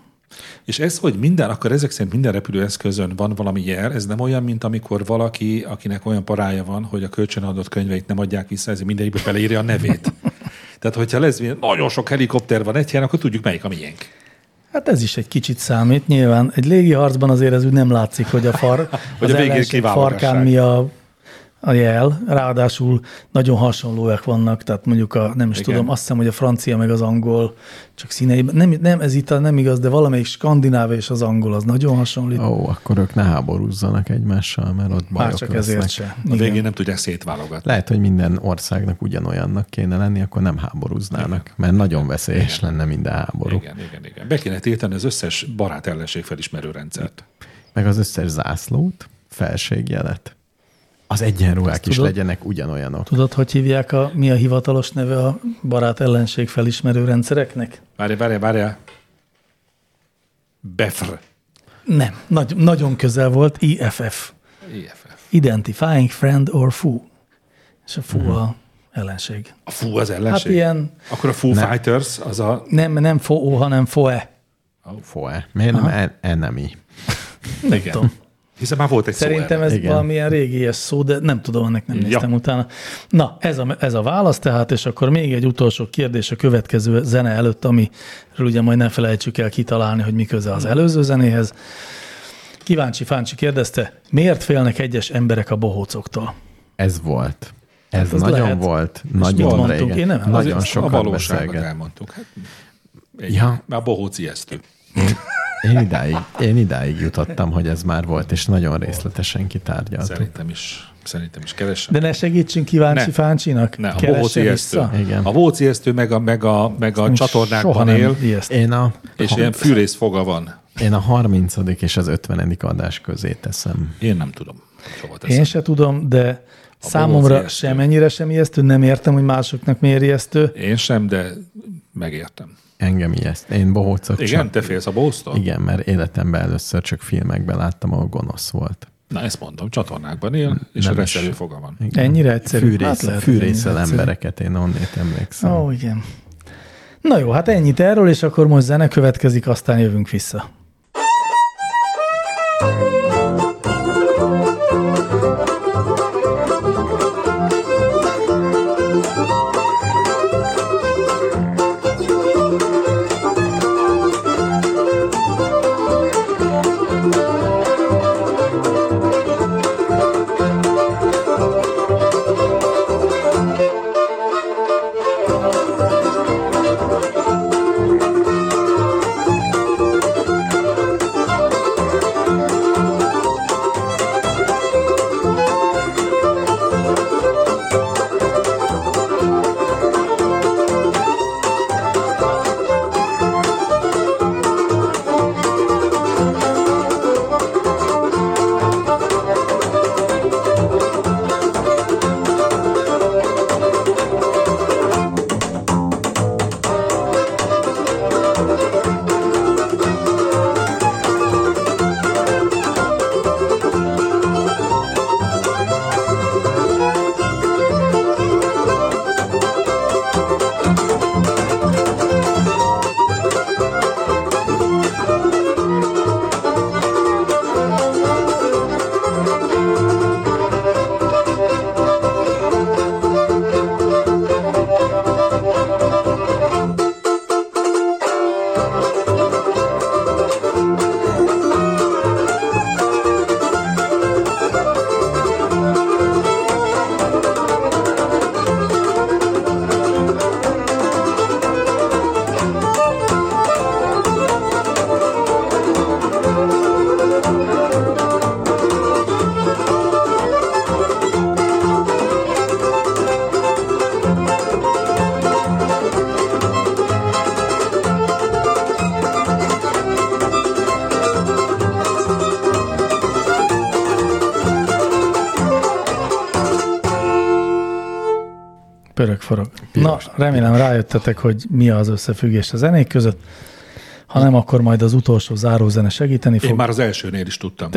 [SPEAKER 3] És ez, hogy minden, akkor ezek szerint minden repülőeszközön van valami jel, ez nem olyan, mint amikor valaki, akinek olyan parája van, hogy a kölcsönadott könyveit nem adják vissza, ezért mindegyikbe beleírja a nevét. Tehát, hogyha lesz ilyen- nagyon sok helikopter van egy helyen, akkor tudjuk, melyik a miénk.
[SPEAKER 2] Hát ez is egy kicsit számít, nyilván. Egy légi harcban azért ez úgy nem látszik, hogy a far,
[SPEAKER 3] Hogy
[SPEAKER 2] az
[SPEAKER 3] a végén
[SPEAKER 2] ellenség
[SPEAKER 3] kiválogassák.
[SPEAKER 2] farkán mi a, a jel. Ráadásul nagyon hasonlóak vannak, tehát mondjuk a, nem is
[SPEAKER 3] Igen.
[SPEAKER 2] Igen. tudom, azt hiszem, hogy a francia meg az angol csak színeiben. Nem, nem ez itt a nem igaz, de valamelyik skandináv és az angol az nagyon hasonlít.
[SPEAKER 4] Ó, akkor ők ne háborúzzanak egymással, mert ott
[SPEAKER 2] Már
[SPEAKER 4] bajok
[SPEAKER 2] csak
[SPEAKER 4] lesznek.
[SPEAKER 2] ezért se.
[SPEAKER 3] A
[SPEAKER 2] Igen.
[SPEAKER 3] végén nem tudják szétválogatni.
[SPEAKER 4] Lehet, hogy minden országnak ugyanolyannak kéne lenni, akkor nem háborúznának, mert nagyon veszélyes lenne minden háború.
[SPEAKER 3] Igen, igen, igen. Be kéne tiltani az összes barát ellenség felismerő rendszert.
[SPEAKER 4] Meg az összes zászlót, felségjelet. Az egyenruhák is
[SPEAKER 2] tudod?
[SPEAKER 4] legyenek ugyanolyanok.
[SPEAKER 2] Tudod, hogy hívják a, mi a hivatalos neve a barát ellenség felismerő rendszereknek?
[SPEAKER 3] Várjál, várjál, várjál. Befr.
[SPEAKER 2] Nem, nagy, nagyon közel volt, IFF.
[SPEAKER 3] IFF.
[SPEAKER 2] Identifying friend or foe. És a foe a ellenség.
[SPEAKER 3] A fú az
[SPEAKER 2] Hát
[SPEAKER 3] Mhm. ellenség?
[SPEAKER 2] ilyen
[SPEAKER 3] Akkor a Foo Fighters az a...
[SPEAKER 2] nem, nem foe, hanem foe.
[SPEAKER 4] Foe. Miért nem e- en- enemy?
[SPEAKER 2] Nem
[SPEAKER 3] Igen.
[SPEAKER 2] tudom.
[SPEAKER 3] Hiszen már volt egy szó
[SPEAKER 2] Szerintem
[SPEAKER 3] erre.
[SPEAKER 2] ez
[SPEAKER 4] Igen.
[SPEAKER 2] Igen. valamilyen régi ilyes szó, de nem tudom, ennek nem
[SPEAKER 3] Ja.
[SPEAKER 2] néztem utána. Na, ez a, ez a válasz tehát, és akkor még egy utolsó kérdés a következő zene előtt, amiről ugye majd ne felejtsük el kitalálni, hogy mi köze
[SPEAKER 3] Mhm.
[SPEAKER 2] az előző zenéhez. Kíváncsi Fáncsi kérdezte, miért félnek egyes emberek a bohócoktól?
[SPEAKER 4] Ez volt. Ez
[SPEAKER 2] Hát az
[SPEAKER 4] nagyon
[SPEAKER 2] lehet.
[SPEAKER 4] volt.
[SPEAKER 2] mit
[SPEAKER 4] Nagyon
[SPEAKER 2] mondtunk?
[SPEAKER 4] régen.
[SPEAKER 2] Én nem-
[SPEAKER 4] nagyon
[SPEAKER 3] Azért A
[SPEAKER 4] sokat
[SPEAKER 3] valóságot
[SPEAKER 4] beszélget.
[SPEAKER 3] elmondtuk. Hát,
[SPEAKER 4] Ja. Hát,
[SPEAKER 3] ja. Már bohóc ijesztő.
[SPEAKER 4] Én idáig, én idáig jutottam, hogy ez már volt, és nagyon részletesen kitárgyaltuk.
[SPEAKER 3] Szerintem is, szerintem is keresem.
[SPEAKER 2] De ne segítsünk Kíváncsi
[SPEAKER 3] Ne.
[SPEAKER 2] ne. Fáncsinak?
[SPEAKER 3] Ne, a
[SPEAKER 2] Keresse
[SPEAKER 3] bohóc ijesztő.
[SPEAKER 2] vissza.
[SPEAKER 4] Igen.
[SPEAKER 3] A bohóc ijesztő meg a, meg a, meg a
[SPEAKER 2] Soha
[SPEAKER 3] csatornákban
[SPEAKER 2] nem
[SPEAKER 3] él,
[SPEAKER 2] ijeszt.
[SPEAKER 4] Én a,
[SPEAKER 3] és
[SPEAKER 4] ha-
[SPEAKER 3] ilyen fűrész foga van.
[SPEAKER 4] én a 30. és az 50. adás közé teszem.
[SPEAKER 3] Én nem tudom. Hova teszem.
[SPEAKER 2] Én se tudom, de a
[SPEAKER 3] bohóc
[SPEAKER 2] számomra
[SPEAKER 3] ijesztő.
[SPEAKER 2] semennyire sem ijesztő, nem értem, hogy másoknak miért ijesztő.
[SPEAKER 3] Én sem, de megértem.
[SPEAKER 4] Engem ijeszt. Én bohócok
[SPEAKER 3] Igen,
[SPEAKER 4] csak.
[SPEAKER 3] te félsz a bohóztól?
[SPEAKER 4] Igen, mert életemben először csak filmekben láttam, ahol gonosz volt.
[SPEAKER 3] Na ezt mondom, csatornákban él, és
[SPEAKER 4] Nem
[SPEAKER 3] nem a
[SPEAKER 4] is.
[SPEAKER 3] reszelő foga van.
[SPEAKER 4] Igen.
[SPEAKER 2] Ennyire egyszerű.
[SPEAKER 4] Fűrész, hát
[SPEAKER 2] lehet,
[SPEAKER 4] fűrészel
[SPEAKER 2] ennyire egyszerű.
[SPEAKER 4] embereket, én onnét emlékszem.
[SPEAKER 2] Ó, igen. Na jó, hát ennyit erről, és akkor most zene következik, aztán jövünk vissza.
[SPEAKER 5] Thank
[SPEAKER 2] Pörög forog. Piros, Na, remélem piros. rájöttetek, hogy mi az összefüggés a zenék között. Ha nem, akkor majd az utolsó zárózene segíteni fog.
[SPEAKER 3] Én már az elsőnél is tudtam.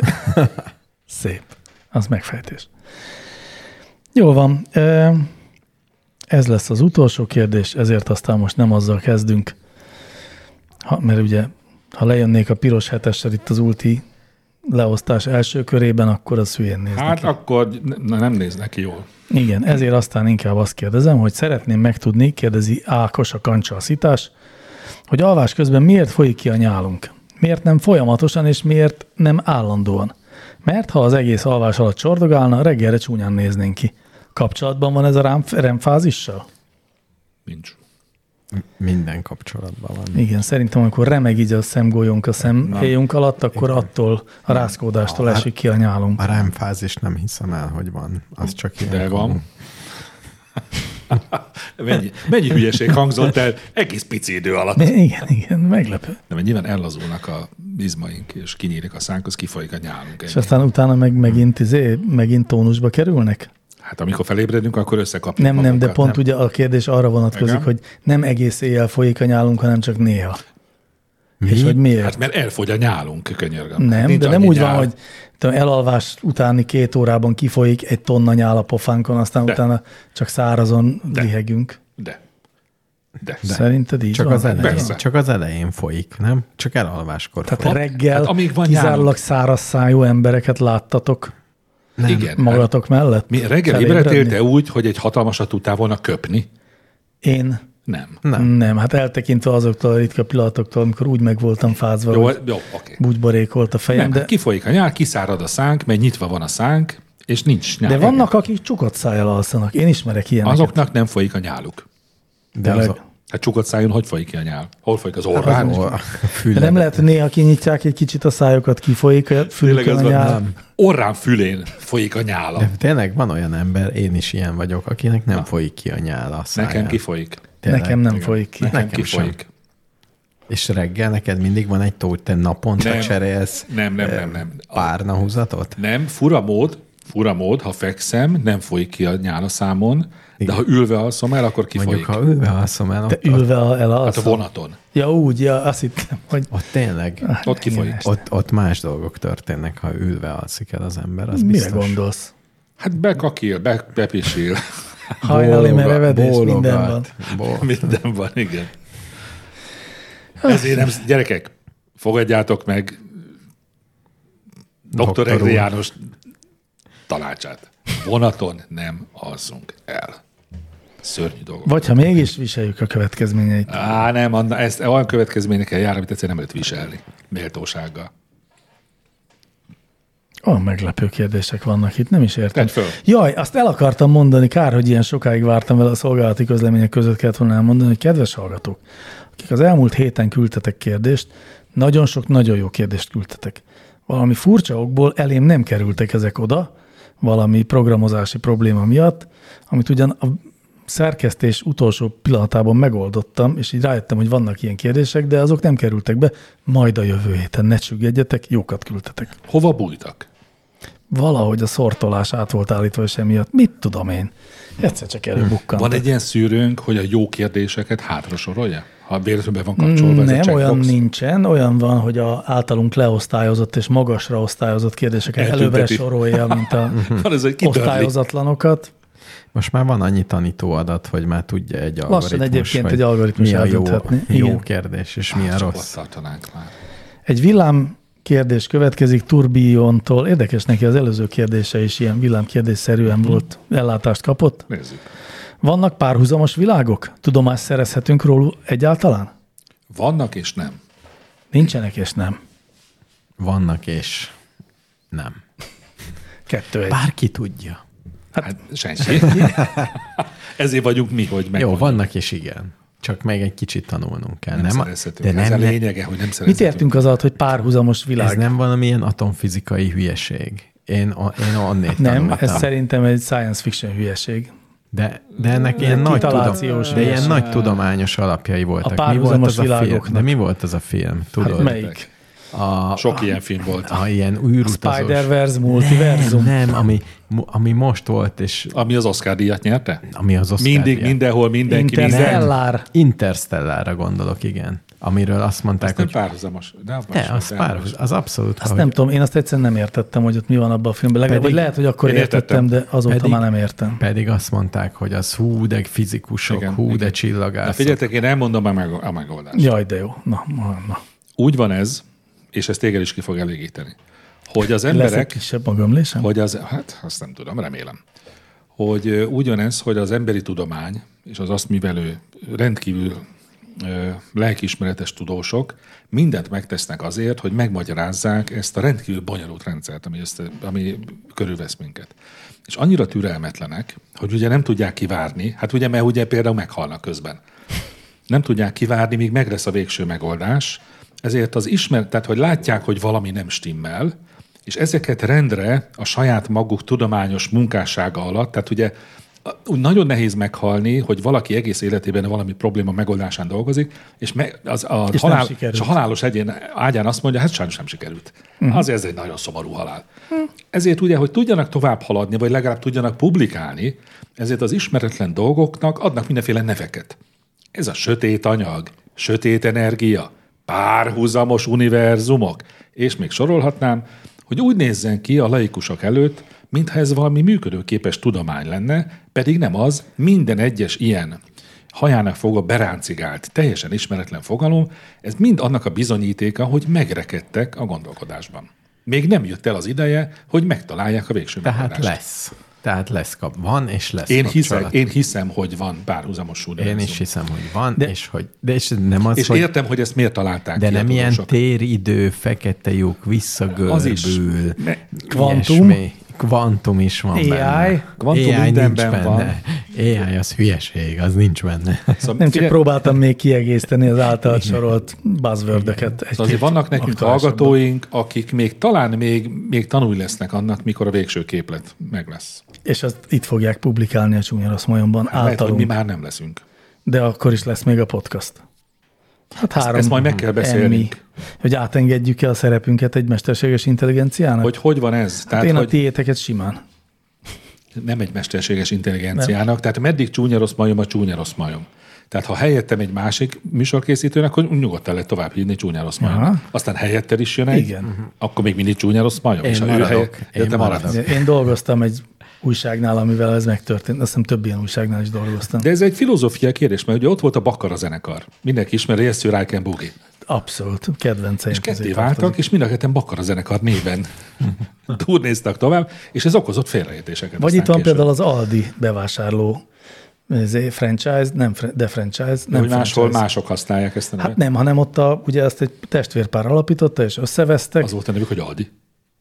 [SPEAKER 2] Szép. Az megfejtés. Jó van. Ez lesz az utolsó kérdés, ezért aztán most nem azzal kezdünk, ha, mert ugye, ha lejönnék a piros hetessel itt az ulti leosztás első körében, akkor az hülyén néz
[SPEAKER 3] Hát
[SPEAKER 2] neki.
[SPEAKER 3] akkor na, nem néz neki jól.
[SPEAKER 2] Igen, ezért aztán inkább azt kérdezem, hogy szeretném megtudni, kérdezi Ákos a kancsalszítás, hogy alvás közben miért folyik ki a nyálunk? Miért nem folyamatosan, és miért nem állandóan? Mert ha az egész alvás alatt csordogálna, reggelre csúnyán néznénk ki. Kapcsolatban van ez a rám, remfázissal?
[SPEAKER 3] Nincs.
[SPEAKER 4] Minden kapcsolatban van.
[SPEAKER 2] Igen, szerintem amikor remeg így a szemgolyónk a szemhéjunk alatt, akkor attól a rászkódástól
[SPEAKER 4] Hát-
[SPEAKER 2] esik ki a nyálunk.
[SPEAKER 4] A rámfázis nem hiszem el, hogy van. Az csak ilyen.
[SPEAKER 3] De van. Mennyi, mennyi hülyeség hangzott el egész pici idő alatt.
[SPEAKER 2] De igen, igen, meglepő.
[SPEAKER 3] De mert nyilván ellazulnak a izmaink, és kinyílik a szánk, az kifolyik a nyálunk.
[SPEAKER 2] És
[SPEAKER 3] Ennyi.
[SPEAKER 2] aztán utána meg megint, izé, megint tónusba kerülnek?
[SPEAKER 3] Hát amikor felébredünk, akkor összekapjuk
[SPEAKER 2] Nem, nem, de
[SPEAKER 3] magunkat,
[SPEAKER 2] pont ugye a kérdés arra vonatkozik,
[SPEAKER 3] Igen.
[SPEAKER 2] hogy nem egész éjjel folyik a nyálunk, hanem csak néha. Mi? És hogy miért?
[SPEAKER 3] Hát mert elfogy a nyálunk, könyörgöm. Hát
[SPEAKER 2] nem,
[SPEAKER 3] nincs
[SPEAKER 2] de nem
[SPEAKER 3] annyi
[SPEAKER 2] úgy van,
[SPEAKER 3] nyál.
[SPEAKER 2] hogy tudom, elalvás utáni két órában kifolyik egy tonna nyál a pofánkon, aztán
[SPEAKER 3] De.
[SPEAKER 2] de. utána csak szárazon de. lihegünk.
[SPEAKER 3] De. De.
[SPEAKER 2] De. Szerinted így
[SPEAKER 4] Csak
[SPEAKER 2] van?
[SPEAKER 4] az,
[SPEAKER 3] Persze.
[SPEAKER 4] elején, csak az elején folyik, nem? Csak elalváskor
[SPEAKER 2] Tehát
[SPEAKER 4] folyik.
[SPEAKER 2] reggel
[SPEAKER 3] hát
[SPEAKER 2] hát
[SPEAKER 3] amíg van
[SPEAKER 2] kizárólag
[SPEAKER 3] nyálunk.
[SPEAKER 2] száraz szájú embereket láttatok
[SPEAKER 3] Nem. Igen. Hát,
[SPEAKER 2] magatok mellett?
[SPEAKER 3] mi reggel
[SPEAKER 2] Felébredni?
[SPEAKER 3] ébredtél te úgy, hogy egy hatalmasat tudtál volna köpni?
[SPEAKER 2] Én
[SPEAKER 3] Nem.
[SPEAKER 2] nem. nem. Hát eltekintve azoktól a ritka pillanatoktól, amikor úgy meg voltam fázva,
[SPEAKER 3] Jó,
[SPEAKER 2] Jó, hogy
[SPEAKER 3] jó oké.
[SPEAKER 2] bugyborékolt a fejem,
[SPEAKER 3] Nem, hát de...
[SPEAKER 2] de,
[SPEAKER 3] kifolyik a nyál, kiszárad a szánk, mert nyitva van a szánk, és nincs nyál.
[SPEAKER 2] de vannak, akik csukott szájjal alszanak. Én ismerek ilyeneket.
[SPEAKER 3] Azoknak nem folyik a nyáluk.
[SPEAKER 4] De az
[SPEAKER 2] tényleg.
[SPEAKER 4] a-
[SPEAKER 3] Hát csukott szájon hogy folyik ki a nyál? Hol folyik az
[SPEAKER 4] az
[SPEAKER 3] orrán?
[SPEAKER 4] or- a
[SPEAKER 2] De
[SPEAKER 4] füled.
[SPEAKER 2] nem lehet, hogy néha kinyitják egy kicsit a szájukat, kifolyik a
[SPEAKER 3] Tényleg
[SPEAKER 2] fülükön
[SPEAKER 3] ez
[SPEAKER 2] a
[SPEAKER 3] van.
[SPEAKER 2] nyál.
[SPEAKER 3] Nem. Orrán fülén folyik a nyála.
[SPEAKER 4] De tényleg van olyan ember, én is ilyen vagyok, akinek nem folyik ki a nyála a száján.
[SPEAKER 3] Nekem kifolyik.
[SPEAKER 4] Tényleg.
[SPEAKER 2] Nekem nem folyik ki.
[SPEAKER 3] Nekem,
[SPEAKER 4] Nekem sem.
[SPEAKER 3] kifolyik.
[SPEAKER 4] És reggel neked mindig van egy tó, hogy te naponta
[SPEAKER 3] Nem.
[SPEAKER 4] cserélsz
[SPEAKER 3] Nem, nem, nem, nem.
[SPEAKER 4] párna húzatot?
[SPEAKER 3] Nem, fura mód, fura mód, ha fekszem, nem folyik ki a nyál a számon, de ha ülve alszom el, akkor
[SPEAKER 4] Mondjuk,
[SPEAKER 3] kifolyik.
[SPEAKER 4] ha ülve alszom el,
[SPEAKER 2] Te
[SPEAKER 4] ott, ott,
[SPEAKER 2] ülve a- el
[SPEAKER 3] Hát a
[SPEAKER 2] alszol.
[SPEAKER 3] vonaton.
[SPEAKER 2] Ja úgy, ja, azt hittem, hogy
[SPEAKER 4] ott tényleg,
[SPEAKER 2] Ah,
[SPEAKER 3] Ott kifolyik.
[SPEAKER 4] ott, ott más dolgok történnek, ha ülve alszik el az ember, az
[SPEAKER 2] mire
[SPEAKER 4] biztos.
[SPEAKER 2] gondolsz?
[SPEAKER 3] Hát bekakil, be, bepisil.
[SPEAKER 2] Hajnali
[SPEAKER 4] Bólogat-
[SPEAKER 2] merevedés, minden van.
[SPEAKER 4] bólogat, bó-
[SPEAKER 3] Minden van, igen.
[SPEAKER 4] Ah.
[SPEAKER 3] Ezért nem, gyerekek, fogadjátok meg dr.
[SPEAKER 4] Doktor
[SPEAKER 3] Egri
[SPEAKER 4] úr.
[SPEAKER 3] János tanácsát. Vonaton nem alszunk el. Szörnyű dolog.
[SPEAKER 2] Vagy ha mégis viseljük a következményeit.
[SPEAKER 3] Á, nem, Anna, ezt olyan következményekkel jár, amit egyszerűen nem lehet viselni. Méltósággal.
[SPEAKER 2] Olyan meglepő kérdések vannak itt, nem is értem.
[SPEAKER 3] Tedd föl.
[SPEAKER 2] Jaj, azt el akartam mondani, kár, hogy ilyen sokáig vártam vele a szolgálati közlemények között kellett volna elmondani, hogy kedves hallgatók, akik az elmúlt héten küldtetek kérdést, nagyon sok nagyon jó kérdést küldtetek. Valami furcsa okból elém nem kerültek ezek oda, valami programozási probléma miatt, amit ugyan a szerkesztés utolsó pillanatában megoldottam, és így rájöttem, hogy vannak ilyen kérdések, de azok nem kerültek be, majd a jövő héten ne csüggedjetek, jókat küldtetek
[SPEAKER 3] Hova bújtak?
[SPEAKER 2] valahogy a szortolás át volt állítva, és emiatt mit tudom én. Egyszer csak előbukkant.
[SPEAKER 3] Van egy ilyen szűrőnk, hogy a jó kérdéseket hátra sorolja? Ha véletlenül be van kapcsolva ez a
[SPEAKER 2] Mm, nem,
[SPEAKER 3] checkbox.
[SPEAKER 2] olyan nincsen, olyan van, hogy a általunk leosztályozott és magasra osztályozott kérdéseket
[SPEAKER 3] Eltünteti.
[SPEAKER 2] előbbre sorolja, mint a
[SPEAKER 3] Van ez, hogy kidörli.
[SPEAKER 2] osztályozatlanokat.
[SPEAKER 4] Most már van annyi tanítóadat, hogy már tudja egy algoritmus,
[SPEAKER 2] egyébként
[SPEAKER 4] hogy
[SPEAKER 2] egy algoritmus
[SPEAKER 4] mi a jó,
[SPEAKER 2] eldönthetni.
[SPEAKER 4] jó
[SPEAKER 2] Igen. Ah,
[SPEAKER 4] kérdés, és mi a
[SPEAKER 3] Csak
[SPEAKER 4] rossz.
[SPEAKER 3] Ott tartanánk már.
[SPEAKER 2] Egy villám kérdés következik Turbiontól. Érdekes neki az előző kérdése is ilyen villám kérdésszerűen
[SPEAKER 3] Mhm.
[SPEAKER 2] volt, ellátást kapott.
[SPEAKER 3] Nézzük.
[SPEAKER 2] Vannak párhuzamos világok? Tudomást szerezhetünk róluk egyáltalán?
[SPEAKER 3] Vannak és nem.
[SPEAKER 2] Nincsenek és nem.
[SPEAKER 4] Vannak és nem.
[SPEAKER 2] Kettő egy.
[SPEAKER 4] Bárki tudja.
[SPEAKER 3] Hát senki. Ezért vagyunk mi, hogy meg.
[SPEAKER 4] Jó, vannak és igen. Csak még egy kicsit tanulnunk kell.
[SPEAKER 3] Nem,
[SPEAKER 4] Nem,
[SPEAKER 3] szerezhetünk.
[SPEAKER 4] de
[SPEAKER 3] Ez
[SPEAKER 4] nem,
[SPEAKER 3] a
[SPEAKER 4] ne,
[SPEAKER 3] lényege, hogy nem
[SPEAKER 2] Mit
[SPEAKER 3] szerezhetünk.
[SPEAKER 2] értünk az alatt, hogy párhuzamos világ?
[SPEAKER 4] ez
[SPEAKER 2] Ez nem,
[SPEAKER 4] nem valamilyen atomfizikai hülyeség. Én, a, én onnét
[SPEAKER 2] nem
[SPEAKER 4] tanultam.
[SPEAKER 2] ez szerintem egy science fiction hülyeség.
[SPEAKER 4] De, de ennek ilyen nagy, tudom,
[SPEAKER 2] kitalációs
[SPEAKER 4] de ilyen
[SPEAKER 2] hülyeség.
[SPEAKER 4] nagy tudományos alapjai voltak. mi volt
[SPEAKER 2] párhuzamos
[SPEAKER 4] az a film?
[SPEAKER 2] világoknak.
[SPEAKER 4] De mi volt az a film? Tudod?
[SPEAKER 2] Hát melyik?
[SPEAKER 4] A,
[SPEAKER 3] Sok ilyen film volt.
[SPEAKER 4] a, a ilyen űrutazós...
[SPEAKER 2] Spider-Verse, multiverzum.
[SPEAKER 4] Nem, nem ami, mo- ami most volt, és
[SPEAKER 3] Ami az Oscar díjat nyerte?
[SPEAKER 4] ami az Oscar
[SPEAKER 3] Mindig,
[SPEAKER 4] díjat-
[SPEAKER 3] mindenhol, mindenki, minden.
[SPEAKER 2] Interstellar.
[SPEAKER 4] Interstellára gondolok, igen. Amiről azt mondták,
[SPEAKER 3] Ez nem
[SPEAKER 4] hogy...
[SPEAKER 3] párhuzamos. De az,
[SPEAKER 4] Ne, az, pár, az abszolút.
[SPEAKER 2] Azt
[SPEAKER 4] ahogy-
[SPEAKER 2] nem tudom, én azt egyszerűen nem értettem, hogy ott mi van abban a filmben. Legalább,
[SPEAKER 4] Pedig-
[SPEAKER 2] vagy lehet, hogy akkor
[SPEAKER 3] Én értettem.
[SPEAKER 2] értettem, de azóta
[SPEAKER 4] Pedig-
[SPEAKER 2] már nem értem.
[SPEAKER 4] Pedig azt mondták, hogy az hú, de fizikusok,
[SPEAKER 3] Igen,
[SPEAKER 4] igen, hú,
[SPEAKER 3] igen.
[SPEAKER 4] igen. de
[SPEAKER 3] Na
[SPEAKER 4] csillagászok.
[SPEAKER 3] figyeljetek, én elmondom a, meg, a megoldást.
[SPEAKER 2] Jaj, de jó. Na, na, na.
[SPEAKER 3] Úgy van ez, és ez téged is ki fog elégíteni, hogy az
[SPEAKER 2] Lesz egy
[SPEAKER 3] emberek,
[SPEAKER 2] kisebb a gömlésem?
[SPEAKER 3] hogy az, hát azt nem tudom, remélem, hogy ö, ugyanez, hogy az emberi tudomány és az azt művelő rendkívül ö, lelkiismeretes tudósok mindent megtesznek azért, hogy megmagyarázzák ezt a rendkívül bonyolult rendszert, ami, ezt, ami körülvesz minket. És annyira türelmetlenek, hogy ugye nem tudják kivárni, hát ugye, mert ugye például meghalnak közben nem tudják kivárni, míg meg lesz a végső megoldás. Ezért az ismert, tehát hogy látják, hogy valami nem stimmel, és ezeket rendre a saját maguk tudományos munkássága alatt, tehát ugye a- úgy nagyon nehéz meghalni, hogy valaki egész életében valami probléma megoldásán dolgozik, és, meg, az, a,
[SPEAKER 2] És nem
[SPEAKER 3] halál,
[SPEAKER 2] sikerült.
[SPEAKER 3] és a halálos egyén ágyán azt mondja, hát sajnos nem sikerült. Uh-huh. Azért ez egy nagyon szomorú halál. Uh-huh. Ezért ugye, hogy tudjanak tovább haladni, vagy legalább tudjanak publikálni, ezért az ismeretlen dolgoknak adnak mindenféle neveket. Ez a sötét anyag, sötét energia, párhuzamos univerzumok, és még sorolhatnám, hogy úgy nézzen ki a laikusok előtt, mintha ez valami működőképes tudomány lenne, pedig nem az, minden egyes ilyen hajának fogva beráncigált, teljesen ismeretlen fogalom, ez mind annak a bizonyítéka, hogy megrekedtek a gondolkodásban. Még nem jött el az ideje, hogy megtalálják a végső
[SPEAKER 4] Tehát
[SPEAKER 3] megoldást.
[SPEAKER 4] lesz. Tehát lesz kap. Van és lesz
[SPEAKER 3] Én hiszem,
[SPEAKER 4] kapcsolat.
[SPEAKER 3] én hiszem, hogy van párhuzamos univerzum.
[SPEAKER 4] Én is hiszem, hogy van, de, és hogy... De és nem az,
[SPEAKER 3] És
[SPEAKER 4] hogy,
[SPEAKER 3] értem, hogy ezt miért találták
[SPEAKER 4] de
[SPEAKER 3] ki a
[SPEAKER 4] nem ilyen
[SPEAKER 3] tudósok.
[SPEAKER 4] téridő, fekete lyuk,
[SPEAKER 3] Az is.
[SPEAKER 4] visszagörbül.
[SPEAKER 3] Ne-
[SPEAKER 2] Kvantum.
[SPEAKER 4] ilyesmi. Kvantum is van
[SPEAKER 2] AI.
[SPEAKER 4] benne.
[SPEAKER 3] Kvantum
[SPEAKER 4] AI nincs
[SPEAKER 3] mindenben van.
[SPEAKER 4] benne. AI az hülyeség, az nincs benne.
[SPEAKER 3] Szóval
[SPEAKER 2] Nem csak
[SPEAKER 3] figyelj-
[SPEAKER 2] próbáltam még kiegészíteni az által sorolt buzzwordöket. egy-két
[SPEAKER 3] Szóval azért vannak nekünk
[SPEAKER 2] aktuálisabban.
[SPEAKER 3] hallgatóink, akik még talán még, még tanulni lesznek annak, mikor a végső képlet meg lesz. Hát
[SPEAKER 2] És azt itt fogják publikálni a csúnya rossz majomban
[SPEAKER 3] Lehet, hogy
[SPEAKER 2] általunk.
[SPEAKER 3] mi már nem leszünk.
[SPEAKER 2] De akkor is lesz még a podcast. Hát három
[SPEAKER 3] ezt majd meg kell beszélnünk.
[SPEAKER 2] Emmy. Hogy átengedjük-e a szerepünket egy mesterséges intelligenciának?
[SPEAKER 3] Hogy hogy van ez?
[SPEAKER 2] hát
[SPEAKER 3] Tehát,
[SPEAKER 2] én a
[SPEAKER 3] hogy
[SPEAKER 2] tiéteket simán.
[SPEAKER 3] nem egy mesterséges intelligenciának, nem. tehát meddig csúnya rossz majom a csúnya rossz majom. Tehát ha helyettem egy másik műsorkészítőnek, akkor nyugodtan lehet tovább hívni csúnya rossz majom.
[SPEAKER 2] Aha.
[SPEAKER 3] Aztán helyettel is jön egy, Mhm.
[SPEAKER 2] Igen.
[SPEAKER 3] akkor még mindig csúnya rossz majom.
[SPEAKER 4] Én
[SPEAKER 3] és ha
[SPEAKER 4] maradok.
[SPEAKER 3] ő
[SPEAKER 4] Én
[SPEAKER 3] helyett,
[SPEAKER 4] maradok.
[SPEAKER 3] maradsz.
[SPEAKER 2] Én dolgoztam egy újságnál, amivel ez megtörtént. Azt hiszem több ilyen újságnál is dolgoztam.
[SPEAKER 3] De ez egy filozófiai kérdés, mert ugye ott volt a Bakara zenekar. Mindenki ismeri Jesse Raiken Boogie.
[SPEAKER 2] Abszolút, kedvenceim.
[SPEAKER 3] És ketté
[SPEAKER 2] közé
[SPEAKER 3] váltak,
[SPEAKER 2] tartozik.
[SPEAKER 3] és mind a ketten Bakara zenekar néven turnéztak tovább, és ez okozott félreértéseket.
[SPEAKER 2] Vagy
[SPEAKER 3] aztán
[SPEAKER 2] itt van
[SPEAKER 3] később.
[SPEAKER 2] például az Aldi bevásárló ez franchise, nem, fr- de franchise.
[SPEAKER 3] De
[SPEAKER 2] Nem
[SPEAKER 3] hogy máshol
[SPEAKER 2] franchise.
[SPEAKER 3] mások használják ezt a nevet.
[SPEAKER 2] Hát nem, hanem ott a, ugye ezt egy testvérpár alapította, és összevesztek.
[SPEAKER 3] Az volt a nevük, hogy Aldi.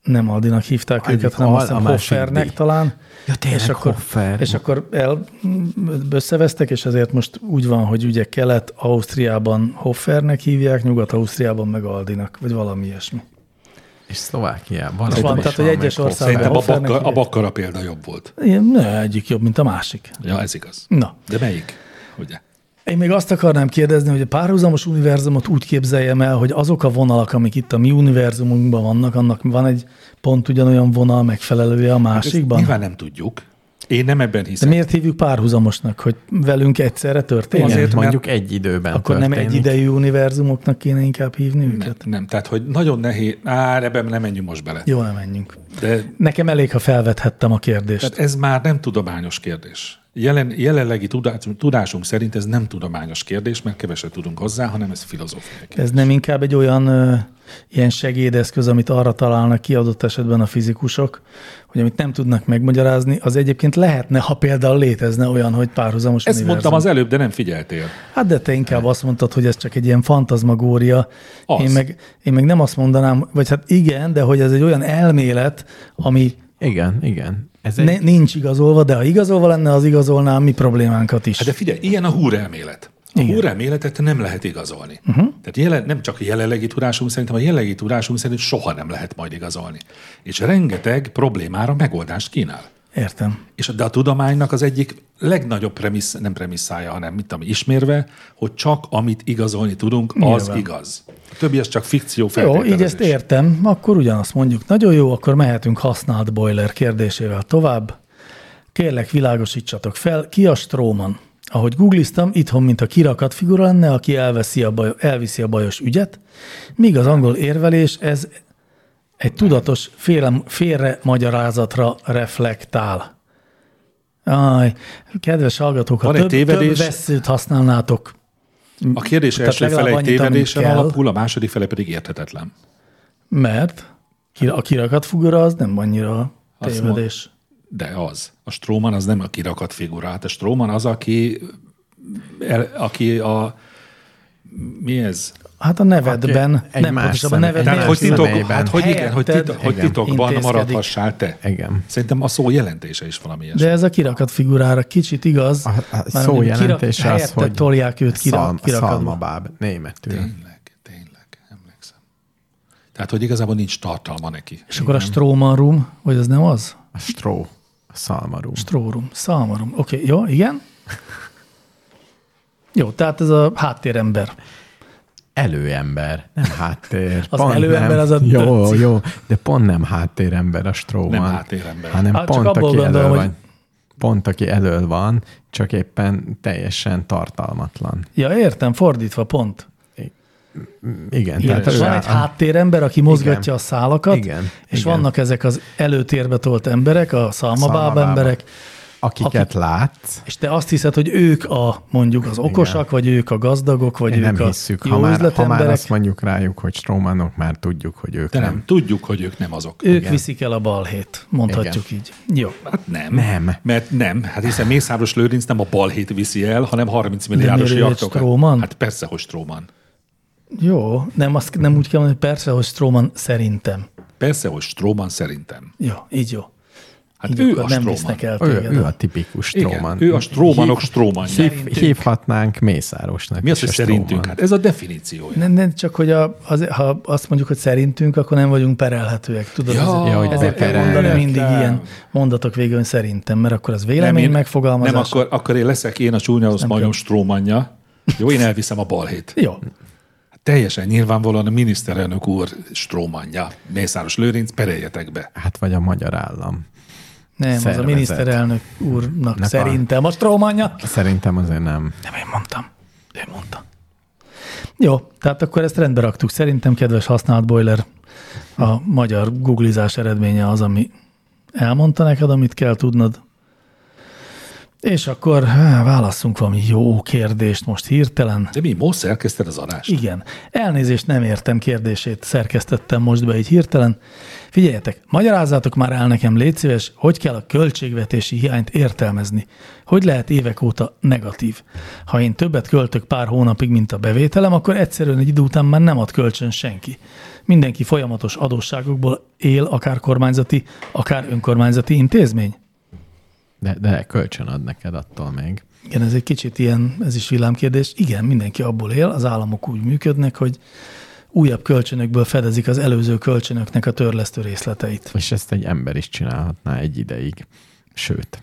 [SPEAKER 2] nem Aldinak hívták
[SPEAKER 4] Aldi,
[SPEAKER 2] őket, hanem
[SPEAKER 4] Al-
[SPEAKER 2] azt hiszem
[SPEAKER 4] a másik
[SPEAKER 2] Hoffernek
[SPEAKER 4] díj.
[SPEAKER 2] talán.
[SPEAKER 4] Ja, tényleg,
[SPEAKER 2] és akkor,
[SPEAKER 4] Hoffer.
[SPEAKER 2] És akkor el, m- összevesztek, és ezért most úgy van, hogy ugye Kelet-Ausztriában Hoffernek hívják, Nyugat-Ausztriában meg Aldinak, vagy valami ilyesmi.
[SPEAKER 4] És Szlovákiában. valahol
[SPEAKER 2] És van,
[SPEAKER 4] is
[SPEAKER 2] tehát, hogy egyes
[SPEAKER 4] meg
[SPEAKER 2] országban-
[SPEAKER 3] Szerintem a,
[SPEAKER 2] Hoffernek
[SPEAKER 3] bakka, a
[SPEAKER 2] hívják.
[SPEAKER 3] Bakara példa jobb volt.
[SPEAKER 2] Ilyen, ne, egyik jobb, mint a másik.
[SPEAKER 3] Ja, ez igaz.
[SPEAKER 2] Na,
[SPEAKER 3] De melyik? Ugye?
[SPEAKER 2] én még azt akarnám kérdezni, hogy a párhuzamos univerzumot úgy képzeljem el, hogy azok a vonalak, amik itt a mi univerzumunkban vannak, annak van egy pont ugyanolyan vonal megfelelője a
[SPEAKER 3] Ezt
[SPEAKER 2] másikban.
[SPEAKER 3] nyilván nem tudjuk. Én nem ebben
[SPEAKER 2] De
[SPEAKER 3] hiszem.
[SPEAKER 2] miért hívjuk párhuzamosnak, hogy velünk egyszerre történik?
[SPEAKER 4] Igen,
[SPEAKER 3] Azért,
[SPEAKER 4] azért,
[SPEAKER 3] mert-
[SPEAKER 4] mondjuk egy időben
[SPEAKER 2] Akkor nem
[SPEAKER 4] történik.
[SPEAKER 2] egy idejű univerzumoknak kéne inkább hívni őket?
[SPEAKER 3] Nem, nem, tehát hogy nagyon nehéz. Á, ebben nem menjünk most bele.
[SPEAKER 2] Jó, nem menjünk.
[SPEAKER 3] De
[SPEAKER 2] Nekem elég, ha felvethettem a kérdést.
[SPEAKER 3] Tehát ez már nem tudományos kérdés. Jelen, jelenlegi tudá- tudásunk szerint ez nem tudományos kérdés, mert keveset tudunk hozzá, hanem ez filozófiai kérdés.
[SPEAKER 2] ez nem inkább egy olyan ö, ilyen segédeszköz, amit arra találnak ki adott esetben a fizikusok, hogy amit nem tudnak megmagyarázni, az egyébként lehetne, ha például létezne olyan, hogy párhuzamos
[SPEAKER 3] Ezt
[SPEAKER 2] univerzum.
[SPEAKER 3] mondtam az előbb, de nem figyeltél.
[SPEAKER 2] Hát de te inkább azt mondtad, hogy ez csak egy ilyen fantazmagória.
[SPEAKER 3] Az.
[SPEAKER 2] Én meg, én meg nem azt mondanám, vagy hát igen, de hogy ez egy olyan elmélet, ami
[SPEAKER 4] Igen, igen. Ez egy
[SPEAKER 2] ne, nincs igazolva, de ha igazolva lenne, az igazolná a mi problémánkat is.
[SPEAKER 3] Hát de figyelj, ilyen a húrelmélet. A húrelméletet nem lehet igazolni.
[SPEAKER 2] Mhm.
[SPEAKER 3] Uh-huh. Tehát jelen, nem csak a jelenlegi tudásunk szerint, hanem a jelenlegi tudásunk szerint soha nem lehet majd igazolni. És rengeteg problémára megoldást kínál.
[SPEAKER 2] Értem.
[SPEAKER 3] És de a tudománynak az egyik legnagyobb premissz, nem premisszája, hanem mit tudom, ismérve, hogy csak amit igazolni tudunk, Nyilván. az
[SPEAKER 2] Nyilván.
[SPEAKER 3] igaz. A többi az csak fikció
[SPEAKER 2] Jó, így
[SPEAKER 3] feltételezés.
[SPEAKER 2] ezt értem. Akkor ugyanazt mondjuk. Nagyon jó, akkor mehetünk használt boiler kérdésével tovább. Kérlek, világosítsatok fel, ki a Stróman? Ahogy googliztam, itthon, mint a kirakat figura lenne, aki elveszi a baj, elviszi a bajos ügyet, míg az angol érvelés ez egy tudatos félre, félre magyarázatra reflektál. Aj, kedves hallgatók, ha
[SPEAKER 3] Van egy
[SPEAKER 2] több, több
[SPEAKER 3] tévedés?
[SPEAKER 2] veszőt használnátok,
[SPEAKER 3] A kérdés
[SPEAKER 2] Tehát
[SPEAKER 3] első
[SPEAKER 2] legalább
[SPEAKER 3] fele egy
[SPEAKER 2] annyit, amit
[SPEAKER 3] tévedésen
[SPEAKER 2] kell.
[SPEAKER 3] alapul, a második fele pedig érthetetlen.
[SPEAKER 2] mert ki- a kirakat figura az nem annyira
[SPEAKER 3] Azt
[SPEAKER 2] tévedés.
[SPEAKER 3] De az. A Stróman az nem a kirakat figura. Hát a Stróman az, aki, el, aki a... Mi ez?
[SPEAKER 2] Hát a nevedben,
[SPEAKER 4] Egy
[SPEAKER 2] nem
[SPEAKER 4] más
[SPEAKER 2] pontosabban a
[SPEAKER 4] személy.
[SPEAKER 2] nevedben.
[SPEAKER 3] Tehát,
[SPEAKER 4] miért?
[SPEAKER 3] hogy, titok,
[SPEAKER 4] Személyben.
[SPEAKER 3] hát, hogy, igen, hogy,
[SPEAKER 2] Helyetted
[SPEAKER 3] titok, hogy
[SPEAKER 2] igen.
[SPEAKER 3] titokban
[SPEAKER 2] intézkedik.
[SPEAKER 3] maradhassál te.
[SPEAKER 4] Igen.
[SPEAKER 3] Szerintem a szó jelentése is valami ilyesmi.
[SPEAKER 2] De ez a kirakat figurára kicsit igaz.
[SPEAKER 4] A, a
[SPEAKER 2] mert
[SPEAKER 4] szó
[SPEAKER 2] ugye kirak-
[SPEAKER 4] jelentése az,
[SPEAKER 2] helyette
[SPEAKER 4] hogy
[SPEAKER 2] tolják őt kira-
[SPEAKER 4] szalm,
[SPEAKER 2] kirakatba.
[SPEAKER 4] szalmabáb, németül.
[SPEAKER 3] Tényleg, tényleg, emlékszem. Tehát, hogy igazából nincs tartalma neki.
[SPEAKER 2] És akkor a Stróman Room, vagy az nem az?
[SPEAKER 4] A stró, a szalmarú.
[SPEAKER 2] Strórum, szalmarum. Oké, okay, jó, igen. Jó, tehát ez a háttérember.
[SPEAKER 4] Előember, nem háttér.
[SPEAKER 2] Az előember
[SPEAKER 4] nem.
[SPEAKER 2] az a
[SPEAKER 4] Jó,
[SPEAKER 2] döci.
[SPEAKER 4] jó, de pont nem háttérember a stróman.
[SPEAKER 3] Nem háttérember.
[SPEAKER 4] Hanem
[SPEAKER 2] Hát
[SPEAKER 4] hát
[SPEAKER 2] csak
[SPEAKER 4] pont,
[SPEAKER 2] abból
[SPEAKER 4] aki
[SPEAKER 2] gondolom,
[SPEAKER 4] elől
[SPEAKER 2] hogy-
[SPEAKER 4] van. Pont, aki elől van, csak éppen teljesen tartalmatlan.
[SPEAKER 2] Ja, értem, fordítva pont.
[SPEAKER 4] Igen,
[SPEAKER 2] Igen,
[SPEAKER 4] tehát
[SPEAKER 2] és
[SPEAKER 4] ő
[SPEAKER 2] van
[SPEAKER 4] a-
[SPEAKER 2] egy háttérember, aki mozgatja
[SPEAKER 4] Igen.
[SPEAKER 2] a szálakat,
[SPEAKER 4] Igen,
[SPEAKER 2] és
[SPEAKER 4] igen.
[SPEAKER 2] vannak ezek az előtérbe tolt emberek, a szalmabáb
[SPEAKER 4] Szalmabába.
[SPEAKER 2] emberek,
[SPEAKER 4] akiket
[SPEAKER 2] akik-
[SPEAKER 4] látsz,
[SPEAKER 2] és te azt hiszed, hogy ők a mondjuk az okosak, vagy ők a gazdagok, vagy
[SPEAKER 4] Én
[SPEAKER 2] ők
[SPEAKER 4] nem
[SPEAKER 2] a
[SPEAKER 4] hisszük,
[SPEAKER 2] jó
[SPEAKER 4] ha már, ha
[SPEAKER 2] üzletemberek.
[SPEAKER 4] már azt mondjuk rájuk, hogy strómanok, már tudjuk, hogy ők
[SPEAKER 3] De
[SPEAKER 4] nem.
[SPEAKER 3] nem, tudjuk, hogy ők nem azok.
[SPEAKER 2] Ők igen. viszik el a balhét, mondhatjuk igen. így. Jó.
[SPEAKER 3] Hát nem.
[SPEAKER 4] Nem.
[SPEAKER 3] Mert nem. Hát hiszen Mészáros Lőrinc nem a balhét viszi el, hanem 30 milliárdos
[SPEAKER 2] miért ő egy
[SPEAKER 3] jaktokat.
[SPEAKER 2] Stróman?
[SPEAKER 3] Hát persze, hogy Stróman.
[SPEAKER 2] Jó, nem, azt, nem úgy kell mondani, hogy persze, hogy Stroman szerintem.
[SPEAKER 3] Persze, hogy Stróman szerintem.
[SPEAKER 2] Jó, így jó.
[SPEAKER 3] Hát
[SPEAKER 2] így
[SPEAKER 3] ő a
[SPEAKER 2] akkor nem
[SPEAKER 3] Stróman.
[SPEAKER 2] visznek el
[SPEAKER 4] Ő,
[SPEAKER 2] téged.
[SPEAKER 4] ő a tipikus stróman.
[SPEAKER 3] Igen, ő a Strómanok Strómanja.
[SPEAKER 4] Hív, hívhatnánk Mészárosnak
[SPEAKER 3] Mi az,
[SPEAKER 4] is
[SPEAKER 3] hogy
[SPEAKER 4] a
[SPEAKER 3] szerintünk?
[SPEAKER 4] stróman.
[SPEAKER 3] Hát ez a definíciója.
[SPEAKER 2] Nem, nem, csak hogy a, az, ha azt mondjuk, hogy szerintünk, akkor nem vagyunk perelhetőek. Tudod,
[SPEAKER 3] Ja,
[SPEAKER 2] ezért,
[SPEAKER 4] ja, hogy
[SPEAKER 2] ezért kell
[SPEAKER 4] perelnek.
[SPEAKER 2] mondani mindig
[SPEAKER 3] Nem.
[SPEAKER 2] ilyen mondatok végül hogy szerintem, mert akkor az vélemény
[SPEAKER 3] én-
[SPEAKER 2] megfogalmazás.
[SPEAKER 3] Nem, akkor, akkor én leszek én a csúnyahoz majom Strómanja. Jó, én elviszem a balhét.
[SPEAKER 2] Jó,
[SPEAKER 3] Teljesen nyilvánvalóan a miniszterelnök úr strómanja. Mészáros Lőrinc, pereljetek be.
[SPEAKER 4] Hát vagy a magyar állam.
[SPEAKER 2] nem, az a
[SPEAKER 4] Szervezet.
[SPEAKER 2] miniszterelnök úrnak
[SPEAKER 4] Nek a-
[SPEAKER 2] szerintem a Strómanja.
[SPEAKER 4] Szerintem azért nem.
[SPEAKER 2] Nem én mondtam. Ő mondta. Jó, tehát akkor ezt rendbe raktuk. Szerintem, kedves használt boiler, a magyar googlizás eredménye az, ami elmondta neked, amit kell tudnod. És akkor há, válasszunk valami jó kérdést most hirtelen.
[SPEAKER 3] De mi, most szerkeszted az adást?
[SPEAKER 2] Igen. Elnézést nem értem kérdését, szerkesztettem most be így hirtelen. Figyeljetek, magyarázzátok már el nekem, légy szíves, hogy kell a költségvetési hiányt értelmezni. Hogy lehet évek óta negatív? Ha én többet költök pár hónapig, mint a bevételem, akkor egyszerűen egy idő után már nem ad kölcsön senki. Mindenki folyamatos adósságokból él, akár kormányzati, akár önkormányzati intézmény.
[SPEAKER 4] De, de kölcsön ad neked attól még.
[SPEAKER 2] Igen, ez egy kicsit ilyen, ez is villámkérdés. Igen, mindenki abból él, az államok úgy működnek, hogy újabb kölcsönökből fedezik az előző kölcsönöknek a törlesztő részleteit.
[SPEAKER 4] És ezt egy ember is csinálhatná egy ideig. Sőt.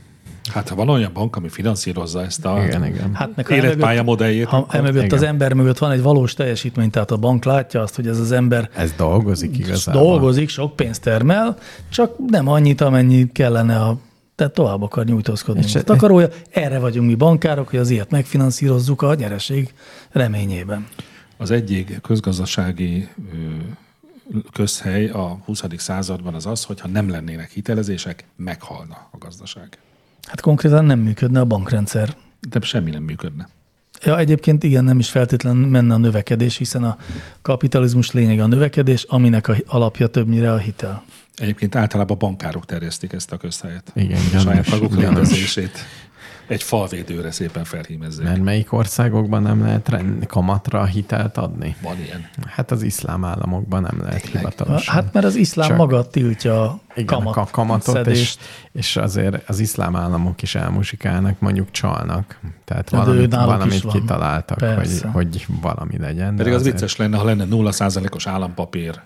[SPEAKER 3] Hát ha van olyan bank, ami finanszírozza ezt a
[SPEAKER 4] Igen, igen.
[SPEAKER 2] Hát meg ha
[SPEAKER 3] életpálya
[SPEAKER 2] emögött,
[SPEAKER 3] modelljét,
[SPEAKER 2] ha emögött az
[SPEAKER 4] igen.
[SPEAKER 2] ember mögött van egy valós teljesítmény, tehát a bank látja azt, hogy ez az ember
[SPEAKER 4] Ez dolgozik igazából.
[SPEAKER 2] dolgozik, sok pénzt termel, csak nem annyit, amennyi kellene a tehát tovább akar nyújtózkodni,
[SPEAKER 4] És
[SPEAKER 2] mint
[SPEAKER 4] e-
[SPEAKER 2] takarója. Erre vagyunk mi bankárok, hogy az ilyet megfinanszírozzuk a nyereség reményében.
[SPEAKER 3] az egyik közgazdasági ö, közhely a 20. században az az, hogy ha nem lennének hitelezések, meghalna a gazdaság.
[SPEAKER 2] Hát konkrétan nem működne a bankrendszer.
[SPEAKER 3] De semmi nem működne.
[SPEAKER 2] Ja, egyébként igen, nem is feltétlenül menne a növekedés, hiszen a kapitalizmus lényege a növekedés, aminek a hi- alapja többnyire a hitel.
[SPEAKER 3] Egyébként általában bankárok terjesztik ezt a közhelyet.
[SPEAKER 4] Igen,
[SPEAKER 3] a
[SPEAKER 4] gyanús,
[SPEAKER 3] saját maguk
[SPEAKER 4] gyanús.
[SPEAKER 3] rendezését egy falvédőre szépen felhímezzék.
[SPEAKER 4] Mert melyik országokban nem lehet rend, kamatra hitelt adni?
[SPEAKER 3] Van ilyen.
[SPEAKER 4] Hát az iszlám államokban nem lehet hivatalosan.
[SPEAKER 2] Hát mert az iszlám
[SPEAKER 4] Hm. Csak-
[SPEAKER 2] maga tiltja a
[SPEAKER 4] Igen,
[SPEAKER 2] kamat,
[SPEAKER 4] a kamatot, és,
[SPEAKER 2] szedést.
[SPEAKER 4] és azért az iszlám államok is elmusikálnak, mondjuk csalnak. Tehát
[SPEAKER 2] de ő
[SPEAKER 4] valamit,
[SPEAKER 2] náluk is
[SPEAKER 4] valamit
[SPEAKER 2] van.
[SPEAKER 4] kitaláltak, hogy,
[SPEAKER 2] Persze.
[SPEAKER 4] hogy valami legyen. de
[SPEAKER 3] Pedig az
[SPEAKER 4] azért-
[SPEAKER 3] vicces lenne, ha lenne 0%-os állampapír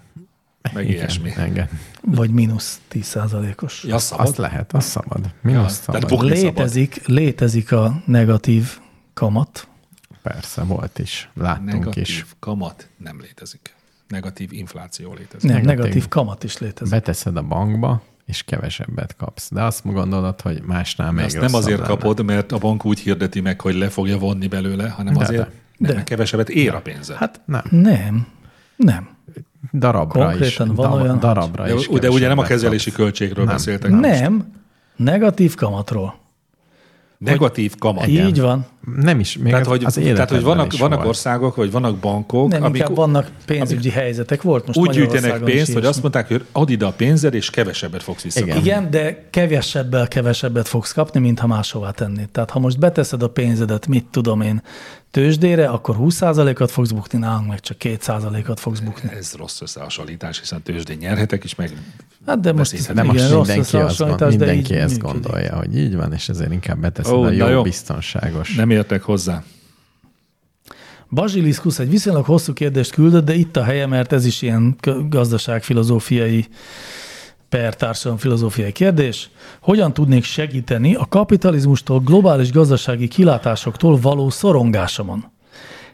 [SPEAKER 3] meg
[SPEAKER 4] Igen,
[SPEAKER 3] ilyesmi.
[SPEAKER 4] Engem.
[SPEAKER 2] Vagy mínusz 10%-os.
[SPEAKER 3] Ja, szabad.
[SPEAKER 4] Azt lehet, azt szabad. Mi ja, azt
[SPEAKER 3] tehát
[SPEAKER 4] szabad?
[SPEAKER 3] bukni szabad.
[SPEAKER 2] Létezik, létezik a negatív kamat.
[SPEAKER 4] Persze, volt is. Láttunk
[SPEAKER 3] Negatív
[SPEAKER 4] is.
[SPEAKER 3] kamat nem létezik. Negatív infláció létezik.
[SPEAKER 2] Nem,
[SPEAKER 4] Negatív.
[SPEAKER 2] negatív kamat is létezik.
[SPEAKER 4] Beteszed a bankba, és kevesebbet kapsz. De azt gondolod, hogy másnál
[SPEAKER 3] De
[SPEAKER 4] még
[SPEAKER 3] Azt nem
[SPEAKER 4] rosszabb
[SPEAKER 3] azért
[SPEAKER 4] lenne.
[SPEAKER 3] kapod, mert a bank úgy hirdeti meg, hogy le fogja vonni belőle, hanem
[SPEAKER 4] De,
[SPEAKER 3] azért,
[SPEAKER 4] de.
[SPEAKER 3] de.
[SPEAKER 2] De.
[SPEAKER 3] mert kevesebbet ér a pénzed.
[SPEAKER 2] Hát
[SPEAKER 4] Nem.
[SPEAKER 2] nem. Nem.
[SPEAKER 4] Darabra
[SPEAKER 2] Konkrétan
[SPEAKER 4] is.
[SPEAKER 2] van
[SPEAKER 4] Dab-
[SPEAKER 2] olyan, hogy-
[SPEAKER 4] darabra is
[SPEAKER 3] de, de ugye nem a
[SPEAKER 4] kevesebbet
[SPEAKER 3] kezelési
[SPEAKER 4] kapsz.
[SPEAKER 3] költségről
[SPEAKER 4] Nem.
[SPEAKER 3] beszéltek.
[SPEAKER 2] nem.
[SPEAKER 3] hanem
[SPEAKER 2] Negatív kamatról.
[SPEAKER 3] Negatív kamat.
[SPEAKER 2] Igen. Így van.
[SPEAKER 4] Nem is. Még
[SPEAKER 3] Tehát,
[SPEAKER 4] az-
[SPEAKER 3] hogy,
[SPEAKER 4] az
[SPEAKER 3] tehát, hogy
[SPEAKER 4] életedben
[SPEAKER 3] vannak,
[SPEAKER 4] is
[SPEAKER 3] vannak
[SPEAKER 4] volt.
[SPEAKER 3] országok, vagy vannak bankok,
[SPEAKER 2] Nem,
[SPEAKER 3] amik
[SPEAKER 2] inkább vannak pénzügyi helyzetek. Volt most
[SPEAKER 3] úgy gyűjtenek
[SPEAKER 2] Magyarországon is
[SPEAKER 3] pénzt, hogy
[SPEAKER 2] ilyesmi.
[SPEAKER 3] azt mondták, hogy add ide a pénzed, és kevesebbet fogsz visszakapni.
[SPEAKER 4] Igen.
[SPEAKER 2] Igen, de kevesebbel kevesebbet fogsz kapni, mint ha máshová tennéd. Tehát ha most beteszed a pénzedet, mit tudom én, tőzsdére, akkor 20%-at fogsz bukni, nálunk meg csak 2%-at fogsz bukni.
[SPEAKER 3] Ez rossz összehasonlítás, hiszen tőzsdén nyerhetek is, meg
[SPEAKER 2] Hát de most
[SPEAKER 3] Persze,
[SPEAKER 4] De
[SPEAKER 2] igen,
[SPEAKER 4] most
[SPEAKER 2] rossz
[SPEAKER 4] mindenki, azt, gond,
[SPEAKER 2] összehasonlítás, de
[SPEAKER 4] mindenki
[SPEAKER 2] így
[SPEAKER 4] ezt
[SPEAKER 2] működik.
[SPEAKER 4] gondolja, hogy így van, és ezért inkább beteszed
[SPEAKER 3] Ó,
[SPEAKER 4] a
[SPEAKER 3] na
[SPEAKER 4] jó,
[SPEAKER 3] jó.
[SPEAKER 4] biztonságos.
[SPEAKER 3] nem értek hozzá.
[SPEAKER 2] Basiliszkusz egy viszonylag hosszú kérdést küldött, de itt a helye, mert ez is ilyen k- gazdaságfilozófiai per társadalom filozófiai kérdés. Hogyan tudnék segíteni a kapitalizmustól, globális gazdasági kilátásoktól való szorongásomon?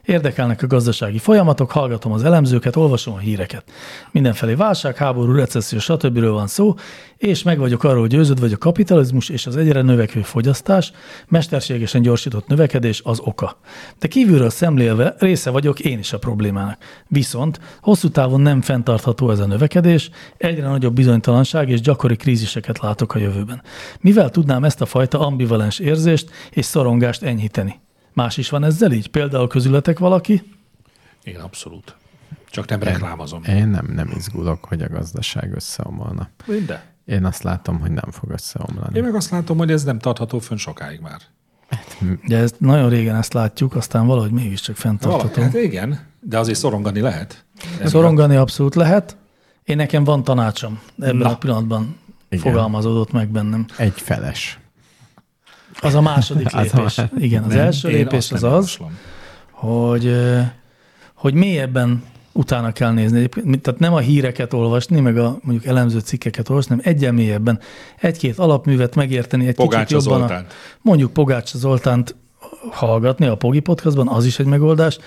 [SPEAKER 2] Érdekelnek a gazdasági folyamatok, hallgatom az elemzőket, olvasom a híreket. Mindenfelé válság, háború, recesszió, stb. van szó, és meg vagyok arról győződve, hogy a kapitalizmus és az egyre növekvő fogyasztás, mesterségesen gyorsított növekedés az oka. De kívülről szemlélve része vagyok én is a problémának. Viszont hosszú távon nem fenntartható ez a növekedés, egyre nagyobb bizonytalanság és gyakori kríziseket látok a jövőben. Mivel tudnám ezt a fajta ambivalens érzést és szorongást enyhíteni? Más is van ezzel így? Például közületek valaki?
[SPEAKER 3] Én abszolút. Csak nem reklámozom.
[SPEAKER 4] Én nem, nem izgulok, hogy a gazdaság összeomolna.
[SPEAKER 3] De.
[SPEAKER 4] Én azt látom, hogy nem fog összeomlani.
[SPEAKER 3] Én meg azt látom, hogy ez nem tartható fönn sokáig már.
[SPEAKER 2] Ugye ezt nagyon régen ezt látjuk, aztán valahogy mégiscsak
[SPEAKER 3] Valaki,
[SPEAKER 2] fenntartható.
[SPEAKER 3] hát igen, de azért szorongani lehet.
[SPEAKER 2] Szorongani abszolút lehet. Én nekem van tanácsom. Ebben
[SPEAKER 3] Na.
[SPEAKER 2] a pillanatban
[SPEAKER 4] Igen.
[SPEAKER 2] fogalmazódott meg bennem.
[SPEAKER 4] Egy feles.
[SPEAKER 2] Az a második
[SPEAKER 4] Az a
[SPEAKER 2] lépés.
[SPEAKER 4] más-
[SPEAKER 2] Igen, az
[SPEAKER 3] Hát Nem,
[SPEAKER 2] első
[SPEAKER 3] én
[SPEAKER 2] lépés
[SPEAKER 3] azt
[SPEAKER 2] az
[SPEAKER 3] nem
[SPEAKER 2] az,
[SPEAKER 3] javaslom.
[SPEAKER 2] hogy, ö, hogy mélyebben utána kell nézni. Egyébként, mint- Tehát nem a híreket olvasni, meg a mondjuk elemző cikkeket olvasni, hanem egyen mélyebben egy-két alapművet megérteni, egy
[SPEAKER 3] Pogácsa
[SPEAKER 2] kicsit jobban. A,
[SPEAKER 3] Zoltánt.
[SPEAKER 2] mondjuk Pogácsa Zoltánt hallgatni a Pogi podcastban, az is egy megoldás.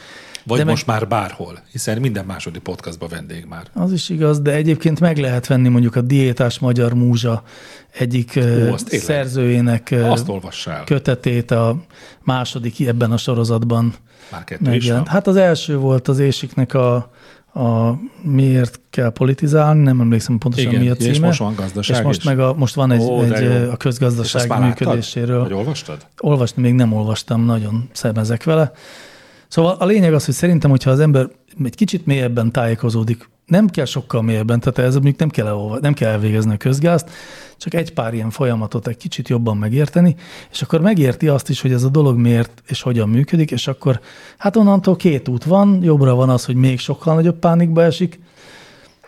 [SPEAKER 3] Vagy de
[SPEAKER 2] De meg-
[SPEAKER 3] most már bárhol, hiszen minden második podcastban vendég már.
[SPEAKER 2] Az is igaz, de egyébként meg lehet venni mondjuk a Diétás Magyar Múzsa egyik ö,
[SPEAKER 3] azt tényleg.
[SPEAKER 2] szerzőjének ö,
[SPEAKER 3] Azt olvass el.
[SPEAKER 2] kötetét a második ebben a sorozatban.
[SPEAKER 3] Már kettő is van.
[SPEAKER 2] Megjelent. Hát az első volt az Ésiknek a, a Miért kell politizálni, nem emlékszem pontosan
[SPEAKER 3] Igen,
[SPEAKER 2] mi a
[SPEAKER 3] és
[SPEAKER 2] címe.
[SPEAKER 3] most van gazdaság
[SPEAKER 2] És most,
[SPEAKER 3] is.
[SPEAKER 2] meg a, most van egy,
[SPEAKER 3] Ó, de
[SPEAKER 2] egy
[SPEAKER 3] jó.
[SPEAKER 2] ö, a
[SPEAKER 3] És azt
[SPEAKER 2] közgazdaság
[SPEAKER 3] már láttad?
[SPEAKER 2] működéséről.
[SPEAKER 3] Vagy olvastad?
[SPEAKER 2] Olvasni még nem olvastam, nagyon szemezek vele. Szóval a lényeg az, hogy szerintem, hogyha az ember egy kicsit mélyebben tájékozódik, nem kell sokkal mélyebben, tehát ez mondjuk nem kell, elolva, nem kell elvégezni a közgázt, csak egy pár ilyen folyamatot egy kicsit jobban megérteni, és akkor megérti azt is, hogy ez a dolog miért és hogyan működik, és akkor hát onnantól két út van, jobbra van az, hogy még sokkal nagyobb pánikba esik,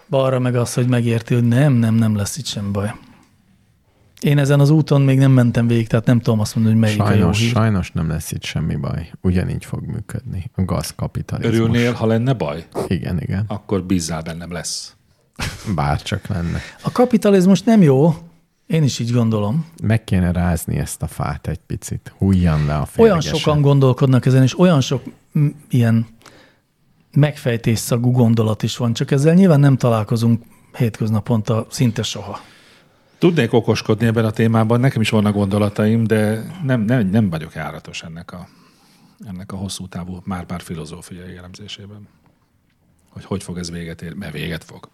[SPEAKER 2] balra meg az, hogy megérti, hogy nem, nem, nem lesz itt sem baj. Én ezen az úton még nem mentem végig, tehát nem tudom azt mondani, hogy melyik a jó
[SPEAKER 4] Sajnos,
[SPEAKER 2] hír.
[SPEAKER 4] sajnos nem lesz itt semmi baj. Ugyanígy fog működni. A gazkapitalizmus.
[SPEAKER 3] Örülnél, ha lenne baj?
[SPEAKER 4] Igen, igen.
[SPEAKER 3] Akkor bízzál bennem lesz. Ah.
[SPEAKER 4] Bárcsak lenne.
[SPEAKER 2] A kapitalizmus nem jó, én is így gondolom.
[SPEAKER 4] Meg kéne rázni ezt a fát egy picit. Hújjan le a
[SPEAKER 2] Olyan
[SPEAKER 4] férgesen.
[SPEAKER 2] sokan gondolkodnak ezen, és olyan sok mm, ilyen megfejtésszagú gondolat is van, csak ezzel nyilván nem találkozunk hétköznaponta szinte soha.
[SPEAKER 3] Tudnék okoskodni ebben a témában, nekem is vannak gondolataim, de nem, nem, nem vagyok járatos ennek a, ennek a hosszú távú, már-már filozófiai elemzésében. Hogy hogy fog ez véget érni, mert véget fog.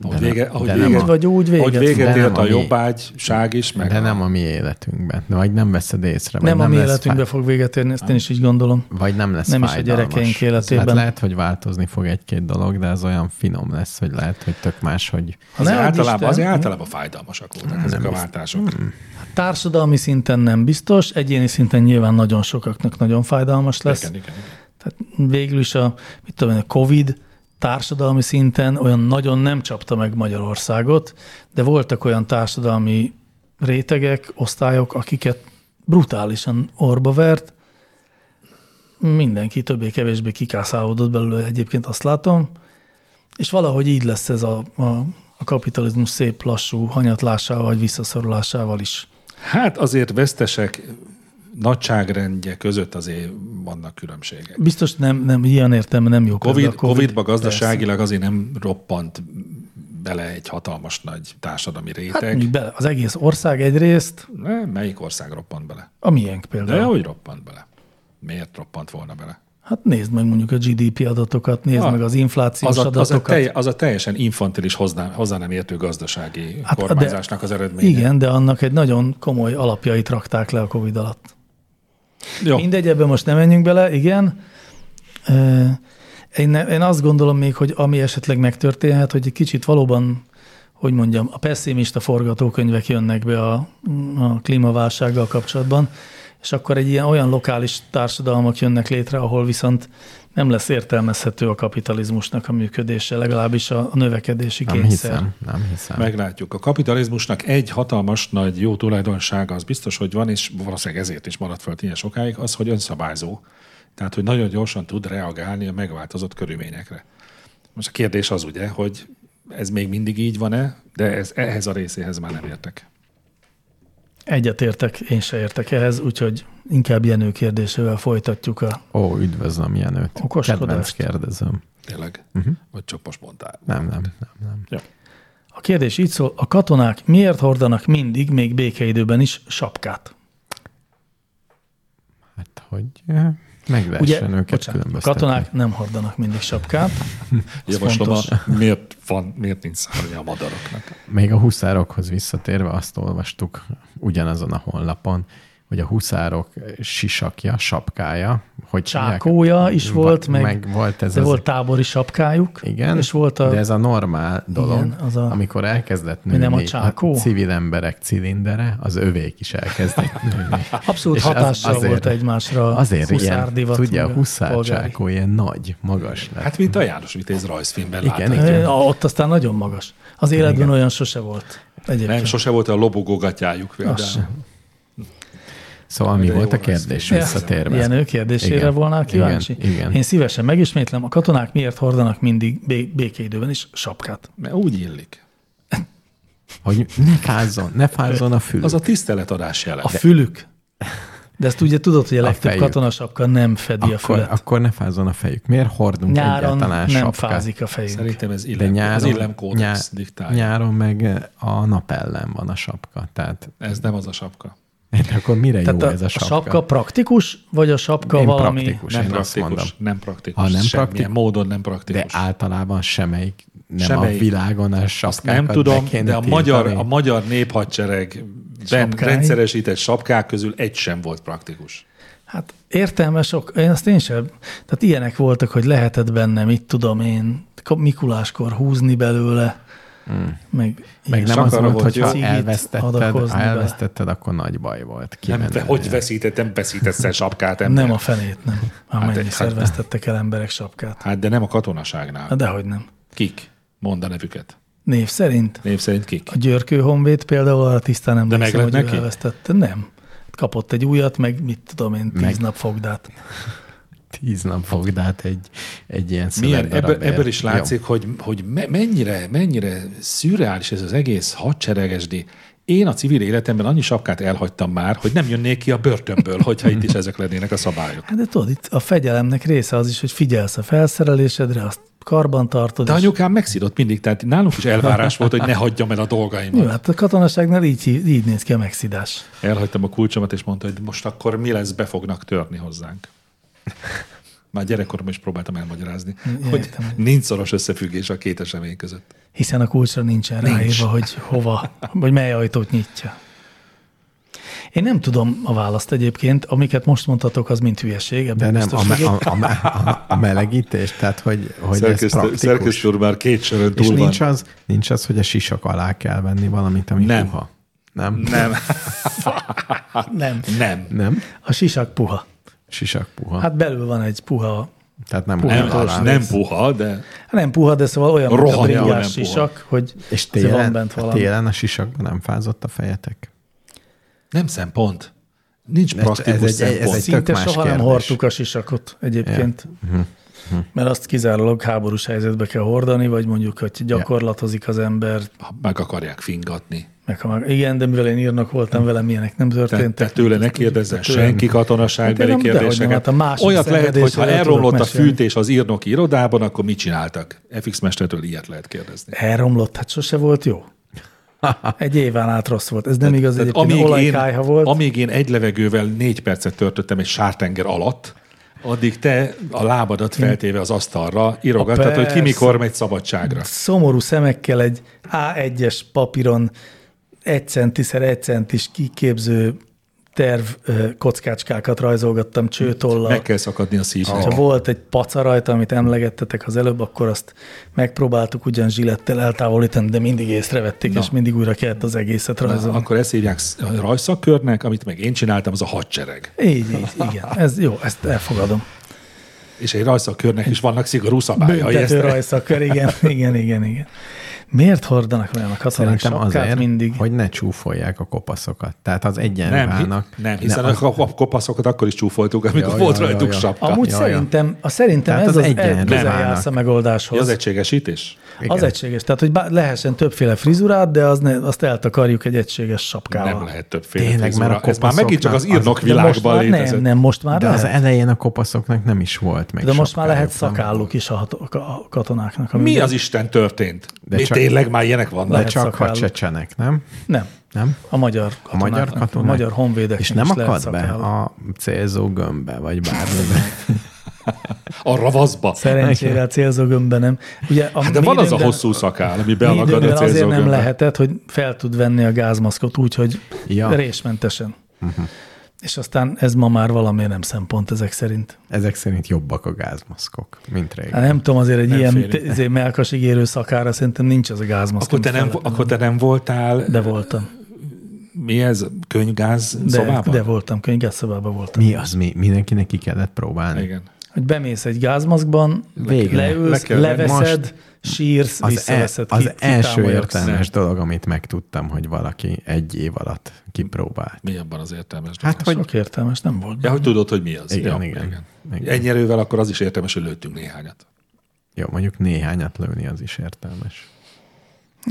[SPEAKER 3] Ahogy,
[SPEAKER 4] De nem-
[SPEAKER 3] vége, ahogy,
[SPEAKER 4] de nem
[SPEAKER 3] véget,
[SPEAKER 2] Így vagy úgy véget.
[SPEAKER 3] ahogy véget
[SPEAKER 4] De nem
[SPEAKER 3] ért
[SPEAKER 4] a
[SPEAKER 3] a
[SPEAKER 4] mi-
[SPEAKER 3] jobbágyság is, meg
[SPEAKER 4] De
[SPEAKER 3] a-
[SPEAKER 4] nem a mi életünkben. Vagy nem veszed észre. vagy
[SPEAKER 2] Nem, nem a mi
[SPEAKER 4] lesz
[SPEAKER 2] életünkbe fog véget érni, ezt én is így gondolom.
[SPEAKER 4] Vagy nem lesz
[SPEAKER 2] Nem is a
[SPEAKER 4] fájdalmas.
[SPEAKER 2] gyerekeink életében.
[SPEAKER 4] Hát lehet, hogy változni fog egy-két dolog, de ez olyan finom lesz, hogy lehet, hogy tök más, hogy
[SPEAKER 3] Az
[SPEAKER 2] Ne adj
[SPEAKER 3] általában,
[SPEAKER 2] Isten.
[SPEAKER 3] azért általában fájdalmasak voltak ezek a váltások.
[SPEAKER 4] Hmm.
[SPEAKER 2] Társadalmi szinten nem biztos, egyéni szinten nyilván nagyon sokaknak nagyon fájdalmas lesz.
[SPEAKER 3] Igen, igen, igen.
[SPEAKER 2] Tehát végül is a, mit tudom én, a COVID társadalmi szinten olyan nagyon nem csapta meg Magyarországot, de voltak olyan társadalmi rétegek, osztályok, akiket brutálisan orba vert. Mindenki többé-kevésbé kikászálódott belőle, egyébként azt látom. És valahogy így lesz ez a, a, a kapitalizmus szép lassú hanyatlásával vagy visszaszorulásával is.
[SPEAKER 3] Hát azért vesztesek nagyságrendje között azért vannak különbségek.
[SPEAKER 2] Biztos nem, nem ilyen értelme nem jó.
[SPEAKER 3] COVID,
[SPEAKER 2] példa
[SPEAKER 3] COVID, COVID-ba gazdaságilag azért nem roppant bele egy hatalmas nagy társadalmi
[SPEAKER 2] Persze. Hát
[SPEAKER 3] réteg.
[SPEAKER 2] mondjuk bele, az egész ország egyrészt,
[SPEAKER 3] Hát, Melyik ország roppant bele?
[SPEAKER 2] a miénk
[SPEAKER 3] De
[SPEAKER 2] például.
[SPEAKER 3] hogy roppant bele? Miért roppant volna bele?
[SPEAKER 2] Hát nézd meg mondjuk a GDP adatokat, nézd
[SPEAKER 3] Ah,
[SPEAKER 2] meg az inflációs
[SPEAKER 3] Az a, az, a
[SPEAKER 2] adatokat.
[SPEAKER 3] telje, az a teljesen infantilis hozzá, hozzá nem értő gazdasági hát,
[SPEAKER 2] Hát, de-
[SPEAKER 3] kormányzásnak az eredménye.
[SPEAKER 2] Igen, de annak egy nagyon komoly alapjait rakták le a COVID alatt.
[SPEAKER 3] Jó.
[SPEAKER 2] Mindegy, ebbe most nem menjünk bele, igen. Ö, Én, ne, én azt gondolom még, hogy ami esetleg megtörténhet, hogy egy kicsit valóban, hogy mondjam, a pessimista forgatókönyvek jönnek be a, a klímaválsággal kapcsolatban, és akkor egy ilyen olyan lokális társadalmak jönnek létre, ahol viszont nem lesz értelmezhető a kapitalizmusnak a működése, legalábbis a, a növekedési
[SPEAKER 4] Nem
[SPEAKER 2] kényszer.
[SPEAKER 4] hiszem, nem hiszem.
[SPEAKER 3] Meglátjuk. A kapitalizmusnak egy hatalmas nagy jó tulajdonsága az biztos, hogy van, és valószínűleg ezért is maradt föl ilyen sokáig, az, hogy önszabályzó. Tehát, hogy nagyon gyorsan tud reagálni a megváltozott körülményekre. Most a kérdés az ugye, hogy ez még mindig így van-e, de ez, ehhez a részéhez már nem értek.
[SPEAKER 2] Egyetértek, én se értek ehhez, úgyhogy inkább Jenő kérdésével folytatjuk a...
[SPEAKER 4] Ó, üdvözlöm Jenőt.
[SPEAKER 2] Okoskodást.
[SPEAKER 4] Kedvenc kérdezőm.
[SPEAKER 3] Tényleg? Uh-huh. Vagy csak most mondtál.
[SPEAKER 4] Nem, nem, nem, nem.
[SPEAKER 2] A kérdés így szól, a katonák miért hordanak mindig, még békeidőben is sapkát?
[SPEAKER 4] Hát, hogy eh, meg lehessen őket
[SPEAKER 2] a
[SPEAKER 4] különböztetni.
[SPEAKER 2] katonák nem hordanak mindig sapkát. Ez
[SPEAKER 3] Javaslom, a,
[SPEAKER 2] fontos.
[SPEAKER 3] miért, van, miért nincs szárnya a madaraknak?
[SPEAKER 4] Még a huszárokhoz visszatérve azt olvastuk ugyanazon a honlapon, hogy a huszárok sisakja, sapkája, hogy
[SPEAKER 2] Csákója is volt, meg,
[SPEAKER 4] meg volt ez
[SPEAKER 2] de
[SPEAKER 4] az,
[SPEAKER 2] volt tábori sapkájuk,
[SPEAKER 4] igen,
[SPEAKER 2] és volt a...
[SPEAKER 4] de ez a normál dolog, igen,
[SPEAKER 2] az
[SPEAKER 4] az
[SPEAKER 2] a-
[SPEAKER 4] a, amikor elkezdett
[SPEAKER 2] Mi
[SPEAKER 4] nőni Hát
[SPEAKER 2] nem a csákó?
[SPEAKER 4] civil emberek cilindere, az övék is elkezdett nőni.
[SPEAKER 2] Abszolút
[SPEAKER 4] és az-
[SPEAKER 2] hatással
[SPEAKER 4] azért-
[SPEAKER 2] volt egymásra
[SPEAKER 4] Azért ilyen,
[SPEAKER 2] huszárdivat,
[SPEAKER 4] tudja, a
[SPEAKER 2] meg a
[SPEAKER 4] huszár
[SPEAKER 2] polgári.
[SPEAKER 4] csákó ilyen nagy, magas lett.
[SPEAKER 3] Hát, mint a János Vitéz rajzfilmben
[SPEAKER 4] Igen,
[SPEAKER 3] láttam.
[SPEAKER 4] igen.
[SPEAKER 2] Ö, Eh, Ott aztán nagyon magas. Az életben Igen. olyan sose volt. Egyébként.
[SPEAKER 3] Nem, sose volt a lobogógatjájuk.
[SPEAKER 2] Az
[SPEAKER 3] például.
[SPEAKER 2] sem.
[SPEAKER 4] Szóval mi
[SPEAKER 3] De jó
[SPEAKER 4] volt a
[SPEAKER 3] lesz.
[SPEAKER 4] kérdés
[SPEAKER 3] Ja.
[SPEAKER 4] visszatérve?
[SPEAKER 2] Ilyen ő kérdésére
[SPEAKER 4] Igen.
[SPEAKER 2] volna kíváncsi?
[SPEAKER 4] Igen, igen.
[SPEAKER 2] Én szívesen megismétlem, a katonák miért hordanak mindig bé- békeidőben is sapkát?
[SPEAKER 3] Mert úgy illik.
[SPEAKER 4] Hogy ne fázzon, ne fázzon a fülük.
[SPEAKER 3] Az a tiszteletadás jele.
[SPEAKER 2] A fülük. De ezt ugye tudod, hogy a
[SPEAKER 4] A
[SPEAKER 2] legtöbb
[SPEAKER 4] fejük.
[SPEAKER 2] katonasapka nem fedi a
[SPEAKER 4] akkor,
[SPEAKER 2] fület.
[SPEAKER 4] akkor ne fázzon a fejük. Miért hordunk
[SPEAKER 2] Nyáron
[SPEAKER 4] egyáltalán
[SPEAKER 2] nem
[SPEAKER 4] sapkát?
[SPEAKER 2] fázik a fejünk.
[SPEAKER 3] Szerintem ez
[SPEAKER 4] De
[SPEAKER 3] illem, nyáron, az
[SPEAKER 4] nyáron,
[SPEAKER 3] illemkódex
[SPEAKER 4] nyá-
[SPEAKER 3] diktálja.
[SPEAKER 4] nyáron meg a nap ellen van a sapka. Tehát
[SPEAKER 3] Ez nem az a sapka.
[SPEAKER 4] de akkor mire
[SPEAKER 2] Tehát
[SPEAKER 4] jó
[SPEAKER 2] a,
[SPEAKER 4] ez a sapka?
[SPEAKER 2] a sapka praktikus, vagy a sapka
[SPEAKER 4] Én
[SPEAKER 2] valami...
[SPEAKER 4] praktikus,
[SPEAKER 3] Nem
[SPEAKER 4] én azt mondom.
[SPEAKER 3] praktikus, nem praktikus.
[SPEAKER 4] Ha nem
[SPEAKER 3] semmilyen
[SPEAKER 4] praktikus-
[SPEAKER 3] módon nem
[SPEAKER 4] De
[SPEAKER 3] praktikus.
[SPEAKER 4] általában semmelyik nem
[SPEAKER 3] Semmelyik.
[SPEAKER 4] a világon a
[SPEAKER 3] Azt
[SPEAKER 4] sapkákat
[SPEAKER 3] nem tudom,
[SPEAKER 4] be kéne
[SPEAKER 3] de a magyar, a
[SPEAKER 4] tiltani.
[SPEAKER 3] magyar néphadsereg
[SPEAKER 2] Sapkái.
[SPEAKER 3] rendszeresített sapkák közül egy sem volt praktikus.
[SPEAKER 2] Hát értelme sok, én azt én sem. Tehát ilyenek voltak, hogy lehetett benne, mit tudom én, Mikuláskor húzni belőle, mm. meg,
[SPEAKER 4] Hmm. meg
[SPEAKER 2] ilyesmi.
[SPEAKER 4] nem az
[SPEAKER 3] sapkára
[SPEAKER 4] volt,
[SPEAKER 3] volt
[SPEAKER 4] hogy ha
[SPEAKER 2] cigit
[SPEAKER 4] elvesztetted,
[SPEAKER 2] adakozni
[SPEAKER 4] ha
[SPEAKER 2] bele.
[SPEAKER 4] elvesztetted, akkor nagy baj volt.
[SPEAKER 3] Nem,
[SPEAKER 4] Kimened
[SPEAKER 3] te
[SPEAKER 4] el.
[SPEAKER 3] hogy veszített, nem veszítesz el sapkát ember.
[SPEAKER 2] Nem a fenét, nem. Amennyi hát,
[SPEAKER 3] hát-
[SPEAKER 2] szerveztettek el emberek sapkát.
[SPEAKER 3] Hát de nem a katonaságnál.
[SPEAKER 2] Hát Dehogy nem.
[SPEAKER 3] Kik? Mondd a nevüket.
[SPEAKER 2] Név szerint.
[SPEAKER 3] Név szerint kik?
[SPEAKER 2] A Györkő Honvéd például arra tisztán emlékszem,
[SPEAKER 3] meg
[SPEAKER 2] hogy
[SPEAKER 3] lett
[SPEAKER 2] neki?
[SPEAKER 3] neki?
[SPEAKER 2] elvesztette. Nem. Kapott egy újat, meg mit tudom én, tíz
[SPEAKER 4] Meg-
[SPEAKER 2] nap fogdát.
[SPEAKER 4] Tíz nap fogdát egy, egy ilyen
[SPEAKER 3] Milyen, ebből,
[SPEAKER 4] szövegdarabért.
[SPEAKER 3] ebből is
[SPEAKER 4] Jó.
[SPEAKER 3] látszik, hogy, hogy me- mennyire, mennyire szürreális ez az egész hadseregesdi. Én a civil életemben annyi sapkát elhagytam már, hogy nem jönnék ki a börtönből, hogyha itt is ezek lennének a szabályok.
[SPEAKER 2] Hát de tudod, itt a fegyelemnek része az is, hogy figyelsz a felszerelésedre, azt karbantartod.
[SPEAKER 3] De
[SPEAKER 2] és-
[SPEAKER 3] anyukám megszidott mindig, tehát nálunk is elvárás volt, hogy ne hagyjam el a
[SPEAKER 2] Jó,
[SPEAKER 3] dolgaimat.
[SPEAKER 2] hát a katonaságnál így, így néz ki a megszidás.
[SPEAKER 3] Elhagytam a kulcsomat, és mondta, hogy most akkor mi lesz, be fognak törni hozzánk. Már gyerekkoromban is próbáltam elmagyarázni,
[SPEAKER 2] Ja,
[SPEAKER 3] hogy
[SPEAKER 2] értem.
[SPEAKER 3] nincs szoros összefüggés a két esemény között.
[SPEAKER 2] Hiszen a kulcsra nincsen Nincs. ráírva, hogy hova, vagy mely ajtót nyitja. Én nem tudom a választ egyébként, amiket most mondtatok, az mind hülyeség.
[SPEAKER 4] De
[SPEAKER 2] Ebben
[SPEAKER 4] nem, a,
[SPEAKER 2] biztos
[SPEAKER 4] me,
[SPEAKER 2] vagyok.
[SPEAKER 4] a, a, a, a melegítés, tehát hogy, hogy ez praktikus.
[SPEAKER 3] úr már két sörön
[SPEAKER 4] És nincs az, nincs az, hogy a sisak alá kell venni valamit, ami
[SPEAKER 3] Nem.
[SPEAKER 4] puha. Nem?
[SPEAKER 3] Nem,
[SPEAKER 2] nem.
[SPEAKER 3] nem.
[SPEAKER 4] Nem?
[SPEAKER 2] A sisak puha.
[SPEAKER 4] Sisak puha. Hát,
[SPEAKER 2] Hát belül van egy puha,
[SPEAKER 4] tehát nem,
[SPEAKER 3] Nem,
[SPEAKER 4] nem alá. Nem.
[SPEAKER 3] nem puha, de
[SPEAKER 2] hát nem puha, de szóval olyan, mint a
[SPEAKER 3] Rohanyál nem
[SPEAKER 2] bringás
[SPEAKER 3] puha.
[SPEAKER 2] sisak, hogy
[SPEAKER 4] És
[SPEAKER 2] azért
[SPEAKER 4] télen,
[SPEAKER 2] van bent
[SPEAKER 4] a
[SPEAKER 2] valami.
[SPEAKER 4] télen a sisakban nem fázott a fejetek?
[SPEAKER 3] nem szempont. Nincs
[SPEAKER 4] Ez- ez
[SPEAKER 3] praktikus
[SPEAKER 4] egy- ez
[SPEAKER 3] szempont.
[SPEAKER 4] egy-
[SPEAKER 2] Szinte
[SPEAKER 4] Tök más
[SPEAKER 2] soha nem
[SPEAKER 4] kérdés.
[SPEAKER 3] Mhm.
[SPEAKER 2] hordtuk a sisakot egyébként. Ja. Hm. Mert azt kizárólag háborús helyzetbe kell hordani, vagy mondjuk, hogy gyakorlatozik az ember.
[SPEAKER 3] Ha Meg akarják fingatni.
[SPEAKER 2] Meg, ha már, igen, de mivel én írnak voltam velem, ilyenek nem
[SPEAKER 3] Te, te
[SPEAKER 2] történtek.
[SPEAKER 3] tőle ne kérdezzen
[SPEAKER 2] Tőlem.
[SPEAKER 3] senki
[SPEAKER 2] Hát
[SPEAKER 3] katonaságbeli
[SPEAKER 2] én nem, dehogy nem, hát
[SPEAKER 3] kérdéseket.
[SPEAKER 2] a másik
[SPEAKER 3] Olyat lehet, hogy ha
[SPEAKER 2] szenvedésről
[SPEAKER 3] elromlott
[SPEAKER 2] tudok
[SPEAKER 3] a
[SPEAKER 2] mesélni.
[SPEAKER 3] fűtés az írnoki irodában, akkor mit csináltak? FX mestertől ilyet lehet kérdezni.
[SPEAKER 2] Elromlott, hát sose volt jó. Egy éven át rossz volt. Ez nem igaz,
[SPEAKER 3] Tehát
[SPEAKER 2] egyébként olajkájha volt.
[SPEAKER 3] amíg én egy levegővel négy percet töltöttem egy sártenger alatt, addig te a lábadat feltéve az asztalra irogattad, hogy ki
[SPEAKER 2] persze.
[SPEAKER 3] mikor megy szabadságra.
[SPEAKER 2] szomorú szemekkel egy A1-es papíron egy centiszer egy centis kiképző terv ö, kockácskákat rajzolgattam csőtollal.
[SPEAKER 3] Meg kell szakadni a szívnek.
[SPEAKER 2] Ha volt egy paca rajta, amit emlegettetek az előbb, akkor azt megpróbáltuk ugyan zsilettel eltávolítani, de mindig észrevették,
[SPEAKER 3] Na.
[SPEAKER 2] és mindig újra kellett az egészet
[SPEAKER 3] Na,
[SPEAKER 2] rajzolni.
[SPEAKER 3] Akkor ezt hívják sz- rajszakörnek, amit meg én csináltam, az a hadsereg.
[SPEAKER 2] Így, így, igen. Ez jó, ezt elfogadom.
[SPEAKER 3] És egy rajszakörnek is vannak szigorú szabályai.
[SPEAKER 2] Büntető
[SPEAKER 3] ezt-
[SPEAKER 2] rajszakör, igen, igen, igen, igen. Miért hordanak olyan a katonák
[SPEAKER 4] Szerintem
[SPEAKER 2] sapkát
[SPEAKER 4] azért,
[SPEAKER 2] mindig?
[SPEAKER 4] hogy ne csúfolják a kopaszokat. Tehát az
[SPEAKER 3] Nem, hi-
[SPEAKER 4] egyenruhának.
[SPEAKER 3] nem, hiszen
[SPEAKER 4] ne, az,
[SPEAKER 3] a kop- kopaszokat akkor is csúfoltuk, amikor
[SPEAKER 4] Jaj,
[SPEAKER 3] volt
[SPEAKER 4] jaj,
[SPEAKER 3] rajtuk
[SPEAKER 4] jaj.
[SPEAKER 3] sapka.
[SPEAKER 2] Amúgy
[SPEAKER 4] Ja, ja.
[SPEAKER 2] szerintem, a szerintem
[SPEAKER 4] Tehát
[SPEAKER 2] ez
[SPEAKER 4] az
[SPEAKER 2] az,
[SPEAKER 4] egyenlő
[SPEAKER 2] egy közel
[SPEAKER 4] válnak.
[SPEAKER 2] jársz a
[SPEAKER 3] Mi
[SPEAKER 2] megoldáshoz.
[SPEAKER 3] az egységesítés?
[SPEAKER 2] az
[SPEAKER 4] Igen.
[SPEAKER 2] egységes. Tehát, hogy bá- lehessen többféle frizurát, de az ne, azt eltakarjuk egy egységes sapkával.
[SPEAKER 3] Nem lehet többféle
[SPEAKER 4] Tényleg, mert
[SPEAKER 3] frizura.
[SPEAKER 4] a
[SPEAKER 3] Ez már megint csak az
[SPEAKER 4] kopaszoknak
[SPEAKER 3] írnok
[SPEAKER 2] De most
[SPEAKER 3] világban
[SPEAKER 2] már
[SPEAKER 3] létezett.
[SPEAKER 2] nem, nem, most már
[SPEAKER 4] de az
[SPEAKER 2] lehet.
[SPEAKER 4] elején a kopaszoknak nem is volt meg
[SPEAKER 2] De most már lehet
[SPEAKER 4] sapkájuk, nem?
[SPEAKER 2] szakálluk is a, hat- a katonáknak. ami
[SPEAKER 3] Mi
[SPEAKER 2] ugye-
[SPEAKER 3] az Isten történt?
[SPEAKER 4] De
[SPEAKER 3] De Mi
[SPEAKER 4] csak-
[SPEAKER 3] tényleg már ilyenek vannak?
[SPEAKER 4] De
[SPEAKER 2] Lehet
[SPEAKER 4] csak ha
[SPEAKER 2] szakálluk.
[SPEAKER 4] csecsenek, nem?
[SPEAKER 2] Nem.
[SPEAKER 4] Nem?
[SPEAKER 2] A magyar
[SPEAKER 4] A magyar
[SPEAKER 2] katonáknak,
[SPEAKER 4] katonák.
[SPEAKER 2] A magyar honvédek.
[SPEAKER 4] És nem akad be a célzó gömbbe, vagy bármibe.
[SPEAKER 3] A ravaszba?
[SPEAKER 2] Szerencsére a célzógömbben nem. Ugye a
[SPEAKER 3] Hát de
[SPEAKER 2] mi
[SPEAKER 3] van az a
[SPEAKER 2] időnkben-
[SPEAKER 3] hosszú szakál, ami
[SPEAKER 2] mi
[SPEAKER 3] bealakad a
[SPEAKER 2] időnkben azért nem
[SPEAKER 3] célzógömbbe.
[SPEAKER 2] lehetett, hogy fel tud venni a gázmaszkot úgy, hogy
[SPEAKER 4] Ja.
[SPEAKER 2] ja. résmentesen. Uh-huh. És aztán ez ma már valamiért nem szempont ezek szerint.
[SPEAKER 4] Ezek szerint jobbak a gázmaszkok, mint régen.
[SPEAKER 2] Hát nem tudom, azért egy nem ilyen
[SPEAKER 3] félünk.
[SPEAKER 2] t- azért melkas ígérő szakára szerintem nincs az a gázmaszk.
[SPEAKER 3] Akkor te,
[SPEAKER 2] amit
[SPEAKER 3] nem,
[SPEAKER 2] fel-
[SPEAKER 3] akkor te nem voltál,
[SPEAKER 2] De
[SPEAKER 3] de,
[SPEAKER 2] voltam.
[SPEAKER 3] mi ez, könyvgáz
[SPEAKER 2] De,
[SPEAKER 3] szobában?
[SPEAKER 2] de voltam, könyvgászszobában voltam.
[SPEAKER 4] Mi az mi? Mindenkinek ki kellett próbálni.
[SPEAKER 3] Igen.
[SPEAKER 2] Hogy bemész egy gázmaszkban,
[SPEAKER 4] Végre.
[SPEAKER 3] Le
[SPEAKER 2] leülsz,
[SPEAKER 3] kell-
[SPEAKER 2] leveszed, sírsz,
[SPEAKER 4] Az, e,
[SPEAKER 2] visszaveszed.
[SPEAKER 4] az
[SPEAKER 2] ki-
[SPEAKER 4] első
[SPEAKER 2] kitámolyogsz.
[SPEAKER 4] értelmes dolog, amit megtudtam, hogy valaki egy év alatt kipróbált.
[SPEAKER 3] Mi abban az értelmes
[SPEAKER 4] Hát, hogy
[SPEAKER 2] Sok értelmes nem volt.
[SPEAKER 3] Ja, hogy tudod, hogy mi az.
[SPEAKER 4] Igen,
[SPEAKER 3] ja,
[SPEAKER 4] igen. Igen.
[SPEAKER 3] Ennyi erővel akkor az is értelmes, hogy lőttünk néhányat.
[SPEAKER 4] jó, mondjuk néhányat lőni, az is értelmes.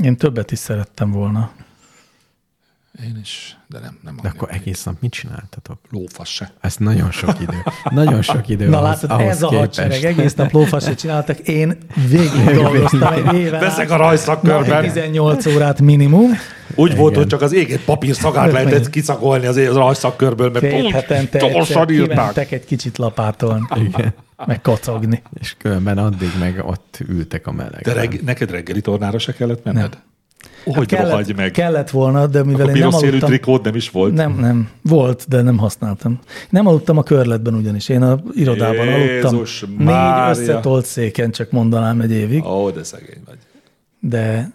[SPEAKER 2] Én többet is szerettem volna.
[SPEAKER 3] Én is, de nem. nem
[SPEAKER 4] De akkor egész nap mit csináltatok?
[SPEAKER 3] Lófasz se.
[SPEAKER 4] Ez nagyon sok idő. Nagyon sok idő
[SPEAKER 2] Na
[SPEAKER 4] ahhoz-
[SPEAKER 2] látod,
[SPEAKER 4] ahhoz
[SPEAKER 2] ez a
[SPEAKER 4] képest.
[SPEAKER 2] hadsereg. Egész nap lófasét csináltak. Én végig dolgoztam egy éven
[SPEAKER 3] Veszek
[SPEAKER 2] át.
[SPEAKER 3] a
[SPEAKER 2] Napi
[SPEAKER 3] rajszakkörben.
[SPEAKER 2] 18 órát minimum.
[SPEAKER 3] Úgy volt, hogy csak az égett papír szagát lehetett
[SPEAKER 2] Megint.
[SPEAKER 3] kiszagolni az, az rajszakkörből, mert
[SPEAKER 2] Két Hát, hetente egyszer
[SPEAKER 3] gyorsan írták.
[SPEAKER 2] kimentek egy kicsit lapátolni,
[SPEAKER 4] Igen.
[SPEAKER 2] meg kocogni.
[SPEAKER 4] És különben addig meg ott ültek a
[SPEAKER 3] De
[SPEAKER 4] melegben.
[SPEAKER 3] reg, neked reggeli tornára se kellett menned? Nem. Hogy hát rohagy meg?
[SPEAKER 2] kellett volna, de mivel
[SPEAKER 3] a
[SPEAKER 2] én nem
[SPEAKER 3] piros szélű
[SPEAKER 2] aludtam...
[SPEAKER 3] trikód nem is volt?
[SPEAKER 2] Nem, nem. Volt, de nem használtam. Nem aludtam a körletben ugyanis. Én a irodában
[SPEAKER 3] Jézus
[SPEAKER 2] aludtam.
[SPEAKER 3] Mária.
[SPEAKER 2] Négy összetolt széken, csak mondanám egy évig.
[SPEAKER 3] Ó, de szegény vagy.
[SPEAKER 2] De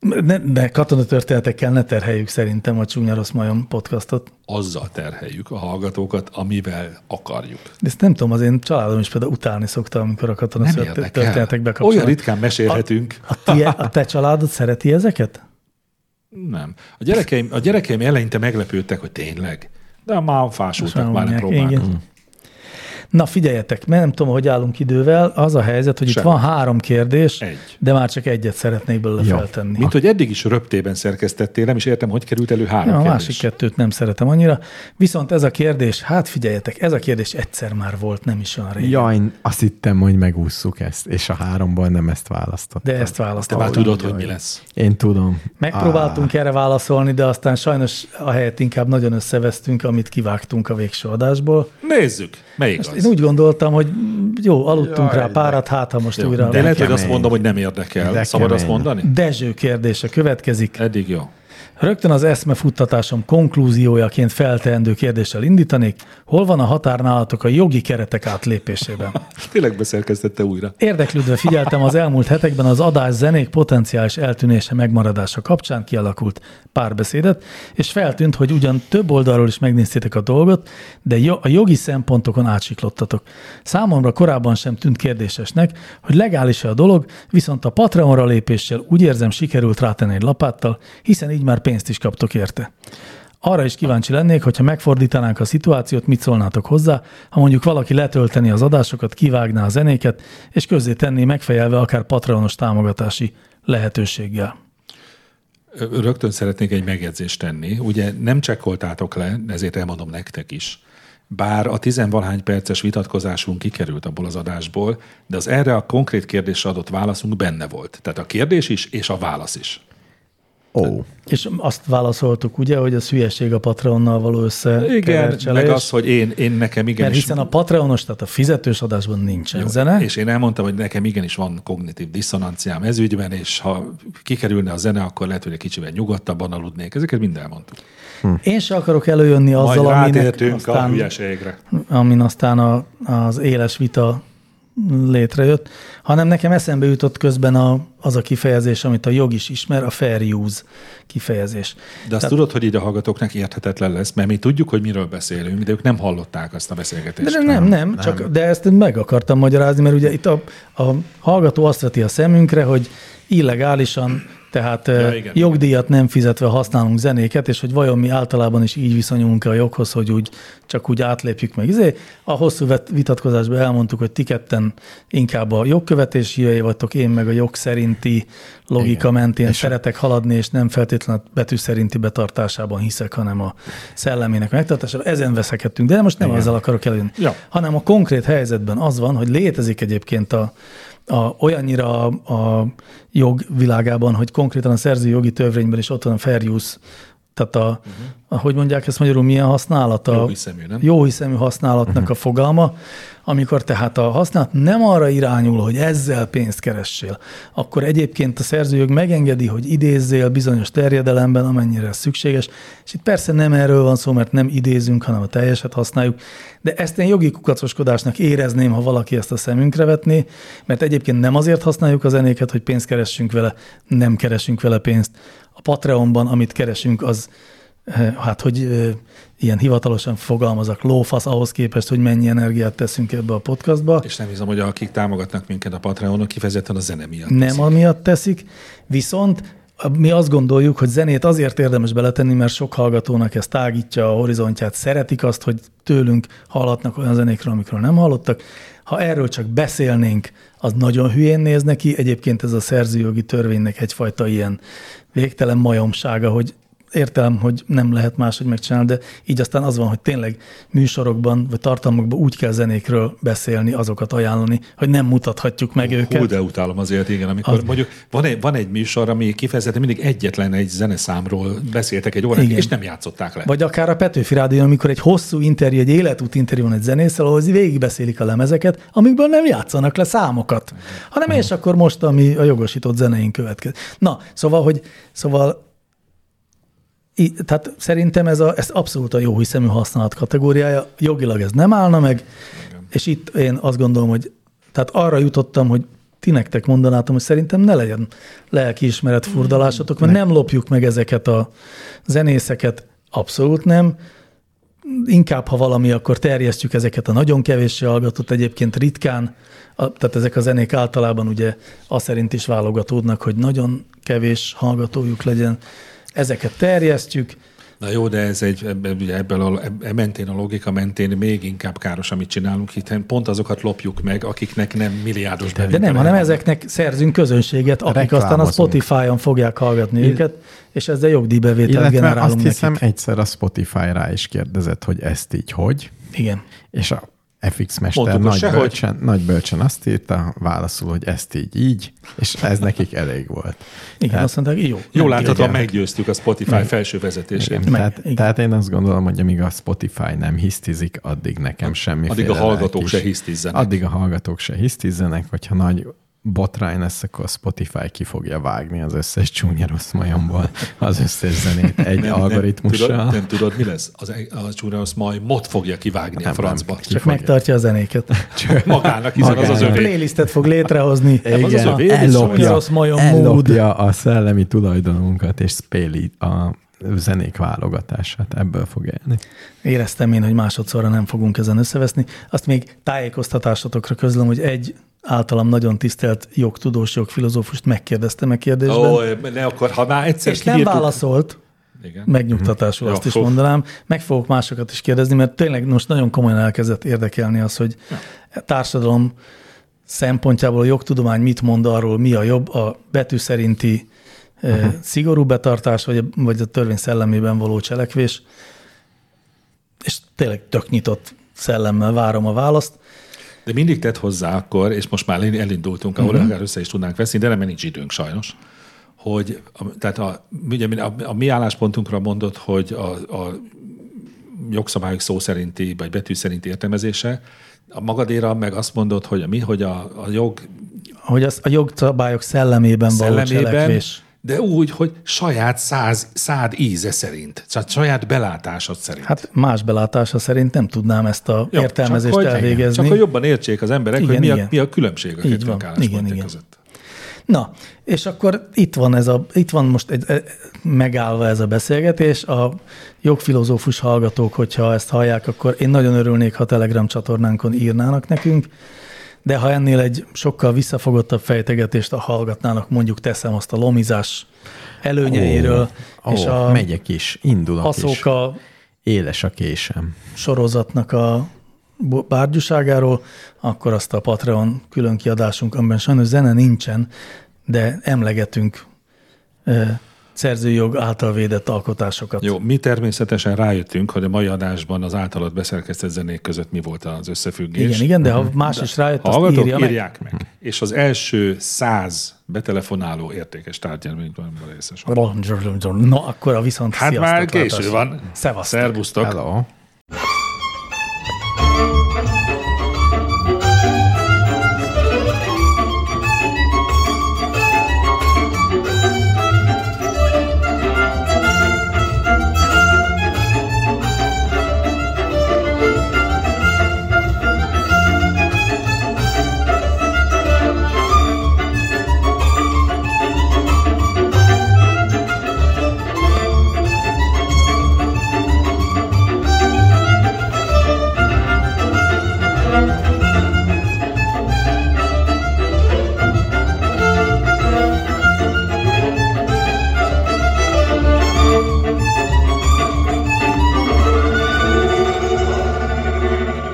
[SPEAKER 2] ne, ne katonatörténetekkel ne terheljük szerintem a Csúnya Rossz Majom podcastot.
[SPEAKER 3] Azzal terheljük a hallgatókat, amivel akarjuk.
[SPEAKER 2] De ezt nem tudom, az én családom is például utálni szokta, amikor a
[SPEAKER 3] Nem
[SPEAKER 2] katonatörténetek
[SPEAKER 3] érdekel.
[SPEAKER 2] bekapcsolnak.
[SPEAKER 3] Olyan ritkán mesélhetünk.
[SPEAKER 2] A, ti, a te családod szereti ezeket?
[SPEAKER 3] Nem. A gyerekeim, a gyerekeim eleinte meglepődtek, hogy tényleg. De már fásultak, már Mm. nem
[SPEAKER 2] Sajnálják,
[SPEAKER 3] próbálnak.
[SPEAKER 2] igen. Na figyeljetek, mert nem tudom, hogy állunk idővel. Az a helyzet, hogy
[SPEAKER 3] Semmi.
[SPEAKER 2] itt van három kérdés,
[SPEAKER 3] Egy.
[SPEAKER 2] de már csak egyet szeretnék belőle
[SPEAKER 4] Jó.
[SPEAKER 2] feltenni.
[SPEAKER 3] Mint hogy eddig is röptében szerkesztettél, nem is értem, hogy került elő három
[SPEAKER 2] Ja, a
[SPEAKER 3] kérdés.
[SPEAKER 2] másik kettőt nem szeretem annyira. Viszont ez a kérdés, hát figyeljetek, ez a kérdés egyszer már volt, nem is olyan régen.
[SPEAKER 4] Jaj, azt hittem, hogy megússzuk ezt, és a háromból nem ezt választottam.
[SPEAKER 2] De ezt
[SPEAKER 3] Te
[SPEAKER 2] választottam.
[SPEAKER 3] már tudod, hogy mi lesz.
[SPEAKER 4] Én tudom.
[SPEAKER 2] Megpróbáltunk
[SPEAKER 3] Ah.
[SPEAKER 2] erre válaszolni, de aztán sajnos a helyet inkább nagyon összevesztünk, amit kivágtunk a végső adásból.
[SPEAKER 3] Nézzük, melyik
[SPEAKER 2] Most
[SPEAKER 3] az.
[SPEAKER 2] én úgy gondoltam, hogy jó, aludtunk
[SPEAKER 4] Jaj,
[SPEAKER 2] rá párat, hát ha most
[SPEAKER 3] Jó,
[SPEAKER 2] újra...
[SPEAKER 3] De lehet, hogy azt
[SPEAKER 4] kemény.
[SPEAKER 3] mondom, hogy nem érdekel.
[SPEAKER 4] De
[SPEAKER 3] Szabad azt
[SPEAKER 4] kemény.
[SPEAKER 3] mondani?
[SPEAKER 2] Dezső kérdése következik.
[SPEAKER 3] Eddig jó.
[SPEAKER 2] Rögtön az eszmefuttatásom konklúziójaként felteendő kérdéssel indítanék. Hol van a határ nálatok a jogi keretek átlépésében?
[SPEAKER 3] Tényleg beszerkesztette újra.
[SPEAKER 2] Érdeklődve figyeltem az elmúlt hetekben az adás zenék potenciális eltűnése megmaradása kapcsán kialakult párbeszédet, és feltűnt, hogy ugyan több oldalról is megnéztétek a dolgot, de jo- a jogi szempontokon átsiklottatok. Számomra korábban sem tűnt kérdésesnek, hogy legális -e a dolog, viszont a Patreonra lépéssel úgy érzem sikerült rátenni egy lapáttal, hiszen így már pénzt is kaptok érte. Arra is kíváncsi lennék, hogyha megfordítanánk a szituációt, mit szólnátok hozzá, ha mondjuk valaki letölteni az adásokat, kivágná a zenéket, és közzé tenné megfejelve akár patronos támogatási lehetőséggel.
[SPEAKER 3] Rögtön szeretnék egy megjegyzést tenni. Ugye nem csekkoltátok le, ezért elmondom nektek is. Bár a tizenvalhány perces vitatkozásunk kikerült abból az adásból, de az erre a konkrét kérdésre adott válaszunk benne volt. Tehát a kérdés is, és a válasz is.
[SPEAKER 4] Ó, oh.
[SPEAKER 2] És azt válaszoltuk, ugye, hogy az hülyeség a Patreonnal való
[SPEAKER 3] Igen, meg
[SPEAKER 2] összekevercselés.
[SPEAKER 3] az, hogy én, én nekem igenis...
[SPEAKER 2] Mert hiszen a Patreonos, tehát a fizetős adásban nincsen Jó, zene.
[SPEAKER 3] És én elmondtam, hogy nekem igenis van kognitív diszonanciám ez ügyben, és ha kikerülne a zene, akkor lehet, hogy egy kicsivel nyugodtabban aludnék. Ezeket mind elmondtuk.
[SPEAKER 2] Én se akarok előjönni
[SPEAKER 3] Majd
[SPEAKER 2] azzal, aminek
[SPEAKER 3] rátértünk a
[SPEAKER 2] aztán,
[SPEAKER 3] hülyeségre.
[SPEAKER 2] amin aztán a, az éles vita létrejött, hanem nekem eszembe jutott közben a, az a kifejezés, amit a jog is ismer, a fair use kifejezés.
[SPEAKER 3] De azt tudod, hogy így a hallgatóknak érthetetlen lesz, mert mi tudjuk, hogy miről beszélünk, de ők nem hallották azt a beszélgetést.
[SPEAKER 2] De nem, nem, nem, csak de ezt meg akartam magyarázni, mert ugye itt a, a hallgató azt veti a szemünkre, hogy illegálisan, tehát ja,
[SPEAKER 3] igen,
[SPEAKER 2] igen, jogdíjat nem fizetve használunk zenéket, és hogy vajon mi általában is így viszonyulunk a joghoz, hogy úgy csak úgy átlépjük meg. Izé, a hosszú vet- vitatkozásban elmondtuk, hogy ti ketten inkább a jogkövetés hívei vagytok, én meg a jog szerinti logika igen. mentén és szeretek haladni, és nem feltétlenül a betű szerinti betartásában hiszek, hanem a szellemének megtartásában. Ezen veszekedtünk, de most nem igen. ezzel akarok előjönni
[SPEAKER 3] Ja.
[SPEAKER 2] hanem a konkrét helyzetben az van, hogy létezik egyébként a, a olyannyira a, a jogvilágában, hogy konkrétan a szerzői jogi törvényben is ott van a fair use, tehát a, uh-huh. a, hogy mondják ezt magyarul, milyen használata?
[SPEAKER 3] Jóhiszemű, Mhm. nem?
[SPEAKER 2] Jóhiszemű használatnak uh-huh. a fogalma, amikor tehát a használat nem arra irányul, hogy ezzel pénzt keressél, akkor egyébként a szerzőjog megengedi, hogy idézzél bizonyos terjedelemben, amennyire ez szükséges, és itt persze nem erről van szó, mert nem idézünk, hanem a teljeset használjuk, de ezt én jogi kukacoskodásnak érezném, ha valaki ezt a szemünkre vetné, mert egyébként nem azért használjuk a zenéket, hogy pénzt keressünk vele, nem keresünk vele pénzt. A Patreonban, amit keresünk, az eh, hát, hogy eh, ilyen hivatalosan fogalmazok, lófasz ahhoz képest, hogy mennyi energiát teszünk ebbe a podcastba.
[SPEAKER 3] És nem hiszem, hogy akik támogatnak minket a Patreonon, kifejezetten a zene miatt.
[SPEAKER 2] Nem amiatt teszik, viszont mi azt gondoljuk, hogy zenét azért érdemes beletenni, mert sok hallgatónak ez tágítja a horizontját, szeretik azt, hogy tőlünk hallhatnak olyan zenékről, amikről nem hallottak. Ha erről csak beszélnénk, az nagyon hülyén néz neki. Egyébként ez a szerzőjogi törvénynek egyfajta ilyen végtelen majomsága, hogy értelem, hogy nem lehet máshogy megcsinálni, de így aztán az van, hogy tényleg műsorokban vagy tartalmakban úgy kell zenékről beszélni, azokat ajánlani, hogy nem mutathatjuk meg őket.
[SPEAKER 3] Hú, de utálom azért, igen, amikor az... mondjuk van egy, van egy műsor, ami kifejezetten mindig egyetlen egy zeneszámról beszéltek egy órát,
[SPEAKER 2] Igen.
[SPEAKER 3] és nem játszották le.
[SPEAKER 2] Vagy akár a Petőfi Rádió, amikor egy hosszú interjú, egy életút interjú van egy zenésszel, ahhoz végigbeszélik a lemezeket, amikből nem játszanak le számokat, hanem és akkor most, ami a jogosított zeneink következik. Na, szóval, hogy szóval I, tehát szerintem ez, a, ez abszolút a jó hiszemű használat kategóriája. Jogilag ez nem állna meg, Igen. és itt én azt gondolom, hogy tehát arra jutottam, hogy ti nektek mondanátom, hogy szerintem ne legyen lelkiismeret furdalásotok, mert nem lopjuk meg ezeket a zenészeket, abszolút nem. Inkább, ha valami, akkor terjesztjük ezeket a nagyon kevés hallgatott, egyébként ritkán, a, tehát ezek a zenék általában ugye azt szerint is válogatódnak, hogy nagyon kevés hallgatójuk legyen. Ezeket terjesztjük,
[SPEAKER 3] Na jó, de ez egy, ebbe- ugye ebből a, eb- e mentén, a logika mentén még inkább káros, amit csinálunk, hiszen pont azokat lopjuk meg, akiknek nem milliárdos
[SPEAKER 2] De
[SPEAKER 3] bevétele
[SPEAKER 2] nem, hanem
[SPEAKER 3] van.
[SPEAKER 2] ezeknek szerzünk közönséget, akik aztán a
[SPEAKER 4] Reklámozunk.
[SPEAKER 2] Spotify-on fogják hallgatni őket, és ezzel jogdíjbevételt
[SPEAKER 4] Illetve azt
[SPEAKER 2] generálunk
[SPEAKER 4] hiszem,
[SPEAKER 2] nekik.
[SPEAKER 4] egyszer a Spotify rá is kérdezett, hogy ezt így hogy,
[SPEAKER 2] Igen.
[SPEAKER 4] és a FX mester
[SPEAKER 3] Mondtuk, hogy
[SPEAKER 4] nagy
[SPEAKER 3] sehogy.
[SPEAKER 4] bölcsen, nagy bölcsen azt írta, válaszul, hogy ezt így így, és ez nekik elég volt.
[SPEAKER 2] Igen,
[SPEAKER 4] Tehát-
[SPEAKER 2] azt mondták, jó.
[SPEAKER 3] Jól
[SPEAKER 4] nem
[SPEAKER 3] láthatóan
[SPEAKER 4] tudják.
[SPEAKER 3] meggyőztük a Spotify felső vezetését.
[SPEAKER 4] Igen,
[SPEAKER 2] Meg-
[SPEAKER 4] tehát,
[SPEAKER 2] igen.
[SPEAKER 4] tehát én azt gondolom, hogy amíg a Spotify nem hisztizik, addig nekem semmi.
[SPEAKER 3] Addig a hallgatók se hisztizzenek.
[SPEAKER 4] Addig a hallgatók se hisztizzenek, hogyha nagy botrány lesz, akkor a Spotify ki fogja vágni az összes csúnya rossz majomból az összes zenét egy nem, algoritmussal.
[SPEAKER 3] Nem, tudod, nem tudod, mi lesz? Az, a csúrász majd mot fogja kivágni nem, a
[SPEAKER 4] Hát Nem,
[SPEAKER 3] francba.
[SPEAKER 4] nem.
[SPEAKER 2] Csak
[SPEAKER 4] fogja?
[SPEAKER 2] megtartja a zenéket.
[SPEAKER 3] Magának, hiszen az az
[SPEAKER 2] Magának.
[SPEAKER 3] övé.
[SPEAKER 2] Playlistet fog létrehozni.
[SPEAKER 3] Nem, az az
[SPEAKER 4] Igen,
[SPEAKER 3] övé,
[SPEAKER 2] Ez
[SPEAKER 4] ellopja,
[SPEAKER 2] az majom
[SPEAKER 4] ellopja a szellemi tulajdonunkat, és spéli a zenék válogatását. Ebből fog élni.
[SPEAKER 2] Éreztem én, hogy másodszorra nem fogunk ezen összeveszni. Azt még tájékoztatásotokra közlöm, hogy egy általam nagyon tisztelt jogtudós, jogfilozófust megkérdeztem a kérdésben,
[SPEAKER 3] Ó, ne akkor, ha már egyszer
[SPEAKER 2] és nem válaszolt,
[SPEAKER 3] Igen.
[SPEAKER 2] Megnyugtatású,
[SPEAKER 3] Mhm.
[SPEAKER 2] azt
[SPEAKER 3] Jó,
[SPEAKER 2] is
[SPEAKER 3] fú.
[SPEAKER 2] mondanám. Meg fogok másokat is kérdezni, mert tényleg most nagyon komolyan elkezdett érdekelni az, hogy a társadalom szempontjából a jogtudomány mit mond arról, mi a jobb, a betű szerinti
[SPEAKER 3] Mhm.
[SPEAKER 2] uh-huh. szigorú betartás, vagy a, vagy a törvény szellemében való cselekvés. És tényleg tök nyitott szellemmel várom a választ.
[SPEAKER 3] De mindig tett hozzá akkor, és most már elindultunk,
[SPEAKER 4] Mhm.
[SPEAKER 3] ahol uh-huh. akár össze is tudnánk veszni, de nem, mert nincs időnk sajnos, hogy a, tehát a, ugye a, a mi álláspontunkra mondott, hogy a, a jogszabályok szó szerinti, vagy betű szerinti értelmezése, a magadéra meg azt mondod, hogy a mi, hogy a, a jog
[SPEAKER 2] Hogy az a jogszabályok szellemében, való
[SPEAKER 3] szellemében,
[SPEAKER 2] cselekvés.
[SPEAKER 3] de úgy, hogy saját száz, szád íze szerint, tehát saját belátásod szerint.
[SPEAKER 2] Hát más belátása szerint nem tudnám ezt a
[SPEAKER 3] Jó,
[SPEAKER 2] Jó, értelmezést
[SPEAKER 3] csak
[SPEAKER 2] csak
[SPEAKER 3] hogy-
[SPEAKER 2] elvégezni.
[SPEAKER 3] Csak hogy jobban értsék az emberek, igen,
[SPEAKER 2] Igen,
[SPEAKER 3] hogy mi a,
[SPEAKER 2] igen.
[SPEAKER 3] mi a különbség a
[SPEAKER 2] Így
[SPEAKER 3] két
[SPEAKER 2] van. Igen,
[SPEAKER 3] megálláspontja
[SPEAKER 2] igen.
[SPEAKER 3] között.
[SPEAKER 2] Na, és akkor itt van, ez a, itt van most egy, e- megállva ez a beszélgetés. A jogfilozófus hallgatók, hogyha ezt hallják, akkor én nagyon örülnék, ha Telegram csatornánkon írnának nekünk, de ha ennél egy sokkal visszafogottabb fejtegetést a hallgatnának, mondjuk teszem azt a lomizás előnyeiről,
[SPEAKER 4] Ó,
[SPEAKER 2] és
[SPEAKER 4] és
[SPEAKER 2] a
[SPEAKER 4] megyek is, indulok is.
[SPEAKER 2] haszóka
[SPEAKER 4] Éles a késem.
[SPEAKER 2] sorozatnak a bo- bárgyúságáról, akkor azt a Patreon külön kiadásunk, amiben sajnos zene nincsen, de emlegetünk e, szerzőjog által védett alkotásokat.
[SPEAKER 3] Jó, mi természetesen rájöttünk, hogy a mai adásban az általad beszerkesztett zenék között mi volt az összefüggés.
[SPEAKER 2] Igen, igen, de ha más is rájött, azt
[SPEAKER 3] Mhm. Hallgatók
[SPEAKER 2] írja
[SPEAKER 3] írja
[SPEAKER 2] meg.
[SPEAKER 3] írják meg. meg. És az első száz betelefonáló értékes tárgyalmányban részes.
[SPEAKER 2] Na, akkor a viszont
[SPEAKER 3] Hát
[SPEAKER 2] sziasztok,
[SPEAKER 3] már késő
[SPEAKER 2] látásra.
[SPEAKER 3] van.
[SPEAKER 2] Szevasztok.
[SPEAKER 3] Szervusztok.
[SPEAKER 4] Hello.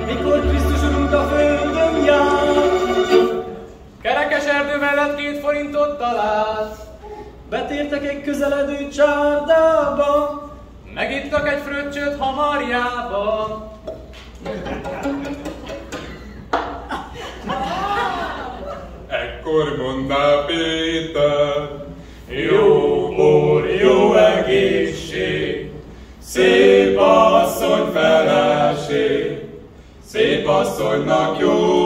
[SPEAKER 5] Mikor Krisztus urunk a földön jár,
[SPEAKER 6] Kerekes erdő mellett két forintot talált,
[SPEAKER 5] betértek egy közeledő csárdába,
[SPEAKER 6] megittak egy fröccsöt hamarjába.
[SPEAKER 7] Ekkor mondta Péter, jó bor, jó egészség, szép asszony feleség, szép asszonynak jó